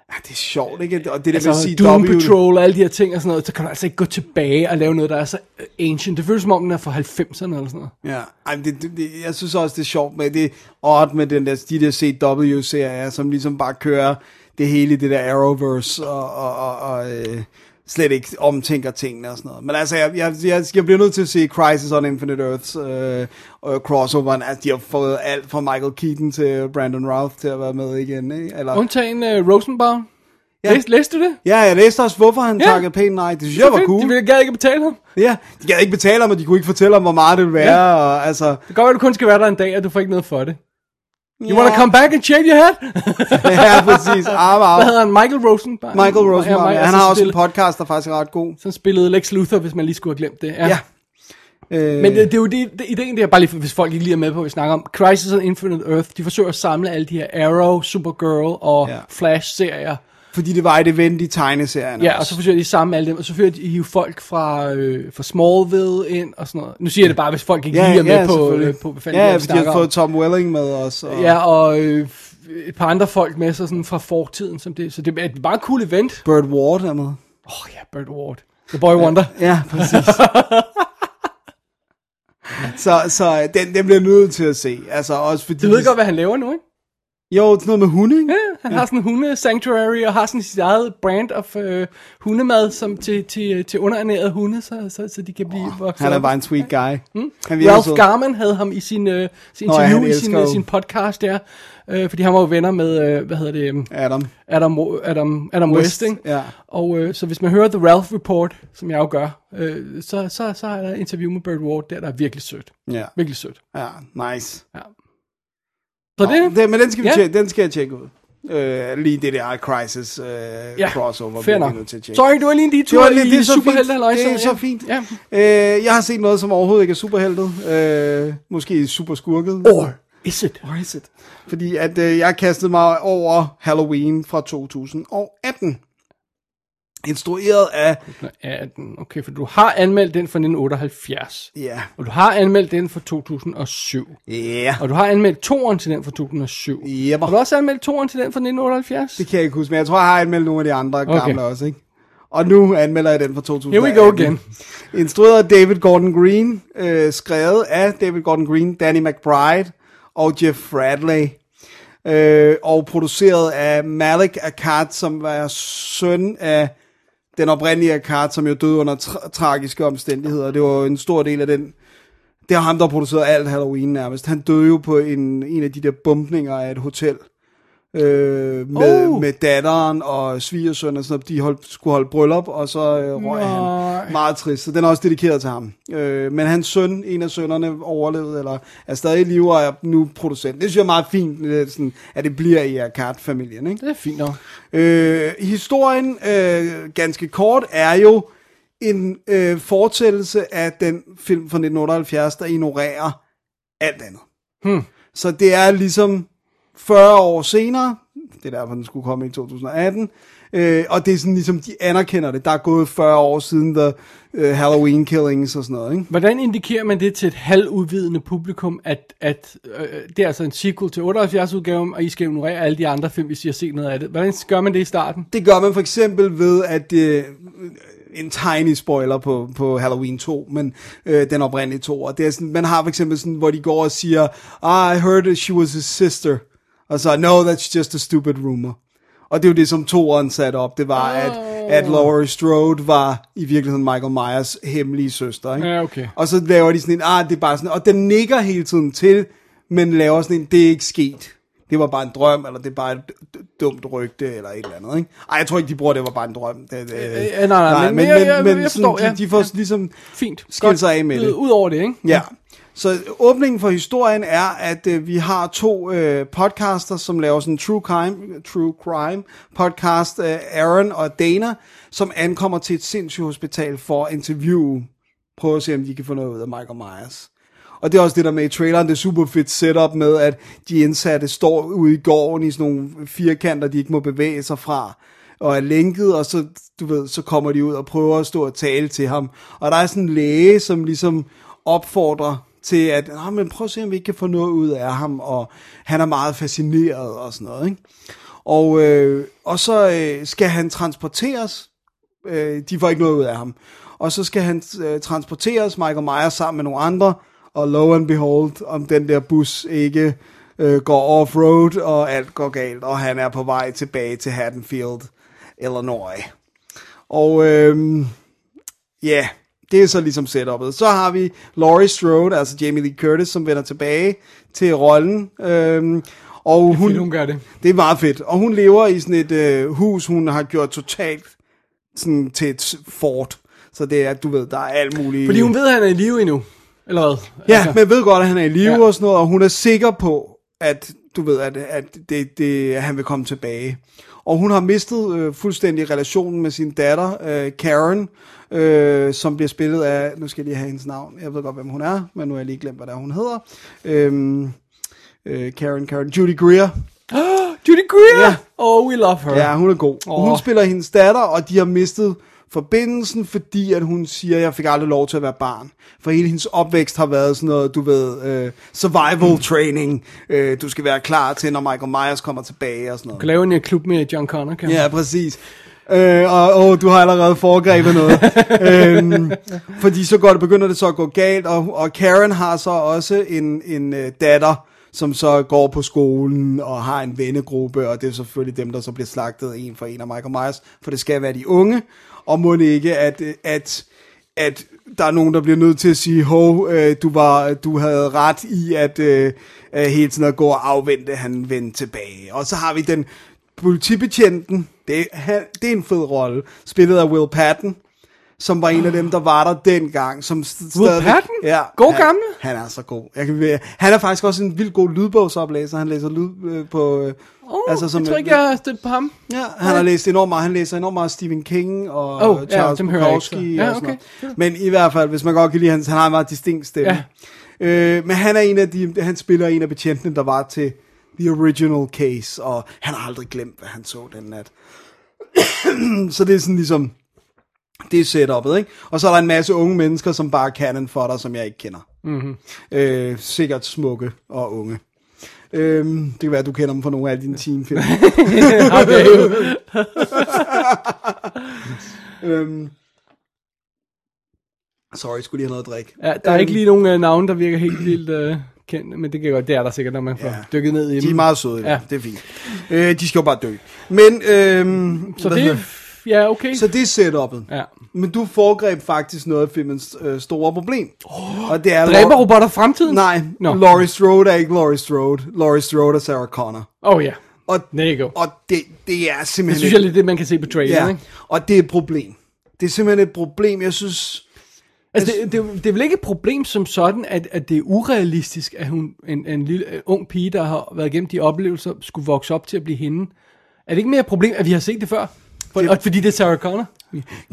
Ja, det er sjovt, ikke? Og det der altså,
altså,
vil sige...
Doom
W-
Patrol og alle de her ting og sådan noget, så kan du altså ikke gå tilbage og lave noget, der er så øh, ancient. Det føles som om, den er fra 90'erne eller sådan noget.
Ja, Ej, men det, det, det, jeg synes også, det er sjovt med det er odd med den der, de der CW-serier, som ligesom bare kører det hele i det der Arrowverse og, og, og, og øh, slet ikke omtænker tingene og sådan noget. Men altså, jeg, jeg, jeg, jeg bliver nødt til at se Crisis on Infinite Earths øh, og crossoveren. Altså, de har fået alt fra Michael Keaton til Brandon Routh til at være med igen, ikke? Eller,
Undtagen uh, Rosenbaum. Ja. Læste, læste du det?
ja, jeg læste også, hvorfor han
Ja.
ja. takkede pænt nej. Det synes jeg var
Fedt.
cool.
De ville gerne ikke betale ham.
Ja, de gad ikke betale om, og de kunne ikke fortælle om, hvor meget det ville være.
Ja.
Ja. Og, altså,
Det kan godt være, du kun skal være der en dag, og du får ikke noget for det. You
ja.
wanna come back and shave your head?
ja, præcis. Arv, arv.
Hvad hedder han? Michael Rosenbaum?
Michael Rosenbaum, ja, han
altså,
har også en
spillet-
podcast, der faktisk er ret god.
Som spillede Lex Luthor, hvis man lige skulle have glemt det. Ja.
Ja. Øh,
Men det, det er jo det, det, ideen der, bare lige for, hvis folk ikke lige er med på, hvad vi snakker om. Crisis on Infinite Earth, de forsøger at samle alle de her Arrow, Supergirl og
Ja.
Flash-serier.
fordi det var et event i tegneserierne
Ja, og
også.
så forsøger de sammen alle dem, og så forsøger de at hive folk fra, øh, fra Smallville ind og sådan noget. Nu siger jeg det bare, hvis folk ikke lige er med på,
selvfølgelig.
øh, på, hvad fanden
ja,
det er,
ja,
vi
fordi de
snakker
har
om.
fået Tom Welling med os. Og,
Ja, og øh, et par andre folk med sig sådan fra fortiden. Som det, så det er et meget cool event.
Burt Ward er med.
Åh oh, ja, Bird Ward. The Boy Wonder.
Ja, præcis. så så øh, den, den bliver jeg nødt til at se. Altså også fordi...
Du ved godt, hvad han laver nu, ikke?
Jo, sådan noget med hunde, ikke?
Ja, han har sådan en hunde-sanctuary, og har sådan sit eget brand of øh, hundemad som til, til, øh, til underernærede hunde, så, så, så de kan blive oh, vokset.
Han er
op.
bare en sweet guy. Mm. Han virker
Ralph
sød.
Garman havde ham i sin, øh, sin
Nå ja,
interview,
han
i sin,
elsker
øh,
jo.
sin podcast der, øh, fordi han var jo venner med, øh, hvad hedder det, øhm,
Adam.
Adam, Adam, Adam West,
West,
West ikke?
ja.
Og øh, så hvis man hører The Ralph Report, som jeg jo gør, øh, så, så, så er der et interview med Bird Ward der, der er virkelig sødt.
Ja,
Virkelig sødt.
ja nice.
Ja. Så det,
det, men den skal, vi
Ja.
tjekke, den skal jeg tjekke ud. Øh, lige det der Crisis øh, ja, crossover.
fair
bliver vi
nok.
nødt til at tjekke.
Sorry, det var lige en
Det,
detur
var, det,
i
det er så fint.
superhelte halløjsa,
Det er så
ja.
fint.
Ja.
Øh, jeg har set noget, som overhovedet ikke er superheltet. Øh, måske super skurket.
Or is it?
Or is it? Fordi at øh, jeg kastede mig over Halloween fra 2018. Instrueret af...
Ja, den- okay, for du har anmeldt den fra 1978,
Ja.
og du har anmeldt den fra 2007,
Ja.
og du har anmeldt toeren til den fra 2007.
Jepper.
Har du også anmeldt toeren til den fra 1978?
Det kan jeg ikke huske, men jeg tror, jeg har anmeldt nogle af de andre
Okay.
okay. gamle også, ikke? Og nu anmelder jeg den fra 2000.
Here we go again.
Instrueret af David Gordon Green, øh, skrevet af David Gordon Green, Danny McBride og Jeff Bradley. Øh, og produceret af Malik Akkad, som var søn af den oprindelige Akkad, som jo døde under tra- tragiske omstændigheder. Det var jo en stor del af den det er ham, der producerede alt Halloween nærmest. Han døde jo på en, en af de der bumpninger af et hotel. Øh, med,
Oh.
oh. med datteren og svigersøn og sådan noget. De holdt, skulle holde bryllup, og så øh, røg han. Meget trist. Så den er også dedikeret til ham. Øh, men hans søn, en af sønnerne, overlevede, eller er stadig i live og er nu producent. Det synes jeg er meget fint, øh, sådan, at det bliver i Akkad-familien. Ikke?
Det er fint nok.
Øh, historien, øh, ganske kort, er jo en øh, fortællelse af den film fra 1978, der ignorerer alt andet.
Hmm.
Så det er ligesom 40 år senere, det er derfor, den skulle komme i 2018, øh, og det er sådan ligesom, de anerkender det. Der er gået 40 år siden der øh, Halloween Killings og sådan noget, ikke?
Hvordan indikerer man det til et halvudvidende publikum, at, at øh, det er altså en sequel til 78-udgaven, og I skal ignorere alle de andre film, hvis I har set noget af det? Hvordan gør man det i starten?
Det gør man for eksempel ved, at øh, det en tiny spoiler på, på Halloween 2, men øh, den oprindelige 2. Og det er sådan, man har for eksempel sådan, hvor de går og siger, ah, I heard that she was his sister. Og så, no, that's just a stupid rumor. Og det er jo det, som toeren satte op. Det var, at, at Laurie Strode var i virkeligheden Michael Myers hemmelige søster. Ikke?
Ja, okay.
Og så laver de sådan en, ah, det er bare sådan, og den nikker hele tiden til, men laver sådan en, det er ikke sket. det var bare en drøm, eller det er bare et d- d- dumt rygte, eller et eller andet, ikke? Ej, jeg tror ikke, de bruger, det var bare en drøm. Det, det,
nej, nej, men- ja, ja, jeg forstår,
sådan,
ja.
de, de får ligesom...
Fint.
Skil sig af med
Godt.
det.
Ud over det, ikke?
Ja. Så åbningen for historien er, at øh, vi har to øh, podcaster, som laver sådan en true crime, true crime podcast, øh, Aaron og Dana, som ankommer til et sindssygt hospital for at interviewe, prøve at se, om de kan få noget ud af Michael Myers. Og det er også det der med i traileren, det er super fedt setup med, at de indsatte står ude i gården i sådan nogle firkanter, de ikke må bevæge sig fra, og er lænket, og så, du ved, så kommer de ud og prøver at stå og tale til ham. Og der er sådan en læge, som ligesom opfordrer til, at "Nå, men prøv at se, om vi ikke kan få noget ud af ham, og han er meget fascineret og sådan noget. Ikke? Og, øh, og så øh, skal han transporteres øh, de får ikke noget ud af ham. Og så skal han øh, transporteres, Michael Myers, sammen med nogle andre, og lo and behold, om den der bus ikke øh, går off-road, og alt går galt, og han er på vej tilbage til Haddonfield, Illinois. Og øh, ja, yeah, det er så ligesom setupet. Så har vi Laurie Strode, altså Jamie Lee Curtis, som vender tilbage til rollen. Øh, og hun,
hun gør det.
det er meget fedt. Og hun lever i sådan et øh, hus, hun har gjort totalt sådan til et fort. Så det er, du ved, der er alt muligt.
Fordi hun ved, at han er i live endnu. Eller hvad?
Ja, altså. men ved godt, at han er i live
Ja.
ja. og sådan noget, og hun er sikker på, at du ved, at, at, det, det, at han vil komme tilbage. Og hun har mistet øh, fuldstændig relationen med sin datter, øh, Karen, øh, som bliver spillet af, nu skal jeg lige have hendes navn, jeg ved godt, hvem hun er, men nu har jeg lige glemt, hvad der hun hedder. Øhm, øh, Karen, Karen, Judy Greer,
Judy Greer!
Ja.
Oh, we love her.
Ja, hun er god.
Åh.
Oh. Hun spiller hendes datter, og de har mistet forbindelsen, fordi at hun siger, at jeg fik aldrig lov til at være barn. For hele hendes opvækst har været sådan noget, du ved, øh, survival training. Øh, du skal være klar til, når Michael Myers kommer tilbage og sådan
Kan
noget.
lave en øh, klub med John Connor, kan
Ja, præcis. Øh, og, og du har allerede foregrebet noget. øhm, fordi så går det, begynder det så at gå galt, og, og Karen har så også en, en øh, datter, som så går på skolen og har en vennegruppe, og det er selvfølgelig dem, der så bliver slagtet en for en af Michael Myers, for det skal være de unge, og må det ikke, at, øh, at, at der er nogen, der bliver nødt til at sige, hov, øh, du, var, du havde ret i, at øh, øh, hele tiden at gå og afvente, han vendte tilbage. Og så har vi den politibetjenten, det, han, det er en fed rolle, spillet af Will Patton, som var en af dem, der var der dengang. Som st- stadigvæk-
Patton?
Ja.
God
han,
gamle?
Han er så god. Jeg kan, ved- han er faktisk også en vildt god lydbogsoplæser. Han læser lyd øh, på... Øh,
Oh, altså, som jeg tror ikke, jeg har stødt på ham.
Ja, han har læst enormt meget. Han læser enormt meget Stephen King og
Oh,
oh,
ja,
Charles
dem
yeah,
hører jeg ikke,
Bukowski
så. Ja,
og sådan
okay.
noget. Men i hvert fald, hvis man godt kan lide hans, han har en meget distinkt stemme.
Ja.
Øh, men han er en af de, han spiller en af betjentene, der var til The Original Case, og han har aldrig glemt, hvad han så den nat. så det er sådan ligesom, det er setupet, ikke? Og så er der en masse unge mennesker, som bare kan en for dig, som jeg ikke kender. Mm-hmm. Øh, sikkert smukke og unge. Øhm, det kan være, at du kender dem fra nogle af dine teenfilm. øhm. Sorry, skulle lige have noget at drikke. Øhm,
Ja, der er ikke lige nogen øh, navne, der virker helt vildt øh, kendte, men det kan jeg godt. Det er der sikkert, når man får
Ja.
dykket ned i dem.
De er meget søde,
Ja.
ja. det er fint. Øh, de skal jo bare dø. Men, øhm,
Så
hvad
det,
hedder-
ja, okay.
så det er setup'et.
ja.
Men du foregreb faktisk noget af filmens øh, store problem. Oh, og det er
Dræber robotter fremtiden?
Nej,
Nå.
no. Laurie Strode er ikke Laurie Strode. Laurie Strode er Sarah Connor.
Oh ja.
Og,
There you go.
og det, det er simpelthen...
Det
et-
synes jeg er lidt det, man kan se på traileren,
ja,
ikke?
og det er et problem. Det er simpelthen et problem. Jeg synes,
Altså, det, det, det er vel ikke et problem som sådan, at, at det er urealistisk, at hun, en, en lille en ung pige, der har været igennem de oplevelser, skulle vokse op til at blive hende. Er det ikke mere et problem, at vi har set det før? For, det, og fordi det er Sarah Connor?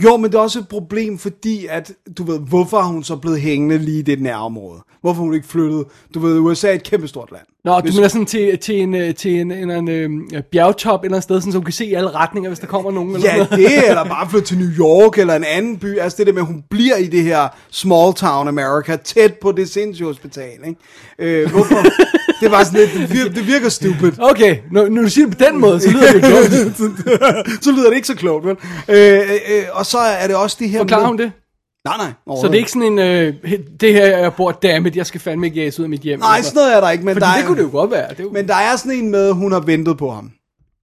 Jo, men det er også et problem, fordi at, du ved, hvorfor er hun så blevet hængende lige i det nærområde? Hvorfor er hun ikke flyttet? Du ved, USA er et kæmpestort land.
Nå, du mener sådan til, til en, øh, til en, en, en, en bjergtop eller et sted, sådan, så hun kan se i alle retninger, hvis der kommer nogen. Eller
Ja,
sådan noget.
det, eller bare flytte til New York, eller en anden by. Altså det der med, at hun bliver i det her small town America, tæt på det sindssyge hospital, ikke? Øh, hvorfor? det var sådan lidt, det virker, det virker stupid.
Okay, når, når du siger det på den måde, så lyder det jo dumt.
så lyder det ikke så klogt, vel? Øh, øh, øh, og så er det også det her
Forklarer hun det?
Nej, nej.
Så det er ikke sådan en, øh, he- det her jeg bor, dammit, jeg skal fandme ikke jæse ud af mit hjem.
Nej, sådan noget er der ikke, men
Fordi
der
det
er...
kunne det jo godt være. Det er jo,
Men der er sådan en med, hun har ventet på ham.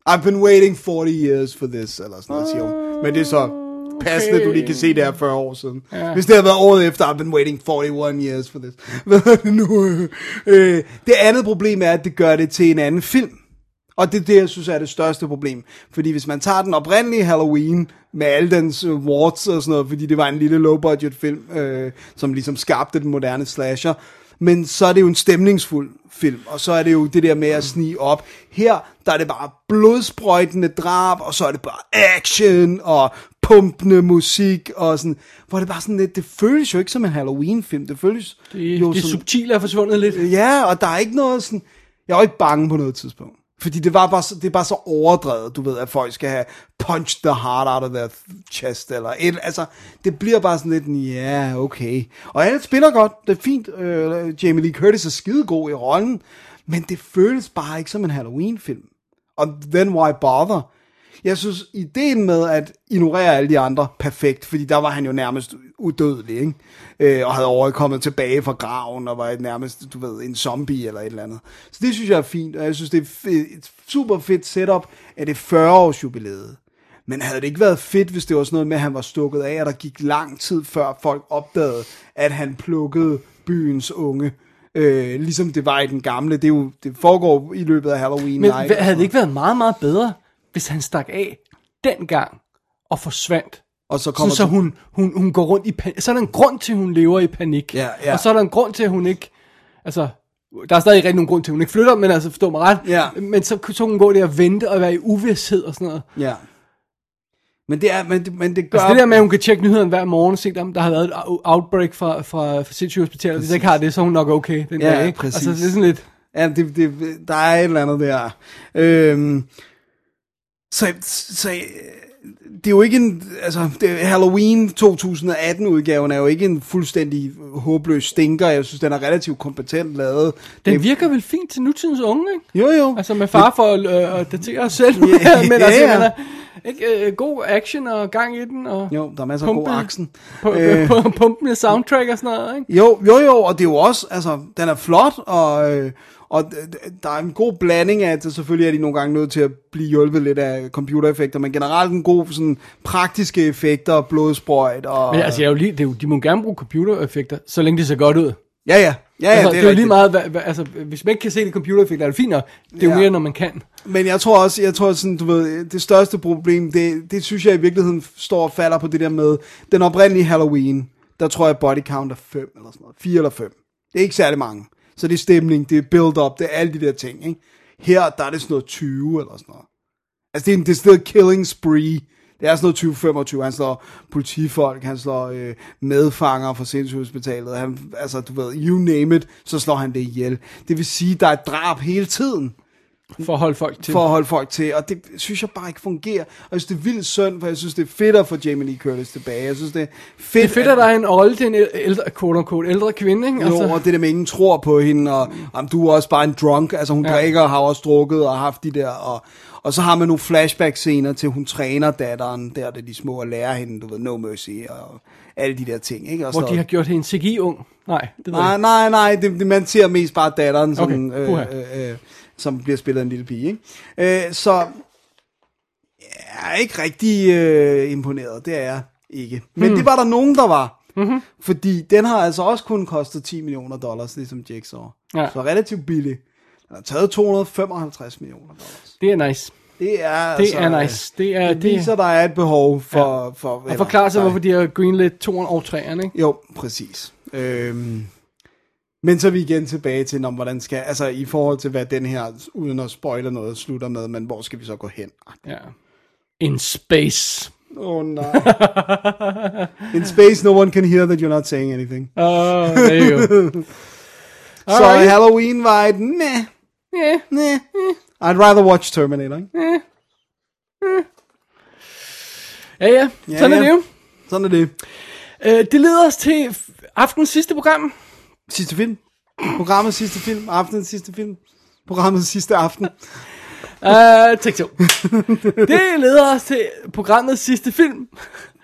I've been waiting 40 years for this, eller sådan noget, siger hun. Men det er så
Ah,
passende, okay. du lige kan se det her 40 år siden. Ja. Hvis det havde været året efter, I've been waiting 41 øh, years for this. Hvad er det nu? Øh, det andet problem er, at det gør det til en anden film. Og det er det, jeg synes er det største problem. Fordi hvis man tager den oprindelige Halloween, med alle dens øh, warts og sådan noget, fordi det var en lille low-budget film, øh, som ligesom skabte den moderne slasher, men så er det jo en stemningsfuld film, og så er det jo det der med at snige op. Her, der er det bare blodsprøjtende drab, og så er det bare action, og pumpende musik, og sådan, hvor det bare sådan lidt, det føles jo ikke som en Halloween-film, det føles
Det,
jo
det
som...
subtile er forsvundet lidt.
Ja, og der er ikke noget sådan... Jeg var ikke bange på noget tidspunkt. Fordi det, var bare så, det er bare så overdrevet, du ved, at folk skal have punch the heart out of their chest, eller et, altså, det bliver bare sådan lidt, en, ja, yeah, okay. Og alle spiller godt, det er fint, øh, Jamie Lee Curtis er skidegod i rollen, men det føles bare ikke som en Halloween-film. Og then why bother? Jeg synes, ideen med at ignorere alle de andre, perfekt, fordi der var han jo nærmest udødelig, ikke? Øh, og havde overkommet tilbage fra graven, og var nærmest, du ved, en zombie eller et eller andet. Så det synes jeg er fint, og jeg synes, det er fe- et super fedt setup af det 40-års jubilæet. Men havde det ikke været fedt, hvis det var sådan noget med, at han var stukket af, og der gik lang tid før folk opdagede, at han plukkede byens unge? Øh, ligesom det var i den gamle. Det, er jo, det foregår i løbet af Halloween
Men
night.
hvad- havde det ikke været meget, meget bedre, hvis han stak af dengang og forsvandt?
og så kommer
Sådan, så
til-
hun, hun, hun går rundt i panik. Så er der en grund til, at hun lever i panik.
Ja, ja.
Og så er der en grund til, at hun ikke... Altså, der er stadig ikke rigtig nogen grund til, at hun ikke flytter, men altså, forstå mig ret.
Ja.
Men så, så hun gå der og vente og være i uvidshed og sådan noget.
Ja. Men det er, men det, men det gør...
Altså det der med, at hun kan tjekke nyhederne hver morgen og se, om der har været et au- outbreak fra, fra, fra sindssyge hospitaler. Hvis der ikke har det, så er hun nok okay den
Ja,
dag, ikke?
præcis.
Altså, det er sådan lidt...
Ja, det, det, der er et eller andet der. Øhm, så, så øh, det er jo ikke en, altså det, Halloween 2018 udgaven er jo ikke en fuldstændig håbløs stinker. Jeg synes, den er relativt kompetent lavet.
Den
det,
virker vel fint til nutidens unge, ikke?
jo, jo.
Altså med far for øh, at datere os selv, yeah, men altså,
ja.
yeah. er, ikke, øh, god action og gang i den, og
jo, der er masser af god
pumpe-
aksen.
På, øh. på, pumpen af soundtrack og sådan noget, ikke?
Jo, jo, jo, og det er jo også, altså, den er flot, og, øh, og d- d- der er en god blanding af, at selvfølgelig er de nogle gange nødt til at blive hjulpet lidt af computereffekter, men generelt en god sådan, praktiske effekter, blodsprøjt og...
Men altså, jeg er jo lige, det er jo, de må gerne bruge computereffekter, så længe det ser godt ud.
ja, ja, ja, ja
altså, det, er jo
rigtigt.
lige meget, hvad, hvad, altså, hvis man ikke kan se det computereffekter, er det fint nok. Det er
Ja.
jo mere, når man kan.
Men jeg tror også, jeg tror sådan, du ved, det største problem, det, det synes jeg i virkeligheden står og falder på det der med, den oprindelige Halloween, der tror jeg body count er 5 eller sådan noget, 4 eller 5. Det er ikke særlig mange. Så det er stemning, det er build-up, det er alle de der ting, ikke? Her, der er det sådan noget 20 eller sådan noget. Altså, det er en decideret killing spree. Det er sådan noget 20-25. Han slår politifolk, han slår øh, medfanger fra sindssygehospitalet. Han, altså, du ved, you name it, så slår han det ihjel. Det vil sige, der er et drab hele tiden
For at holde folk til.
for at holde folk til, og det synes jeg bare ikke fungerer. Og jeg synes, det er vildt synd, for jeg synes, det er fedt at få Jamie Lee Curtis tilbage. Jeg synes, det er fedt,
det er fedt, at der er en rolle til en æl- ældre, quote unquote, ældre kvinde, ikke? Altså,
Jo, og det der med, at ingen tror på hende, og om du er også bare en drunk, altså hun ja.
Ja.
drikker, har også drukket og haft de der, og, og så har man nogle flashback-scener til, hun træner datteren, der det de små, og lærer hende, du ved, no mercy, og alle de der ting, ikke? Og
hvor
så-
de har gjort hende CGI-ung. Nej, det ved jeg
Nej,
ikke.
nej, nej, det, det, man ser mest bare datteren, som,
Okay,
okay.
puha.
øh, øh, øh, som bliver spillet af en lille pige. Ikke? Øh, så jeg er ikke rigtig øh, imponeret, det er jeg ikke. Men
Hmm.
det var der nogen, der var. Mm-hmm. Fordi den har altså også kun kostet 10 millioner dollars, ligesom Jigsaw.
Ja.
Så relativt billig. Den har taget 255 millioner dollars.
Det er nice.
Det er,
Det
altså,
er nice. Det er,
Det viser, der er et behov for... Ja. for
Og forklare sig, hvorfor de har greenlit 2'eren og 3'eren, ikke?
Jo, præcis. Øhm, men så er vi igen tilbage til, om hvordan skal, altså i forhold til, hvad den her, uden at spoile noget, slutter med, men hvor skal vi så gå hen?
Ja. In space.
Åh oh, nej. In space, no one can hear that you're not saying anything.
Åh, oh, there you go.
så
Alright.
Halloween var et meh,
yeah.
meh. I'd rather watch Terminator, ikke?
Ja, ja. Sådan
ja.
er det jo.
Sådan er det.
Øh, det leder os til f- aftens sidste program.
Sidste film. Programmets sidste film. Aftenens sidste film. Programmets sidste aften.
Uh, take two. det leder os til programmets sidste film,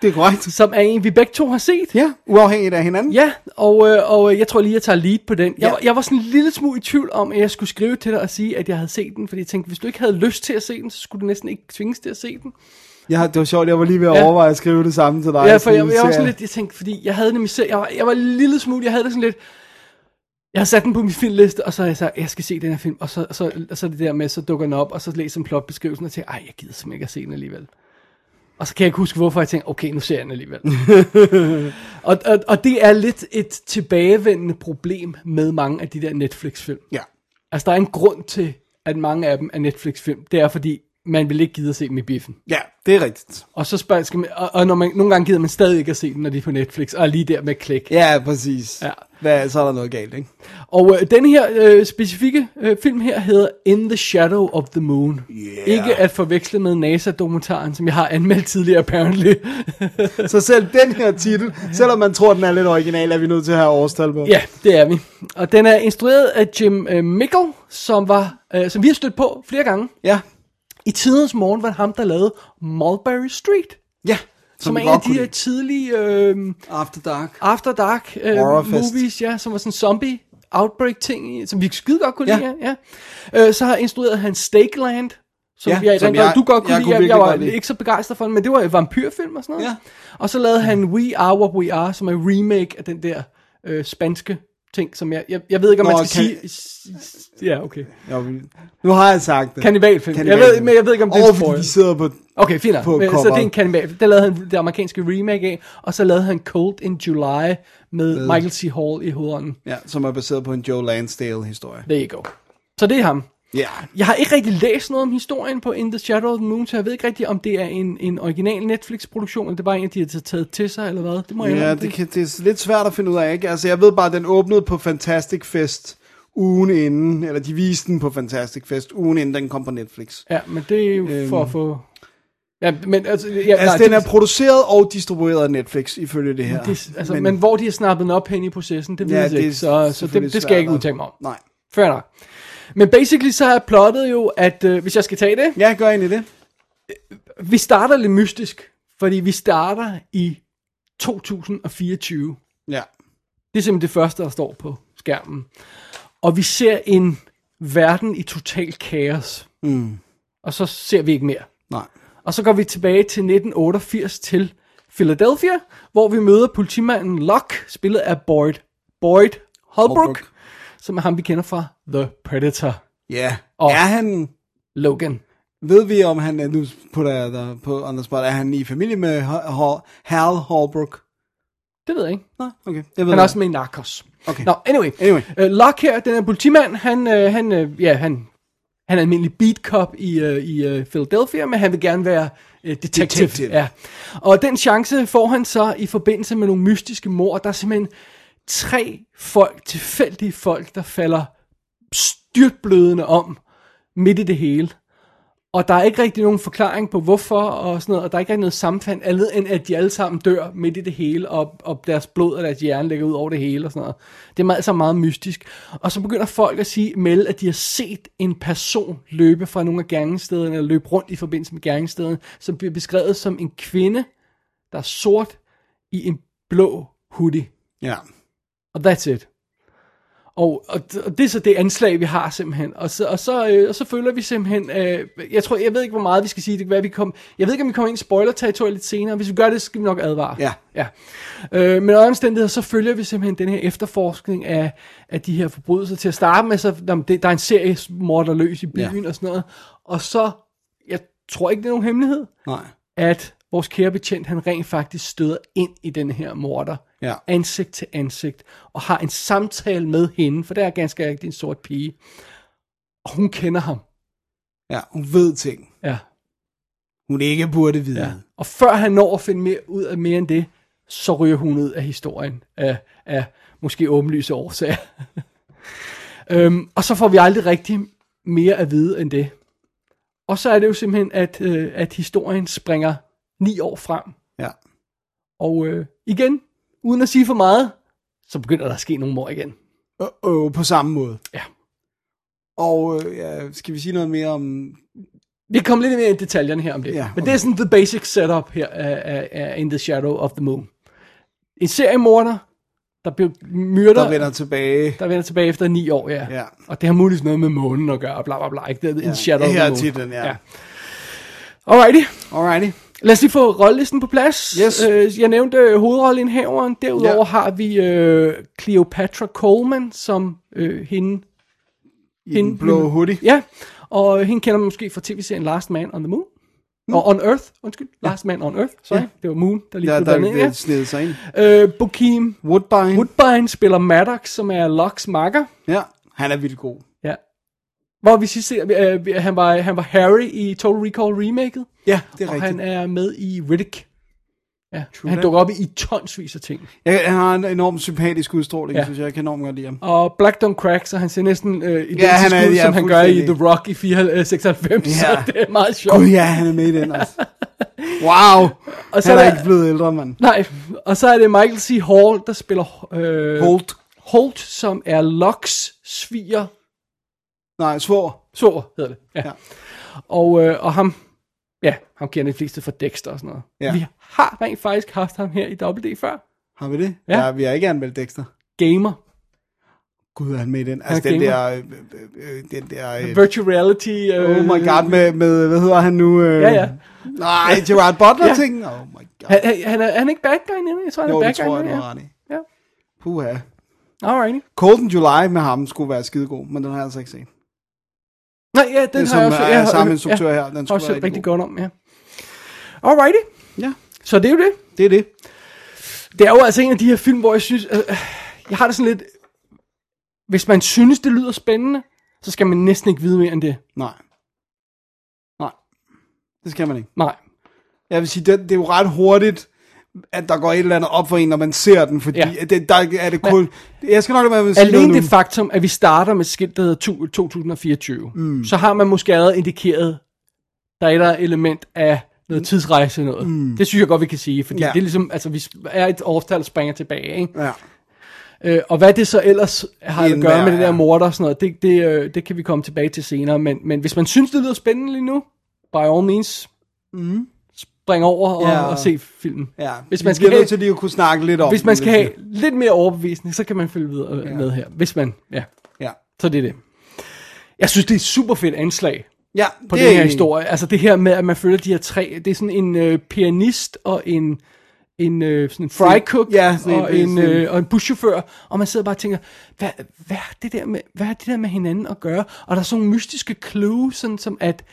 Det er korrekt.
som er en, vi begge to har set.
Ja, uafhængigt af hinanden.
Ja, og, øh, og øh, jeg tror lige, jeg tager lead på den.
Ja.
Jeg, ja. jeg var sådan en lille smule i tvivl om, at jeg skulle skrive til dig og sige, at jeg havde set den. Fordi jeg tænkte, hvis du ikke havde lyst til at se den, så skulle du næsten ikke tvinges til at se den.
Jeg, har- det var sjovt, jeg var lige ved at
Ja.
overveje at skrive det samme til dig.
Ja, for
sådan
jeg,
en
jeg var
serie.
sådan lidt, jeg tænkte, fordi jeg havde nemlig selv, jeg var, jeg var en lille smule, jeg havde det sådan lidt, Jeg har sat den på min filmliste, og så er jeg så, jeg skal se den her film, og så, og så, og så er det der med, så dukker den op, og så læser jeg plotbeskrivelsen, og tænker, ej, jeg gider simpelthen ikke at se den alligevel. Og så kan jeg ikke huske, hvorfor jeg tænker, okay, nu ser jeg den alligevel. og, og, og det er lidt et tilbagevendende problem med mange af de der Netflix-film.
Ja.
Altså, der er en grund til, at mange af dem er Netflix-film. Det er, fordi man vil ikke gide at se dem i biffen.
Ja, det er rigtigt.
Og så spørger, skal man, og, og når man, nogle gange gider man stadig ikke at se dem, når de er på Netflix, og er lige der med klik.
Ja, præcis.
Ja.
Hvad, så er der noget galt, ikke?
Og øh, den her øh, specifikke øh, film her hedder In the Shadow of the Moon.
Yeah.
Ikke at forveksle med NASA-dokumentaren, som jeg har anmeldt tidligere, apparently.
Så selv den her titel, selvom man tror, den er lidt original, er vi nødt til at have årstal på.
ja, det er vi. Og den er instrueret af Jim øh, Mickle, som, var, øh, som vi har stødt på flere gange.
Ja.
I tidens morgen var det ham, der lavede Mulberry Street,
Ja.
som, som
vi
er en af
godt
de
kunne
her
lide.
tidlige øh,
After Dark.
After Dark øh,
Horrorfest.
movies, ja, som var sådan zombie outbreak ting, i, som vi skide godt kunne
Ja.
lide. Ja. Øh, så har instrueret han Stakeland, som,
Ja,
ja, jeg,
som
som jeg,
jeg-
du godt kunne
jeg
lide.
kunne
jeg, jeg
virkelig
var
godt lide.
ikke så begejstret for den, men det var en vampyrfilm og sådan noget.
Ja.
Og så lavede han We Are What We Are, som er en remake af den der øh, spanske ting, som jeg, jeg, jeg ved ikke, om
Nå,
man skal
kan-
sige... s- s- Ja, okay.
Jo, vi- nu har jeg sagt det.
Kannibalfilm. Jeg
Kannibalfilm.
ved- men jeg ved ikke, om det er
Åh,
en
fordi
spoil.
de sidder på...
Okay, fint nok.
På
Men, Så det er
coveret.
en kandidat. Der lavede han det amerikanske remake af, og så lavede han Cold in July med Michael C. Hall i hovedånden.
Ja, som er baseret på en Joe Lansdale-historie.
There you go. Så det er ham.
Ja.
Jeg har ikke rigtig læst noget om historien på In the Shadow of the Moon, så jeg ved ikke rigtig, om det er en, en original Netflix-produktion, eller det er bare en, de har taget til sig, eller hvad. Det må jeg
Ja,
indrømme.
det, kan, det er lidt svært at finde ud af, ikke? Altså, jeg ved bare, at den åbnede på Fantastic Fest ugen inden, eller de viste den på Fantastic Fest ugen inden den kom på Netflix.
Ja, men det er jo øhm. for at få... Ja, men altså... Ja,
Altså,
nej,
den
det-
er produceret og distribueret af Netflix, ifølge det her.
det, altså, men, men hvor de har snappet den op hen i processen, det ved
Ja,
jeg
det er
ikke, så, så det,
selvfølgelig
det skal jeg ikke
svært at-
udtale mig om.
Nej.
Fair nok. Men basically så er plottet jo, at øh, hvis jeg skal tage det,
Jeg gør egentlig det.
vi starter lidt mystisk, fordi vi starter i 2024.
Ja.
Det er simpelthen det første, der står på skærmen. Og vi ser en verden i total kaos. Mm. Og så ser vi ikke mere.
Nej.
Og så går vi tilbage til 1988 til Philadelphia, hvor vi møder politimanden Locke, spillet af Boyd, Boyd Holbrook,
Holbrook.
Holbrook, som er ham, vi kender fra The Predator,
Ja.
Og-
Er han...
Logan.
Ved vi, om han... er- Nu putter jeg dig på on the spot. Er han i familie med Hal- Hal, Hal Holbrook?
Det ved jeg ikke.
Nej, okay. Jeg ved
Han
det.
er også med i Narcos.
Okay.
Nå, anyway.
Anyway.
Uh, Locke her, den her politimand, han, uh, han, uh, ja, han, han er almindelig beat cop i, uh, i uh, Philadelphia, men han vil gerne være uh, detective.
Detective.
Ja. Og den chance får han så i forbindelse med nogle mystiske mord. Der er simpelthen tre folk, tilfældige folk, der falder styrtblødende om midt i det hele. Og der er ikke rigtig nogen forklaring på hvorfor og sådan noget, og der er ikke rigtig noget sammenfald andet end at de alle sammen dør midt i det hele, og, og deres blod og deres hjerne ligger ud over det hele og sådan noget. Det er meget, altså meget mystisk. Og så begynder folk at sige, melde, at de har set en person løbe fra nogle af gerningsstederne, eller løbe rundt i forbindelse med gerningsstederne, som bliver beskrevet som en kvinde, der er sort i en blå hoodie.
Ja.
Og that's it. Og, og, og det er så det anslag, vi har simpelthen. Og så, og så, øh, og så følger vi simpelthen... Øh, jeg tror, jeg ved ikke, hvor meget vi skal sige. Det kan være, vi kom, jeg ved ikke, om vi kommer ind i spoiler-territoriet lidt senere. Hvis vi gør det, så skal vi nok advare.
Ja.
ja. Øh, men under omstændigheder, så følger vi simpelthen den her efterforskning af, af de her forbrydelser. Til at starte med, så nå, men det, der er en serie morder løs i byen ja. og sådan noget. Og så... Jeg tror ikke, det er nogen hemmelighed,
Nej.
at vores kære betjent, han rent faktisk støder ind i den her morder.
Ja.
Ansigt til ansigt. Og har en samtale med hende, for det er ganske rigtigt en sort pige. Og hun kender ham.
Ja, hun ved ting,
Ja.
hun ikke burde vide. Ja.
Og før han når at finde mere ud af mere end det, så ryger hun ud af historien af, af måske åbenlyse årsager. øhm, og så får vi aldrig rigtig mere at vide end det. Og så er det jo simpelthen, at, øh, at historien springer ni år frem.
ja.
Og øh, igen, uden at sige for meget, så begynder der at ske nogle mor igen.
Uh-oh, på samme måde.
Ja.
Og øh, ja, skal vi sige noget mere om...
Vi kommer lidt mere ind i detaljerne her om det.
Ja,
Men det
okay.
er sådan the basic setup her af, af, af In the Shadow of the Moon. En seriemorder, der bliver myrder,
Der vender tilbage.
der vender tilbage efter ni år, ja.
Ja.
Og det har muligvis noget med månen at gøre, og bla bla bla. Ikke? Det er In the Shadow
her
of the
er
Moon.
titlen, ja.
Alrighty.
Alrighty.
Lad os lige få rollelisten på plads.
Yes.
Øh, jeg nævnte øh, hovedrollenhaveren. Derudover
Ja.
har vi øh, Cleopatra Coleman som øh, hende.
I den blå hoodie.
Ja, og hende kender man måske fra tv-serien Last Man on the Moon. Mm. Og On Earth, undskyld. Last Man on Earth, sorry.
Ja.
Det var Moon, der lige
Ja,
blev
der Mm.
blandet ind,
er snedet sig ind.
ja. øh, Bokeem
Woodbine. Wood.
Woodbine spiller Maddox, som er Locks makker.
Ja, han er vildt god.
Ja. Hvor vi sidst ser, øh, vi- han, var, han var Harry i Total Recall remaket,
Ja, det er
og
rigtigt.
han er med i Riddick. Ja, True han
that.
dukker op i tonsvis af ting.
Jeg, han har en enormt sympatisk udstråling,
Ja.
ja. synes jeg. Jeg kan enormt godt lide ham.
Og Black Don't Crack, så han ser næsten øh, identisk
Ja, han
han
er-
er, ud,
ja,
som han gør i
fuldstændig.
The Rock i 94, øh, 96, ja.
Ja.
så det er meget sjovt.
Gud Oh, ja, han er med i den, altså. Wow!
og så
han er
der-
ikke blevet ældre, mand.
Nej, og så er det Michael C. Hall, der spiller øh,
Holt.
Holt, som er Locks sviger,
Nej, svor.
så hedder det. Ja.
Ja.
ja. Og, øh, og ham, ja, ham kender de fleste fra Dexter og sådan noget.
Ja.
Vi har rent faktisk haft ham her i WD før.
Har vi det?
Ja.
Ja. ja vi har ikke anmeldt Dexter.
Gamer,
Gud, er han med i den. Altså,
Han
den
gamer.
der... Øh, øh, øh, den der øh,
virtual reality. Øh,
oh my god, med, med... Hvad hedder han nu? Øh,
Ja, ja.
Nej, Gerard Butler-ting. Oh my god.
Han, han- han, er, han er ikke bad guy endnu, jeg tror, han
Jo,
er bad
det
guy
tror jeg, du
endnu,
har
ja.
ret i.
Ja.
Puha.
Alrighty.
Cold in July med ham skulle være skidegod, men den har jeg altså ikke set.
Nej, ja, den
Det er
har jeg
som
også.
er
jeg har-
samme instruktør her. Den
også
skulle være
rigtig,
rigtig
rigtig
god.
godt om, ja. Alrighty,
Ja,
så det er jo det.
det er det.
Det er jo altså en af de her film, hvor jeg synes, øh, jeg har det sådan lidt, hvis man synes, det lyder spændende, så skal man næsten ikke vide mere end det.
Nej. Nej. Det skal man ikke.
Nej.
Jeg vil sige, det, det er jo ret hurtigt, at der går et eller andet op for en, når man ser den, fordi
Ja.
ja. det, der er det kun... jeg skal nok lade være med at sige noget
Alene
nu.
det faktum, at vi starter med et skilt, der hedder tu- 2024, mm. så har man måske allerede indikeret, der er et eller andet element af noget tidsrejse noget. Mm. Det synes jeg godt, vi kan sige, fordi ja.
Ja.
det er ligesom, altså vi er et årstal, der springer tilbage, ikke?
Ja.
Øh, og hvad det så ellers har at
Indebærer,
gøre med det der
ja.
morder og sådan noget, det, det, øh, det kan vi komme tilbage til senere. Men, men hvis man synes, det lyder spændende lige nu, by all means, mm. spring over og,
Ja.
og se filmen.
ja.
Hvis
Vi
man
bliver
skal have,
nødt til lige at kunne snakke lidt om
hvis man
den,
skal have lidt mere overbevisning, så kan man følge videre ja. med her. Hvis man, ja,
Ja,
så det er det. Jeg synes, det er et super fedt anslag
ja
på
det
den
er
her
egentlig-
historie. Altså det her med, at man følger de her tre. Det er sådan en øh, pianist og en, en øh, sådan en fry cook
Ja, sådan en-
og, en,
sådan en-
øh, og en buschauffør. Og man sidder bare og tænker, hvad, hvad, er det der med, hvad er det der med hinanden at gøre? Og der er sådan nogle mystiske clues, sådan som at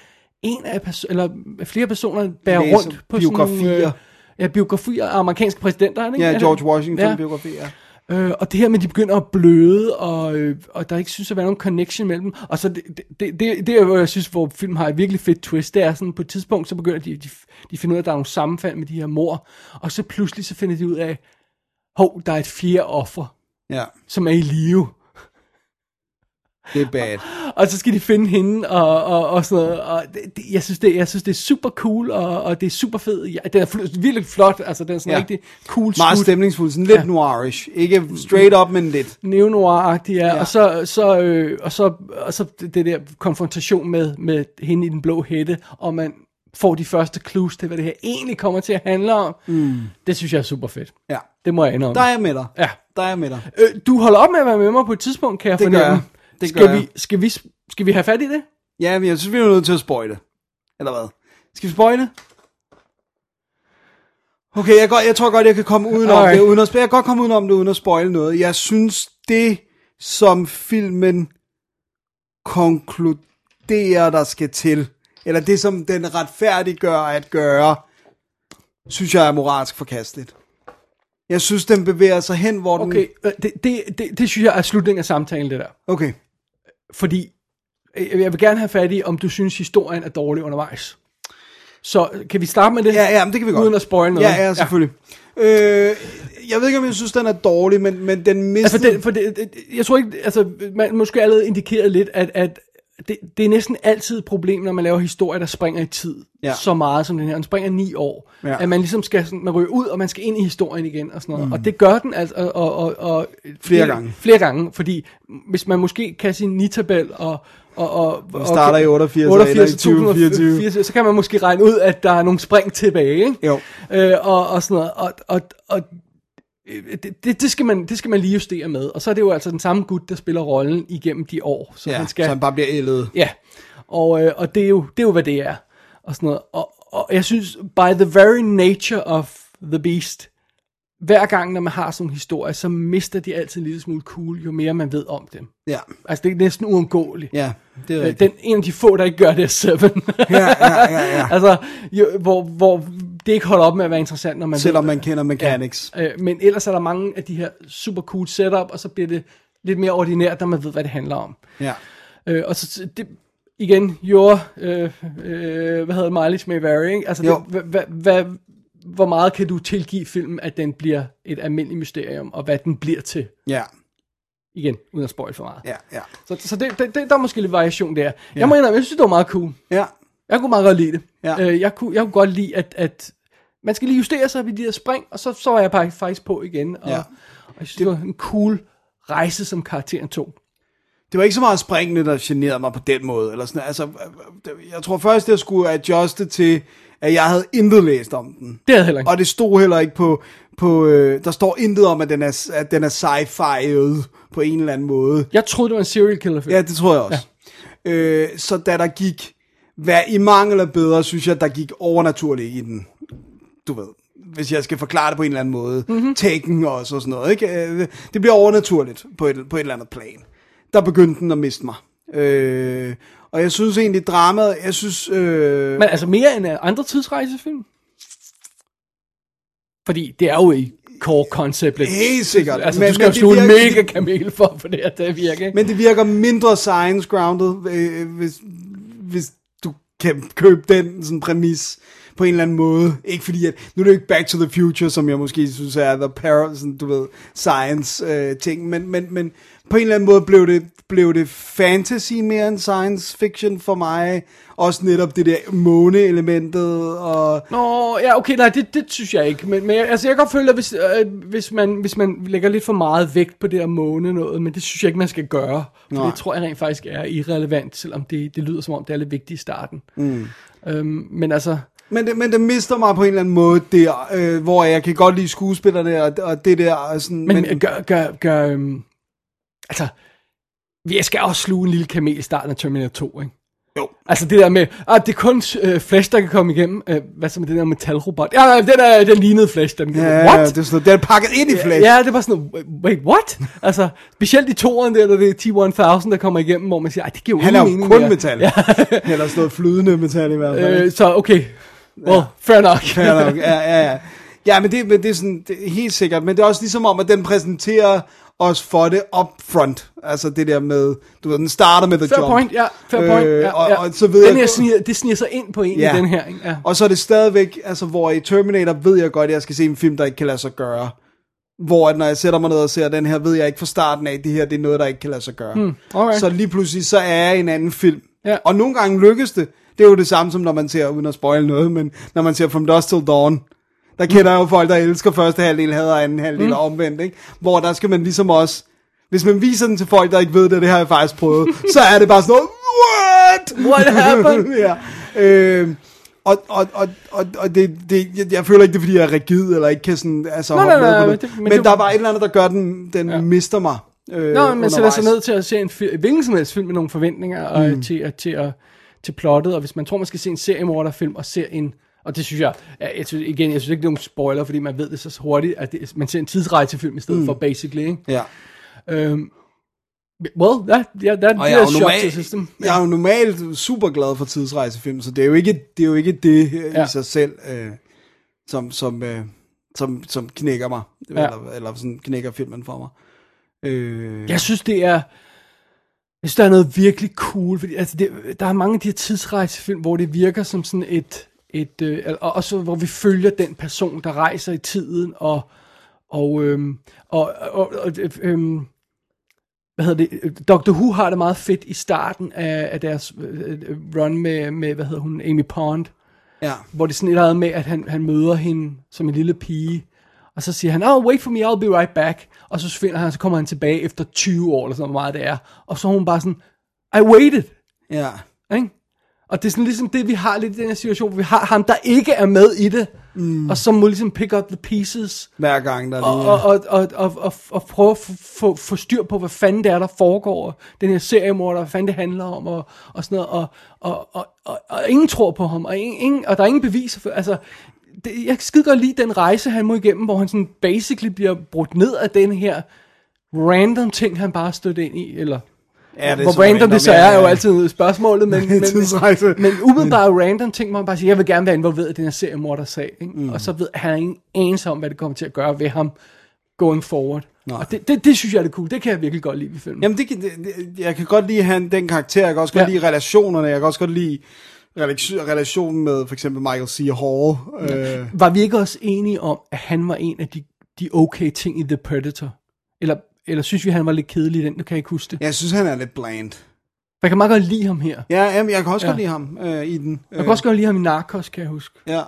en af perso- eller flere personer bærer
Læser
rundt på sådan nogle... øh,
biografier.
ja, biografier af amerikanske præsidenter. Ikke? Altså,
Ja,
Er det-
George Washington-biografi, ja.
Øh, og det her med, at de begynder at bløde, og, øh, og der ikke synes at være nogen connection mellem dem. Og så det, det, det, det, det er, hvor jeg synes, hvor filmen har et virkelig fedt twist, det er sådan, på et tidspunkt, så begynder de, de, de finder ud af, at der er nogle sammenfald med de her mor, og så pludselig så finder de ud af, hov, der er et fjerde offer,
Ja,
som er i live.
det er bad.
Og så skal de finde hende, og, og, og sådan noget. Og det, det, jeg, synes, det, jeg synes, det er super cool, og, og det er super fedt. Ja, den er fl- virkelig flot, altså den er sådan ja.
Ja.
rigtig cool
Meget
skudt.
stemningsfuld, sådan lidt
Ja.
ja. noirish. Ikke straight up, men lidt.
neonoir-agtig, ja.
Ja.
Og så, så, øh, og så, og så det det der konfrontation med, med hende i den blå hætte, og man får de første clues til, hvad det her egentlig kommer til at handle om. Mm. Det synes jeg er super fedt.
Ja.
Det må jeg indrømme.
Der er jeg med dig.
Ja.
Der er jeg med dig.
Øh, du holder op med at være med mig på et tidspunkt, kan jeg
Det gør
fornemme.
jeg. Det gør
skal, vi,
jeg.
skal, vi, skal vi have fat i det?
Ja, men jeg synes, vi er nødt til at spøjte. Eller hvad? Skal vi spøjte? Okay, jeg, godt, jeg tror godt, jeg kan komme udenom
Alright.
det. Uden at, sp- jeg kan godt komme udenom det, uden at spoile noget. Jeg synes, det som filmen konkluderer, der skal til, eller det som den retfærdiggør at gøre, synes jeg er moralsk forkasteligt. Jeg synes, den bevæger sig hen, hvor den...
Okay, øh, det, det, det, det synes jeg er slutningen af samtalen, det der.
Okay.
Fordi øh, jeg vil gerne have fat i, om du synes, historien er dårlig undervejs. Så kan vi starte med det?
Ja, ja, men det kan vi godt.
Uden at spoil noget.
Ja, ja, selvfølgelig. Ja. Øh, jeg ved ikke, om jeg synes, den er dårlig, men, men den
Altså,
mistede...
det, for det, det, jeg tror ikke, altså, man måske allerede indikeret lidt, at, at det, det er næsten altid et problem, når man laver historier, der springer i tid ja.
Ja.
så meget som den her. Den springer ni år. Ja.
Ja.
At man ligesom skal sådan, man ryger ud, og man skal ind i historien igen og sådan noget. Mm. Og det gør den altså, og, og, og, og
Flere gange.
Flere gange, fordi hvis man måske kan sin ni-tabel og og, og, og
starter i 88 og
88
ender i 2024.
2024, så kan man måske regne ud, at der er nogle spring tilbage, ikke?
Jo.
Øh, og, og sådan noget. Og, og, og øh, det, det, det, skal man, det skal man lige justere med. Og så er det jo altså den samme gut, der spiller rollen igennem de år. Så
ja,
han skal...
så han bare bliver ældet.
Ja, og, øh, og det, er jo, det er jo, hvad det er. Og sådan noget. Og, og jeg synes, by the very nature of the beast, hver gang, når man har sådan en historie, så mister de altid en lille smule cool, jo mere man ved om dem.
Ja,
Altså, det er næsten uundgåeligt.
ja, det er
Øh,
rigtigt.
Den, en af de få, der ikke gør det, er Seven.
Ja, ja, ja, ja.
altså, jo, hvor, hvor det ikke holder op med at være interessant, når man
Selvom
ved det.
man kender mechanics.
Øh, men ellers er der mange af de her super cool setup, og så bliver det lidt mere ordinært, når man ved, hvad det handler om.
Ja,
Øh, og så det, igen, your, øh, øh, hvad hedder det, mileage may vary, ikke? Altså,
Jo.
det, hva, hva, hva, hvor meget kan du tilgive filmen, at den bliver et almindeligt mysterium, og hvad den bliver til?
ja,
Igen, uden at spoil for meget.
ja, ja.
Så, så det, det, det, der er måske lidt variation der. Jeg må indrømme, jeg synes, det var meget cool.
Ja,
Jeg kunne meget godt lide det.
Ja.
Øh, jeg, kunne, jeg kunne godt lide, at, at man skal lige justere sig ved de der spring, og så, så var jeg bare faktisk på igen. Og,
Ja.
og jeg synes, det, det var en cool rejse, som karakteren tog.
det var ikke så meget springene, der generede mig på den måde. Eller sådan. Altså, det- jeg tror først, jeg skulle adjuste til, at jeg havde intet læst om den.
Det havde jeg heller ikke.
Og det stod heller ikke på... på øh, der står intet om, at den er, at den er sci-fi'et på en eller anden måde.
Jeg troede, det var en serial killer film.
Ja, det tror jeg også. Ja. Øh, så da der gik, hvad i mangel af bedre, synes jeg, der gik overnaturligt i den. Du ved, hvis jeg skal forklare det på en eller anden måde. Mm-hmm. Taken også og sådan noget. Ikke? Øh, Det bliver overnaturligt på et, på et eller andet plan. Der begyndte den at miste mig. Øh, og jeg synes egentlig, dramaet, jeg synes... Øh,
Men altså mere end øh, andre tidsrejsefilm. Fordi det er jo i core concept. lidt.
Helt sikkert.
Altså,
Men-
men, du skal
men
jo
det
sluge en
virker-
mega kamel for, for det her til at virke. ikke?
Men det virker mindre science grounded, øh, hvis, hvis du kan købe den sådan præmis på en eller anden måde. Ikke fordi, at, nu er det jo ikke Back to the Future, som jeg måske synes er the para, sådan, du ved, science øh, ting, men, men, men på en eller anden måde blev det, blev det fantasy mere end science fiction for mig. Også netop det der måne-elementet, og
Nå, ja, okay, nej, det, det synes jeg ikke. Men, men jeg- altså, jeg kan godt føle, at hvis, øh, hvis, man, hvis man lægger lidt for meget vægt på det at måne noget, men det synes jeg ikke, man skal gøre. For
Nej.
det tror jeg rent faktisk er irrelevant, selvom det, det lyder som om, det er lidt vigtigt i starten. Mm. Øhm, men altså,
Men det, men det mister mig på en eller anden måde der, øh, hvor jeg kan godt lide skuespillerne og, og det der. Og sådan,
men, men gør, gør, gør øhm, altså, vi skal også sluge en lille kamel i starten af Terminator 2, ikke? Jo. Altså det der med, ah, det er kun øh, Flash, der kan komme igennem. Øh, hvad så med den der metalrobot? Ja, nej, den, er, den lignede Flash. Den,
ja,
what?
Det er, sådan, det er pakket ind i flæsk.
Ja, det var sådan, noget, wait, what? altså, specielt i toeren der, når det er T-1000, der kommer igennem, hvor man siger, ej, det giver jo
Han er
ingen
jo
mening
kun
mere."
metal. Ja. Eller sådan noget flydende metal i hvert fald.
Øh, så okay, well, fair nok.
Ja, nok. ja, ja, ja. ja men, det, men det er sådan, det er helt sikkert. Men det er også ligesom om, at den præsenterer os for det up front. Altså det der med, du ved, den starter med the
Fair
jump.
point, ja, fair point.
Øh,
ja,
og-
ja.
og så ved
den
jeg-
her sniger, det sniger sig ind på en
Ja.
i den her, ikke? Ja.
Og så er det stadigvæk, altså hvor i Terminator ved jeg godt, at jeg skal se en film, der ikke kan lade sig gøre. Hvor at når jeg sætter mig ned og ser den her, ved jeg ikke fra starten af, at det her det er noget, der ikke kan lade sig gøre. Hmm,
alright.
Så lige pludselig, så er jeg i en anden film.
Ja.
Og nogle gange lykkes det. Det er jo det samme som når man ser, uden at spoil noget, men når man ser From Dusk Till Dawn,
Hmm.
der kender jeg jo folk, der elsker første halvdel, hader anden halvdel mm. og omvendt, ikke? Hvor der skal man ligesom også, hvis man viser den til folk, der ikke ved det, det har jeg faktisk prøvet, så er det bare sådan noget, what?
What happened?
ja. Øh, og, og, og, og, og det, det, jeg, jeg føler ikke, det er, fordi jeg er rigid, eller ikke kan sådan, altså,
Nej,
hoppe
nej,
med
nej,
på
men
det.
det- men
Men,
det er jo-
der er bare et eller andet, der gør, den, den ja. mister mig. Øh,
Nå, men man sætter sig
undervejs.
ned til at se en fi- hvilken som helst film med nogle forventninger og mm. til, at, til, at, til plottet, og hvis man tror, man skal se en seriemorderfilm og ser en og det synes jeg, ja, jeg synes, igen, jeg synes ikke, det er nogen spoiler, fordi man ved det så hurtigt, at det, man ser en tidsrejsefilm i stedet mm. for, basically, ikke?
Ja.
Øhm, well, that, yeah, that,
Og
that
jeg, er
is
jo
shock to the
normalt,
system.
jeg er jo normalt super glad for tidsrejsefilm, så det er jo ikke det, er jo ikke det ja.
Ja.
i sig selv, øh, som, som, øh, som, som knækker mig,
Ja.
eller, eller sådan knækker filmen for mig. Øh,
Jeg synes, det er... Jeg synes, der er noget virkelig cool, fordi altså, det, der er mange af de her tidsrejsefilm, hvor det virker som sådan et... et øh, og også hvor vi følger den person, der rejser i tiden, og... Og, øhm, og, og, og øhm, hvad hedder det, Doctor Who har det meget fedt i starten af, af deres øh, øh, run med, med, hvad hedder hun, Amy Pond,
ja.
hvor det er sådan et eller andet med, at han, han møder hende som en lille pige, og så siger han, oh, wait for me, I'll be right back, og så forsvinder han, og så kommer han tilbage efter 20 år, eller sådan hvor meget det er, og så er hun bare sådan, I waited,
ja.
ikke? Og det er sådan ligesom det, vi har lidt i den her situation, hvor vi har ham, der ikke er med i det, mm. og som må ligesom pick up the pieces,
Hver gang der er
og,
lige...
og, og, og, og, og, og prøve at få- få- få styr på, hvad fanden det er, der foregår, og den her seriemorder, hvad fanden det handler om, og, og sådan noget, og, og, og, og, og ingen tror på ham, og, ingen, ingen, og der er ingen beviser for, altså, det, jeg kan skide godt lide den rejse, han må igennem, hvor han sådan basically bliver brudt ned af den her random ting, han bare stødt ind i, eller
Ja,
Ja,
det er
hvor
så
random,
random,
det så
ja,
er,
ja,
er jo
ja.
altid spørgsmålet, men, men,
Tidsrejse.
men umiddelbart random ting, hvor man bare siger, jeg vil gerne være involveret i den her seriemorder-sag, ikke? Mm. og så ved han ingen anelse om, hvad det kommer til at gøre ved ham going forward.
Nej.
Og det, det, det synes jeg er det cool, det kan jeg virkelig godt lide ved filmen.
Jamen, det, kan- det, det, jeg kan godt lide han, den karakter, jeg kan også godt
Ja.
ja. lide relationerne, jeg kan også godt lide relation- relationen med for eksempel Michael C. Hall. Ja. Øh,
Var vi ikke også enige om, at han var en af de, de okay ting i The Predator? Eller, eller synes vi, han var lidt kedelig i den? Nu kan jeg ikke huske det.
jeg synes, han er lidt bland.
Jeg kan meget godt lide ham her.
Ja, jamen, jeg kan også ja. godt
Ja.
lide ham øh, i den. Øh,
Jeg kan også godt lide ham i Narcos, kan jeg huske.
Ja.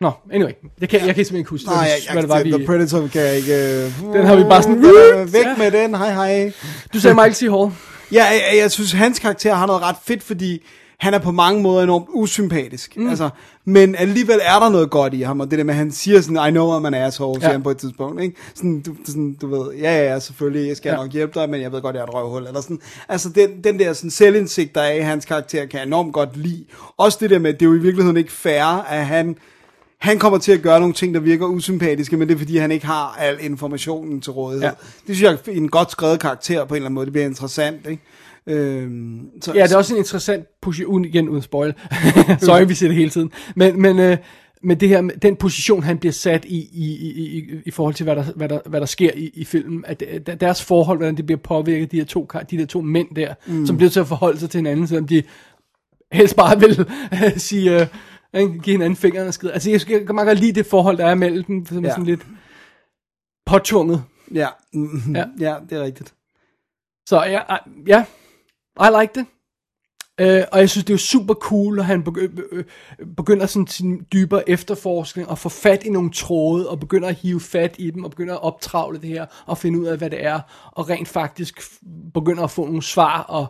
Nå, anyway. Det kan, jeg kan simpelthen ikke huske,
Nej, jeg, jeg,
hvad det var,
The
vi...
Predator kan jeg ikke... Øh,
Den har vi bare sådan-
Øh, væk med den, hej hej.
Du sagde Michael C. Hall.
Ja, jeg, jeg synes, hans karakter har noget ret fedt, fordi han er på mange måder enormt usympatisk. Mm. Altså, men alligevel er der noget godt i ham, og det der med, at han siger sådan, I know I'm an asshole, siger
Ja.
han på et tidspunkt. Ikke? Sådan, du, sådan, du ved, ja, ja, ja, selvfølgelig, jeg skal
Ja.
ja. nok hjælpe dig, men jeg ved godt, jeg er et røvhul. Eller sådan. Altså, den, den der sådan, selvindsigt, der er i hans karakter, kan jeg enormt godt lide. Også det der med, at det er jo i virkeligheden ikke fair, at han han kommer til at gøre nogle ting, der virker usympatiske, men det er fordi, han ikke har al informationen til rådighed.
Ja.
Ja. Det synes jeg er en godt skrevet karakter på en eller anden måde. Det bliver interessant, ikke? Øhm, så,
Ja, det er også en interessant position, uden- igen uden spoil. Sorry, vi siger det hele tiden. Men, men, øh, men det her, med den position, han bliver sat i, i, i, i, i forhold til, hvad der, hvad der, hvad der sker i, i filmen, at de- deres forhold, hvordan det bliver påvirket, de her to, kar- de der to mænd der, mm. som bliver til at forholde sig til hinanden, selvom de helst bare vil sige, øh, ikke, give hinanden fingeren og skide. Altså, jeg jeg kan meget godt lide det forhold, der er mellem dem, som ja. er
Ja.
sådan lidt påtunget.
Ja, mm,
Ja.
ja. ja, det er rigtigt.
Så ja, ej, ja, I like det. Øh, og jeg synes, det er jo super cool, at han begy- øh, begynder sådan sin dybere efterforskning og får fat i nogle tråde og begynder at hive fat i dem og begynder at optravle det her og finde ud af, hvad det er og rent faktisk f- begynder at få nogle svar, og,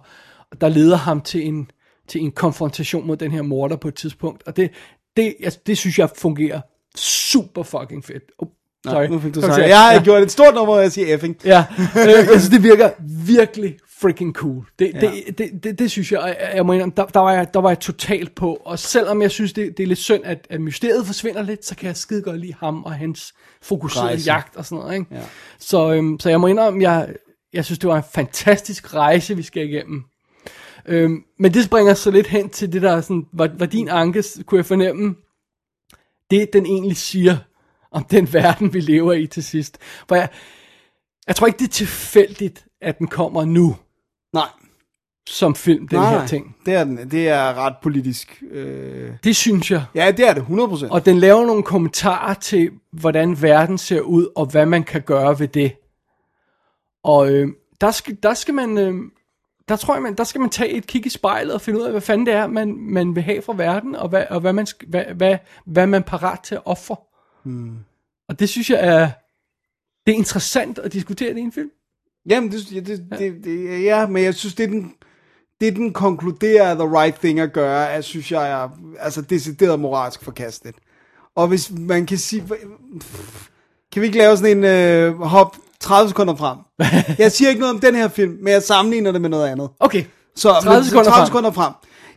og der leder ham til en, til en konfrontation mod den her morder på et tidspunkt. Og det, det, altså, det synes jeg fungerer super fucking fedt. Oh, sorry.
Nu fik du
Kom
sagt,
til-
jeg har gjort et stort nummer, af at sige effing.
Ja, øh, altså det virker virkelig freaking cool. Det, det, det, det, det, det synes jeg, og jeg, jeg må indrømme, der, der, var jeg, der var jeg totalt på. Og selvom jeg synes, det, det er lidt synd, at, at mysteriet forsvinder lidt, så kan jeg skide godt lide ham og hans fokuserede
Rejse.
jagt og sådan noget. Ikke? Ja. Så, øhm, så jeg må indrømme, jeg, jeg synes, det var en fantastisk rejse, vi skal igennem. Øhm, men det bringer os så lidt hen til det, der sådan, var, var din anke, kunne jeg fornemme, det den egentlig siger om den verden, vi lever i til sidst. For jeg, jeg tror ikke, det er tilfældigt, at den kommer nu
Nej,
som film, den
nej,
her
nej.
ting.
Det, er den, det er ret politisk. Øh,
Det synes jeg.
ja, det er det, 100%.
Og den laver nogle kommentarer til, hvordan verden ser ud, og hvad man kan gøre ved det. Og øh, der, skal, der skal man... Øh, der tror jeg, man, der skal man tage et kig i spejlet og finde ud af, hvad fanden det er, man, man vil have fra verden, og hvad, og hvad man, sk- hvad, hvad, hvad man er parat til at ofre. Hmm. Og det synes jeg er, det er interessant at diskutere det i en film.
Jamen, det, ja, det, det, det, ja, men jeg synes, det er den, det den konkluderer er the right thing at gøre, er, synes jeg er altså, decideret moralsk forkastet. Og hvis man kan sige... Kan vi ikke lave sådan en øh, hop 30 sekunder frem? Jeg siger ikke noget om den her film, men jeg sammenligner det med noget andet.
Okay,
Så,
30
men-
sekunder
30
frem.
sekunder frem.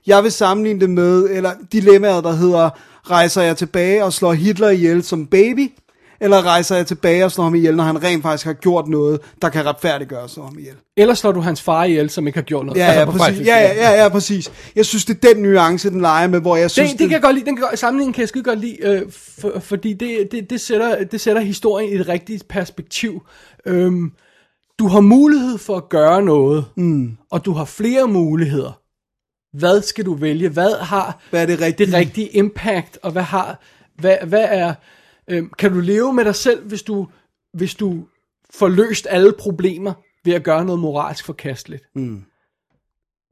Jeg vil sammenligne det med, eller dilemmaet, der hedder, rejser jeg tilbage og slår Hitler ihjel som baby, eller rejser jeg tilbage og slår ham ihjel, når han rent faktisk har gjort noget, der kan retfærdiggøre at slå ham ihjel.
Ellers slår du hans far ihjel, som ikke har gjort noget.
Ja,
Altså,
ja,
på
præcis.
faktisk-
Ja, ja, ja, ja, præcis. Jeg synes, det er den nuance, den leger med, hvor jeg synes...
Det, det kan jeg godt lide, den kan, godt- sammenligningen kan jeg skide godt lide, øh, for, fordi det, det, det, sætter, det sætter historien i et rigtigt perspektiv. Øhm, du har mulighed for at gøre noget, mm. og du har flere muligheder. Hvad skal du vælge? Hvad har
Hvad er det
det
rigtige?
rigtige impact, og hvad har, hvad, hvad er, øhm, kan du leve med dig selv, hvis du, hvis du får løst alle problemer ved at gøre noget moralsk forkasteligt? Mm.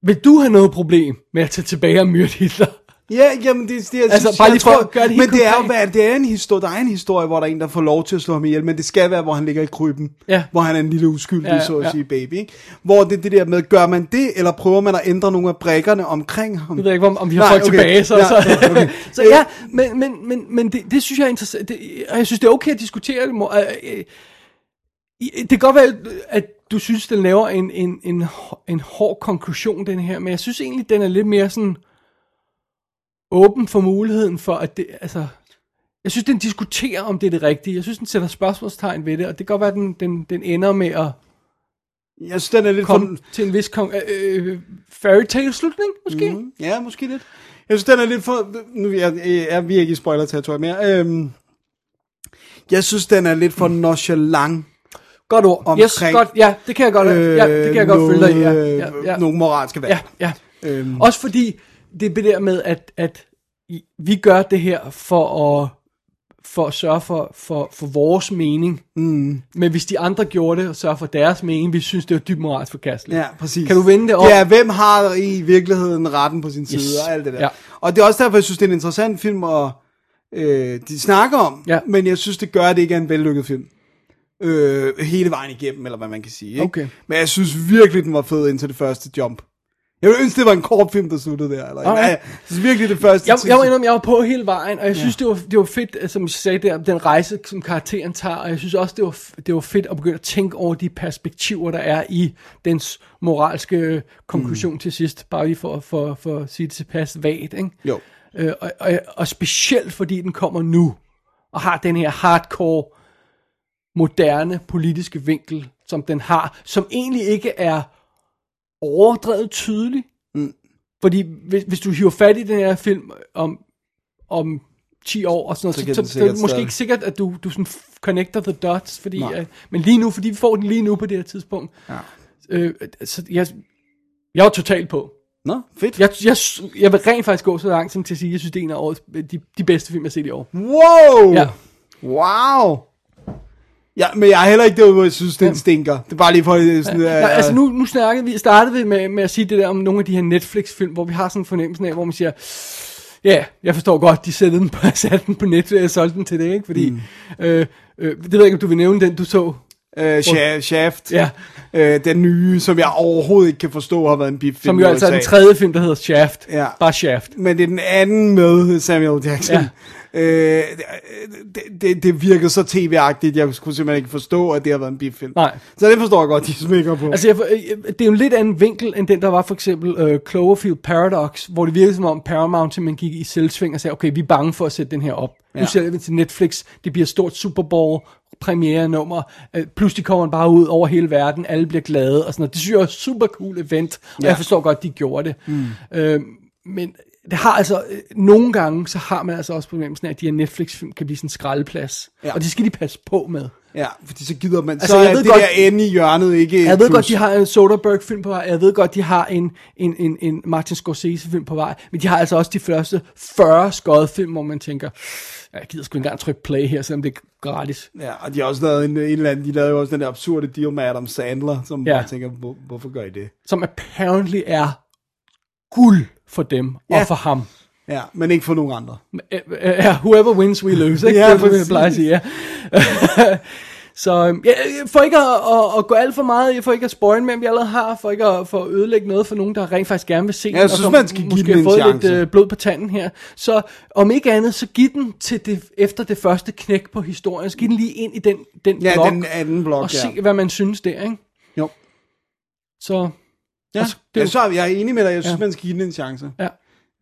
Vil du have noget problem med at tage tilbage og myrde Hitler?
Ja, jamen det, det, jeg,
Altså,
synes,
bare
jeg
lige for at gøre det helt
Men det er, jo,
konkret.
hvad, det er en historie, der er en historie, hvor der er en, der får lov til at slå ham ihjel, men det skal være, hvor han ligger i kryben,
Ja.
hvor han er en lille uskyldig,
Ja,
ja,
ja,
så at
ja.
sige, baby. Ikke? Hvor det er det der med, gør man det, eller prøver man at ændre nogle af brækkerne omkring ham?
Jeg ved ikke, om, om vi har
Nej,
folk
okay.
tilbage. Så,
Ja,
så,
ja, okay.
så ja, men, men, men, men det, det synes jeg er interessant. Det, og jeg synes, det er okay at diskutere det. Mor. Øh, øh, i- Det kan godt være, at du synes, den laver en, en, en, hår- en hård konklusion, den her. Men jeg synes egentlig, den er lidt mere sådan åben for muligheden for, at det... Altså, jeg synes, den diskuterer, om det er det rigtige. Jeg synes, den sætter spørgsmålstegn ved det, og det kan godt være, at den, den, den ender med at
Jeg synes, den er lidt for,
komme til en vis kon- øh, øh, fairy tale slutning, måske. Mm-hmm.
Ja, måske lidt. Jeg synes, den er lidt for... Nu er, er, er vi ikke i spoiler-territorie mere. Øhm, jeg synes, den er lidt for nonchalant
Godt ord.
Omkring,
yes, godt, ja, det kan jeg godt, øh, ja, det kan jeg godt følge dig i. Ja,
noget, øh,
ja, ja,
Nogle moralske valg.
ja, ja. Øhm. Også fordi det er det der med, at, at i- vi gør det her for at, for at sørge for, for, for vores mening. Mm. Men hvis de andre gjorde det og sørger for deres mening, vi synes, det er dybt moralsk forkasteligt.
Ja, præcis.
Kan du vende det om?
Ja, hvem har i virkeligheden retten på sin side
Yes.
og alt det der.
Ja.
Og det er også derfor, jeg synes, det er en interessant film, og øh, de snakker om,
Ja.
men jeg synes, det gør, at det ikke er en vellykket film. Øh, hele vejen igennem, eller hvad man kan sige. Ikke?
Okay.
Men jeg synes virkelig, den var fed indtil det første jump. Jeg ville ønske, det var en kort film, der sluttede der. Eller,
Alright.
okay. Jeg synes virkelig, det første...
jeg,
tid-
jeg var indrømme, jeg var på hele vejen, og jeg synes, det, var, det var fedt, øh, som jeg sagde der, den rejse, som karakteren tager, og jeg synes også, det var, f- det var fedt at begynde at tænke over de perspektiver, der er i dens moralske øh, konklusion mm. til sidst, bare lige for, for, for at sige det tilpas vagt, ikke?
Jo.
Øh, og, og, og specielt fordi den kommer nu, og har den her hardcore, moderne politiske vinkel, som den har, som egentlig ikke er overdrevet tydelig. Mm. Fordi hvis, hvis du hiver fat i den her film om, om 10 år og sådan
Så
noget,
kan
så,
den
så, så er det
sikkert
måske
stadig-
ikke sikkert, at du, du sådan f- connecter the dots, fordi,
Nej.
at, men lige nu, fordi vi får den lige nu på det her tidspunkt, ja. øh, så jeg, jeg er totalt på.
Nå, fedt.
Jeg, jeg, jeg vil rent faktisk gå så langt som til at sige, at jeg synes, det er en af årets, de, de bedste film, jeg har set i år.
Wow!
Ja.
Wow! Ja, men jeg er heller ikke derude, hvor jeg synes, den stinker. Det er bare lige for... øh, Sådan, ja,
Nej, altså nu, nu snakkede vi, startede vi med, med at sige det der om nogle af de her Netflix-film, hvor vi har sådan en fornemmelse af, hvor man siger, ja, yeah, jeg forstår godt, de sætte den på, satte den på Netflix og solgte den til det, ikke? Fordi, mm. øh, øh, det ved jeg ikke, om du vil nævne den, du så.
Øh, Sha- Shaft.
Ja.
Øh, den nye, som jeg overhovedet ikke kan forstå, har været en bifilm.
Som jo
i
altså er den
USA.
tredje film, der hedder Shaft.
Ja.
Bare Shaft.
Men det er den anden med Samuel Jackson.
Ja.
Ja. Øh, det, det, det virkede så tv-agtigt, jeg kunne simpelthen ikke forstå, at det har været en bifilm.
Nej.
Så det forstår jeg godt, de smækker på.
Altså, jeg, for- øh, det er jo en lidt anden vinkel, end den, der var for eksempel øh, Cloverfield Paradox, hvor det virkede som om Paramount man gik i selvsving og sagde, okay, vi er bange for at sætte den her op. Ja. Nu
Ja.
sælger vi den til Netflix, det bliver et stort Super Bowl premiere-nummer, øh, pludselig kommer den bare ud over hele verden, alle bliver glade og sådan noget. Det synes jeg er et super cool event, og ja.
Ja.
jeg forstår godt, de gjorde det. Mm. Øh, men det har altså, øh, nogle gange, så har man altså også problemet af, at de her Netflix-film kan blive sådan en skraldeplads, ja.
Ja.
og det skal de passe på med.
ja, fordi så gider man.
Altså,
så
jeg
er
ved
det
godt-
der ende i hjørnet ikke
Jeg
et
ved
plus.
godt, de har en Soderbergh-film på vej. Jeg ved godt, de har en, en, en, en Martin Scorsese-film på vej. Men de har altså også de første 40 skodfilm, hvor man tænker, "Ja, jeg gider sgu ikke engang trykke play her, selvom det er gratis.
Ja, og de har også lavet en, en eller anden, de lavede jo også den der absurde deal med Adam Sandler, som
Ja.
ja. jeg tænker, hvor, hvorfor gør I det?
Som apparently er guld for dem ja.
Ja.
og for ham.
Ja, men ikke for nogen andre.
Øh, øh, Ja, whoever wins, we lose. Ikke?
Ja,
det er det, jeg
præcis.
plejer at sige, ja. Så øhm, ja, for ikke at, at, at gå alt for meget, for ikke at spoil med, vi allerede har, for ikke at, for at ødelægge noget for nogen, der rent faktisk gerne vil se den,
jeg
og
synes,
som
man skal give
måske
den
har
en
fået lidt
chance.
øh, blod på tanden her. Så om ikke andet, så giv den til det, efter det første knæk på historien, så giv den lige ind i den, den
Ja,
blok,
den anden blok,
og
ja.
se, hvad man synes der, ikke?
Jo.
Så,
Ja,
Og
altså,
så- det er
det
jo-
jeg, så, jeg er enig med dig. Jeg synes,
Ja.
ja. man skal give den en chance.
Ja.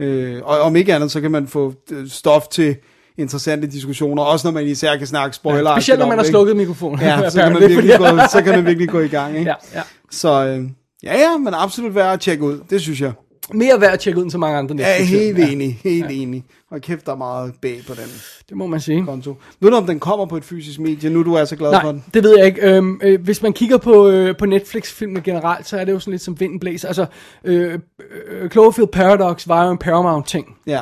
Øh, og om ikke andet, så kan man få øh, stof til interessante diskussioner, også når man især kan snakke spoiler.
specielt når man har slukket mikrofonen.
Ja, så kan, man
apparently,
virkelig
fordi-
gå, så kan man virkelig gå i gang. Ikke?
Ja, ja.
Så øh, ja, ja, men absolut værd at tjekke ud. Det synes jeg.
Mere værd at tjekke ud end så mange andre
Jeg er
Netflix-film.
helt enig, helt enig. Og kæft, der er meget bag på den
Det må man sige.
konto. Ved du, om den kommer på et fysisk medie? Nu er du altså glad for
Nej,
den.
det ved jeg ikke. Øhm, øh, hvis man kigger på, øh, på Netflix-filmene generelt, så er det jo sådan lidt som vinden blæser. Altså, øh, øh, Cloverfield Paradox var jo en Paramount-ting,
Ja.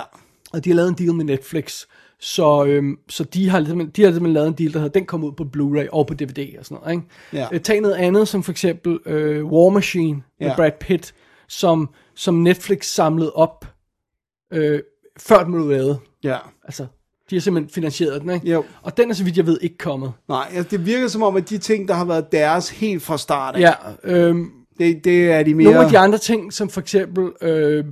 og de har lavet en deal med Netflix. Så, øhm, så de har ligesom, de har ligesom lavet en deal, der hedder, den kom ud på Blu-ray og på DVD og sådan noget. Ikke?
Ja.
Øh, tag noget andet, som for eksempel øh, War Machine med
Ja.
Brad Pitt, som, som Netflix samlede op øh, før den blev lavet.
Ja.
Altså, de har simpelthen finansieret den, ikke?
Jo.
Og den er, så vidt jeg ved, ikke kommet.
Nej, altså, det virker som om, at de ting, der har været deres helt fra start, af,
Ja, øhm,
det, det er de mere...
Nogle af de andre ting, som for eksempel øh,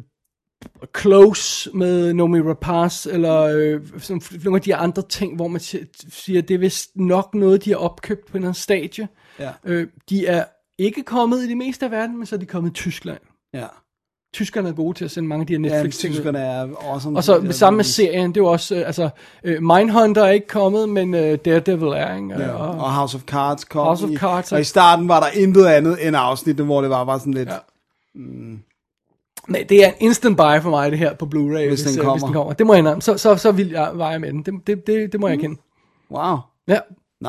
Close med Nomi Rapaz, eller øh, sådan, f- nogle af de andre ting, hvor man si- siger, det er vist nok noget, de har opkøbt på en eller anden stadie.
Ja.
Øh, de er ikke kommet i det meste af verden, men så er de kommet i Tyskland.
Ja,
Tyskerne er gode til at sende mange af de her
ja
Netflix ting.
tyskerne er awesome.
Og så med samme med serien, det er jo også, øh, altså, øh, Mindhunter er ikke kommet, men øh, Daredevil er, ikke?
Ja,
Og,
og House of Cards kom.
House of
i,
Cards er-
og i starten var der intet andet end afsnittet, hvor det var bare sådan lidt...
Ja. Men Mm. det er en instant buy for mig, det her på Blu-ray, hvis,
den
øh, hvis
kommer.
den kommer. Det må jeg indrømme. Så, så, så vil jeg veje med den. Det, det, det, det må
Mm.
jeg kende.
Wow,
Ja.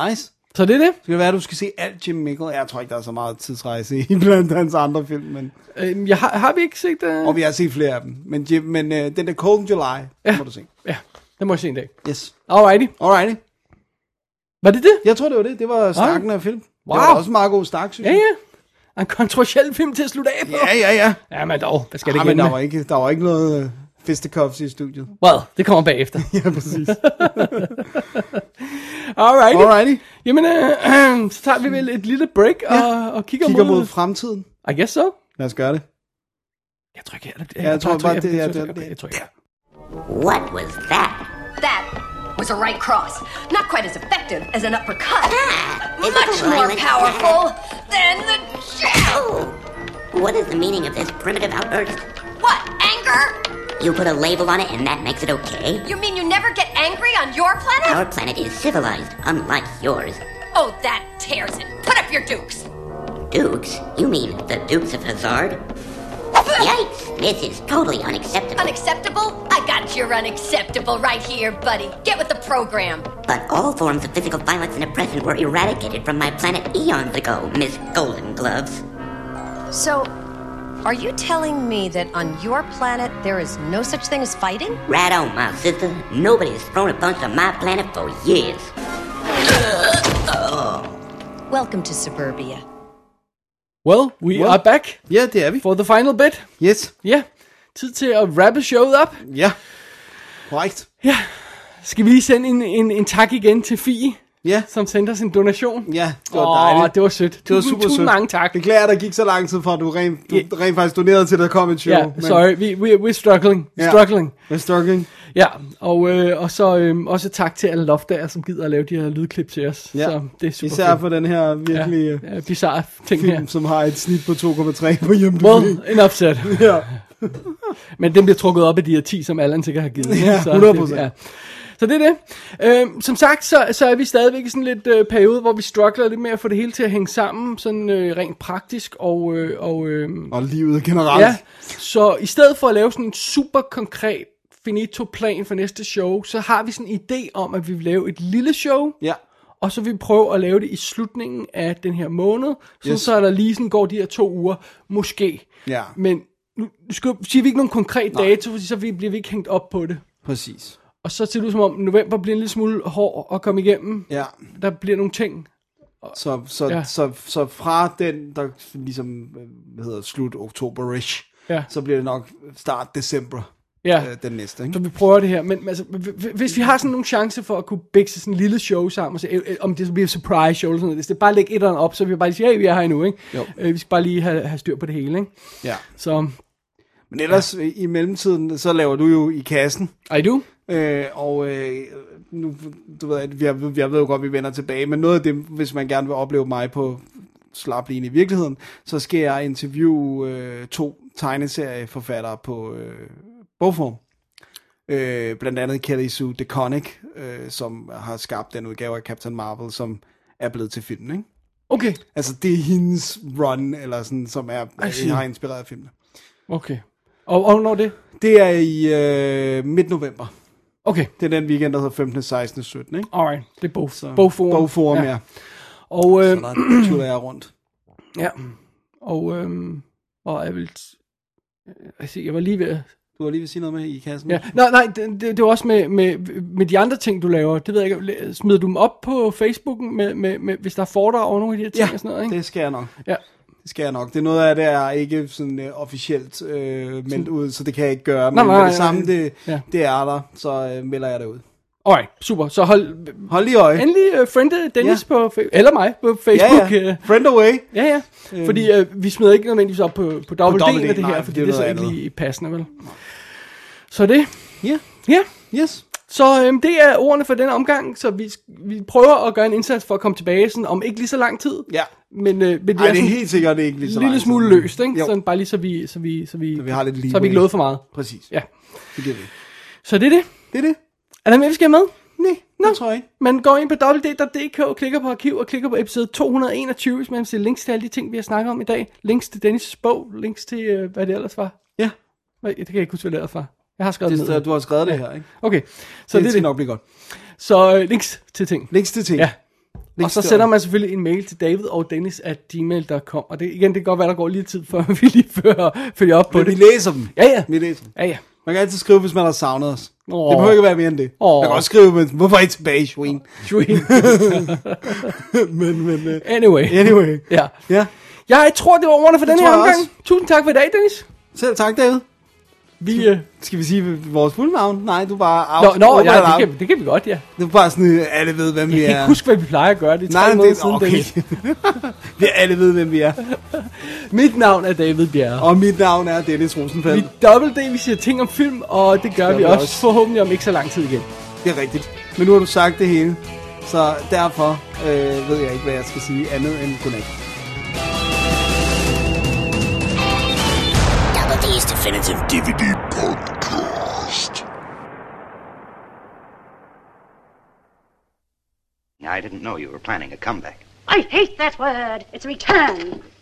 nice.
Så det er det.
Skal det være, at du skal se alt Jim Mickle? Jeg tror ikke, der er så meget tidsrejse i blandt hans andre film, men...
Øhm, Jeg har, har vi ikke set øh, det?
Og vi har set flere af dem. Men, Jim, men uh, den der Cold July, ja. må du se.
Ja, det må jeg se en dag.
Yes.
Alrighty.
Alrighty.
Var det det?
Jeg tror, det var det. Det var snakken af film. Wow. Det var
Wow.
også en meget god snak, synes
Ja,
jeg.
ja. En kontroversiel film til at slutte af på.
Ja, ja, ja.
Ja, men dog. Hvad skal det
Ah,
ikke
men der
ende
var
med?
ikke, der var ikke noget uh, fisticuffs i studiet.
Well, det kommer bagefter.
Ja, præcis.
Alrighty.
Alrighty.
Jamen, øh, så tager vi vel et lille break og, og kigger,
Kigger mod fremtiden.
I guess so.
Lad os gøre det.
Jeg tror ikke, jeg...
Ja, jeg tror bare, det er-
jeg-
det er-
jeg- Jeg tror ikke.
What was that?
That was a right cross. Not quite as effective as an uppercut.
it
Much
was
more
violent.
powerful than the jab.
Oh, what is the meaning of this primitive outburst?
What, anger?
You put a label on it and that makes it okay?
You mean you never get angry on your planet?
Our planet is civilized, unlike yours.
Oh, that tears it. Put up your dukes.
Dukes? You mean the Dukes of Hazard? Yikes! This is totally unacceptable.
Unacceptable? I got your unacceptable right here, buddy. Get with the program.
But all forms of physical violence and oppression were eradicated from my planet eons ago, Miss Golden Gloves.
So, are you telling me that on your planet there is no such thing as fighting?
Right on, my sister. Nobody's thrown a punch on my planet for years.
Welcome to suburbia.
Well, we
Well.
are back
Ja, det er vi.
for the final bit.
Yes.
Ja, tid til at rappe showet op.
Ja. Korrekt.
Skal vi lige sende en, en, en tak igen til Fie,
Ja.
som sendte os en donation?
Ja, det var
Åh,
dejligt.
det var sødt.
Det var
Tusind-
super
tusind
sødt.
mange tak.
Beklager, der gik så lang tid fra, at du rent, du
Ja.
rent faktisk donerede til, at der kom et show.
Ja, yeah, sorry, vi, we, we're struggling,
Ja.
yeah. struggling.
Men struggling.
Ja, og, øh, og så øh, også tak til alle lofter, som gider at lave de her lydklip til os.
Ja.
Så det er super
Især
fedt.
for den her virkelig ja.
ja, ja, bizarre ting
film,
her.
som har et snit på 2,3 på hjemmebyen.
Well, en upset.
Ja.
Men den bliver trukket op af de her 10, som Allan sikkert har givet.
Ja,
Så
100%.
Det, ja. Så det er det. Øhm, som sagt, så, så er vi stadigvæk i sådan lidt øh, periode, hvor vi struggler lidt med at få det hele til at hænge sammen, sådan øh, rent praktisk og... Øh, og øh,
Og livet generelt.
Ja, så i stedet for at lave sådan en super konkret finito plan for næste show, så har vi sådan en idé om, at vi vil lave et lille show,
ja.
og så vil vi prøve at lave det i slutningen af den her måned, så,
Yes.
yes. så der lige sådan går de her to uger, måske.
Ja.
Men nu nu skal, siger vi ikke nogen konkret Nej. dato, fordi så vi- bliver vi ikke hængt op på det.
Præcis.
Og så ser det ud som om, november bliver en lille smule hård at komme igennem.
Ja.
Der bliver nogle ting.
Så, så, ja.
Ja.
så, så fra den, der ligesom øh, hvad hedder, slut oktober-ish,
Ja.
så bliver det nok start december,
Ja.
øh, den næste.
Så
Ikke?
vi prøver det her, men men altså, h- h- hvis vi har sådan nogle chance for at kunne bikse sådan en lille show sammen, og så, øh, øh, om det så bliver et surprise show eller sådan noget, hvis det bare lægge et eller andet op, så vi bare lige siger, hey, vi er her endnu, ikke?
Jo.
Øh, vi skal bare lige have, have styr på det hele, ikke?
Ja.
Så,
Men ellers, ja. i mellemtiden, så laver du jo i kassen,
I do.
Øh, og øh, nu, du ved, at jeg, jeg ved jo godt, at vi vender tilbage, men noget af det, hvis man gerne vil opleve mig på slapline i virkeligheden, så skal jeg interviewe øh, to tegneserieforfattere på øh, bogform. Øh, blandt andet Kelly Sue DeConnick, øh, som har skabt den udgave af Captain Marvel, som er blevet til filmen, ikke?
Okay,
Altså, det er hendes run, eller sådan, som er,
I see.
har inspireret af filmen.
okay. Og, og når det?
Det er i øh, midt november.
Okay,
Det er den weekend, der hedder 15., 16., 17, ikke?
alright, det er bog, bogforum.
Bogforum, ja.
Og, øh,
Og der tuller jeg rundt.
ja. og, øh, og jeg vil... øh, Jeg, siger, jeg var lige ved at
Du har lige ved sige noget med i kassen.
Ja. Nej, nej, det, det, det var også med, med, med de andre ting, du laver. Det ved jeg ikke. Smider du dem op på Facebooken, med, med, med, hvis der er foredrag over nogle af de her ting
ja
og sådan noget? Ikke?
det skal jeg nok.
Ja.
Det Det skal jeg nok. Det er noget af det, er ikke sådan øh, officielt øh, meldt ud, så det kan jeg ikke gøre. Men
Nej,
nej,
nej,
nej,
nej.
det samme, det,
Ja.
ja. det er der, så øh, melder jeg det ud.
Alright, super. Så hold,
Hold lige øje.
endelig uh, friende Dennis ja.
Ja.
på, fa- eller mig på Facebook. øh.
ja, ja. Friend away.
Ja, ja. Fordi øh, vi smider ikke nødvendigvis op på, på dobbelt
dobbelt
D af
D,
det her,
nej,
fordi
det er
det er så
noget
ikke
andet.
lige passende, vel? Så det,
Ja,
ja.
yes.
Så øhm, det er ordene for denne omgang, så vi, vi prøver at gøre en indsats for at komme tilbage, sådan, om ikke lige så lang tid.
Ja.
Men, øh, men det
Ej,
er,
det er
sådan
helt sikkert ikke lige så
en lille
lang tid.
smule løst, ikke?
Jo,
Sådan bare lige så vi, så vi, så vi,
vi har lidt
så vi ikke
leeway.
lovet for meget.
præcis.
Ja.
Det giver vi.
Så det er det.
Det er det.
Er der mere, vi skal have med?
Nej,
Nå.
Nå. det tror jeg ikke.
Man går ind på www.dk, klikker på arkiv og klikker på episode 221, hvis man vil se links til alle de ting, vi har snakket om i dag. Links til Dennis' bog, links til, øh, hvad det ellers var.
Ja,
Hvad, det kan jeg ikke huske, hvad det ellers var. Jeg har skrevet det
det, er-
ned.
du har skrevet det her, ikke?
Okay, så
Så
det,
det,
er
skal
det.
nok blive godt.
Så øh, links til ting.
Links til ting.
Ja.
Links
Og så
til-
sender man selvfølgelig en mail til David og Dennis at gmail.com. Og det, igen, det kan godt være, der går lige tid, før vi lige fører, følger op på
Men vi
det.
læser dem.
Ja, ja.
Vi læser dem.
Ja, ja.
Man kan altid skrive, hvis man har savnet os.
Åh.
Oh. Det behøver ikke være mere end det.
Åh.
Oh. Man kan også skrive, men hvorfor er I tilbage, Sween? men, men, uh,
anyway.
anyway.
Ja.
Ja,
Jeg tror, det var ordene for den her
tror jeg
omgang.
også.
Tusind tak for i dag, Dennis.
selv tak, David.
Vi, øh,
Skal vi sige vores fulde navn? Nej, du er bare out.
nå, nå
Åbner
ja,
dig
det,
op.
kan, det kan vi godt, ja.
Det er bare sådan, øh, alle ved, hvem vi
Jeg kan
er.
ikke huske, hvad vi plejer at gøre. Det er
Nej,
tre måneder
det er
siden,
okay.
Dennis.
vi alle ved, hvem vi er.
Mit navn er David Bjerre.
Og mit navn er Dennis Rosenfeldt.
Vi dobbelt det, vi siger ting om film, og det gør vi,
vi
også,
også.
forhåbentlig om ikke så lang tid igen.
Det er rigtigt. Men nu har du sagt det hele. Så derfor øh, ved jeg ikke, hvad jeg skal sige andet end godnat.
Double D's Definitive DVD Podcast.
I didn't know you were planning a comeback.
I hate that word. It's a return.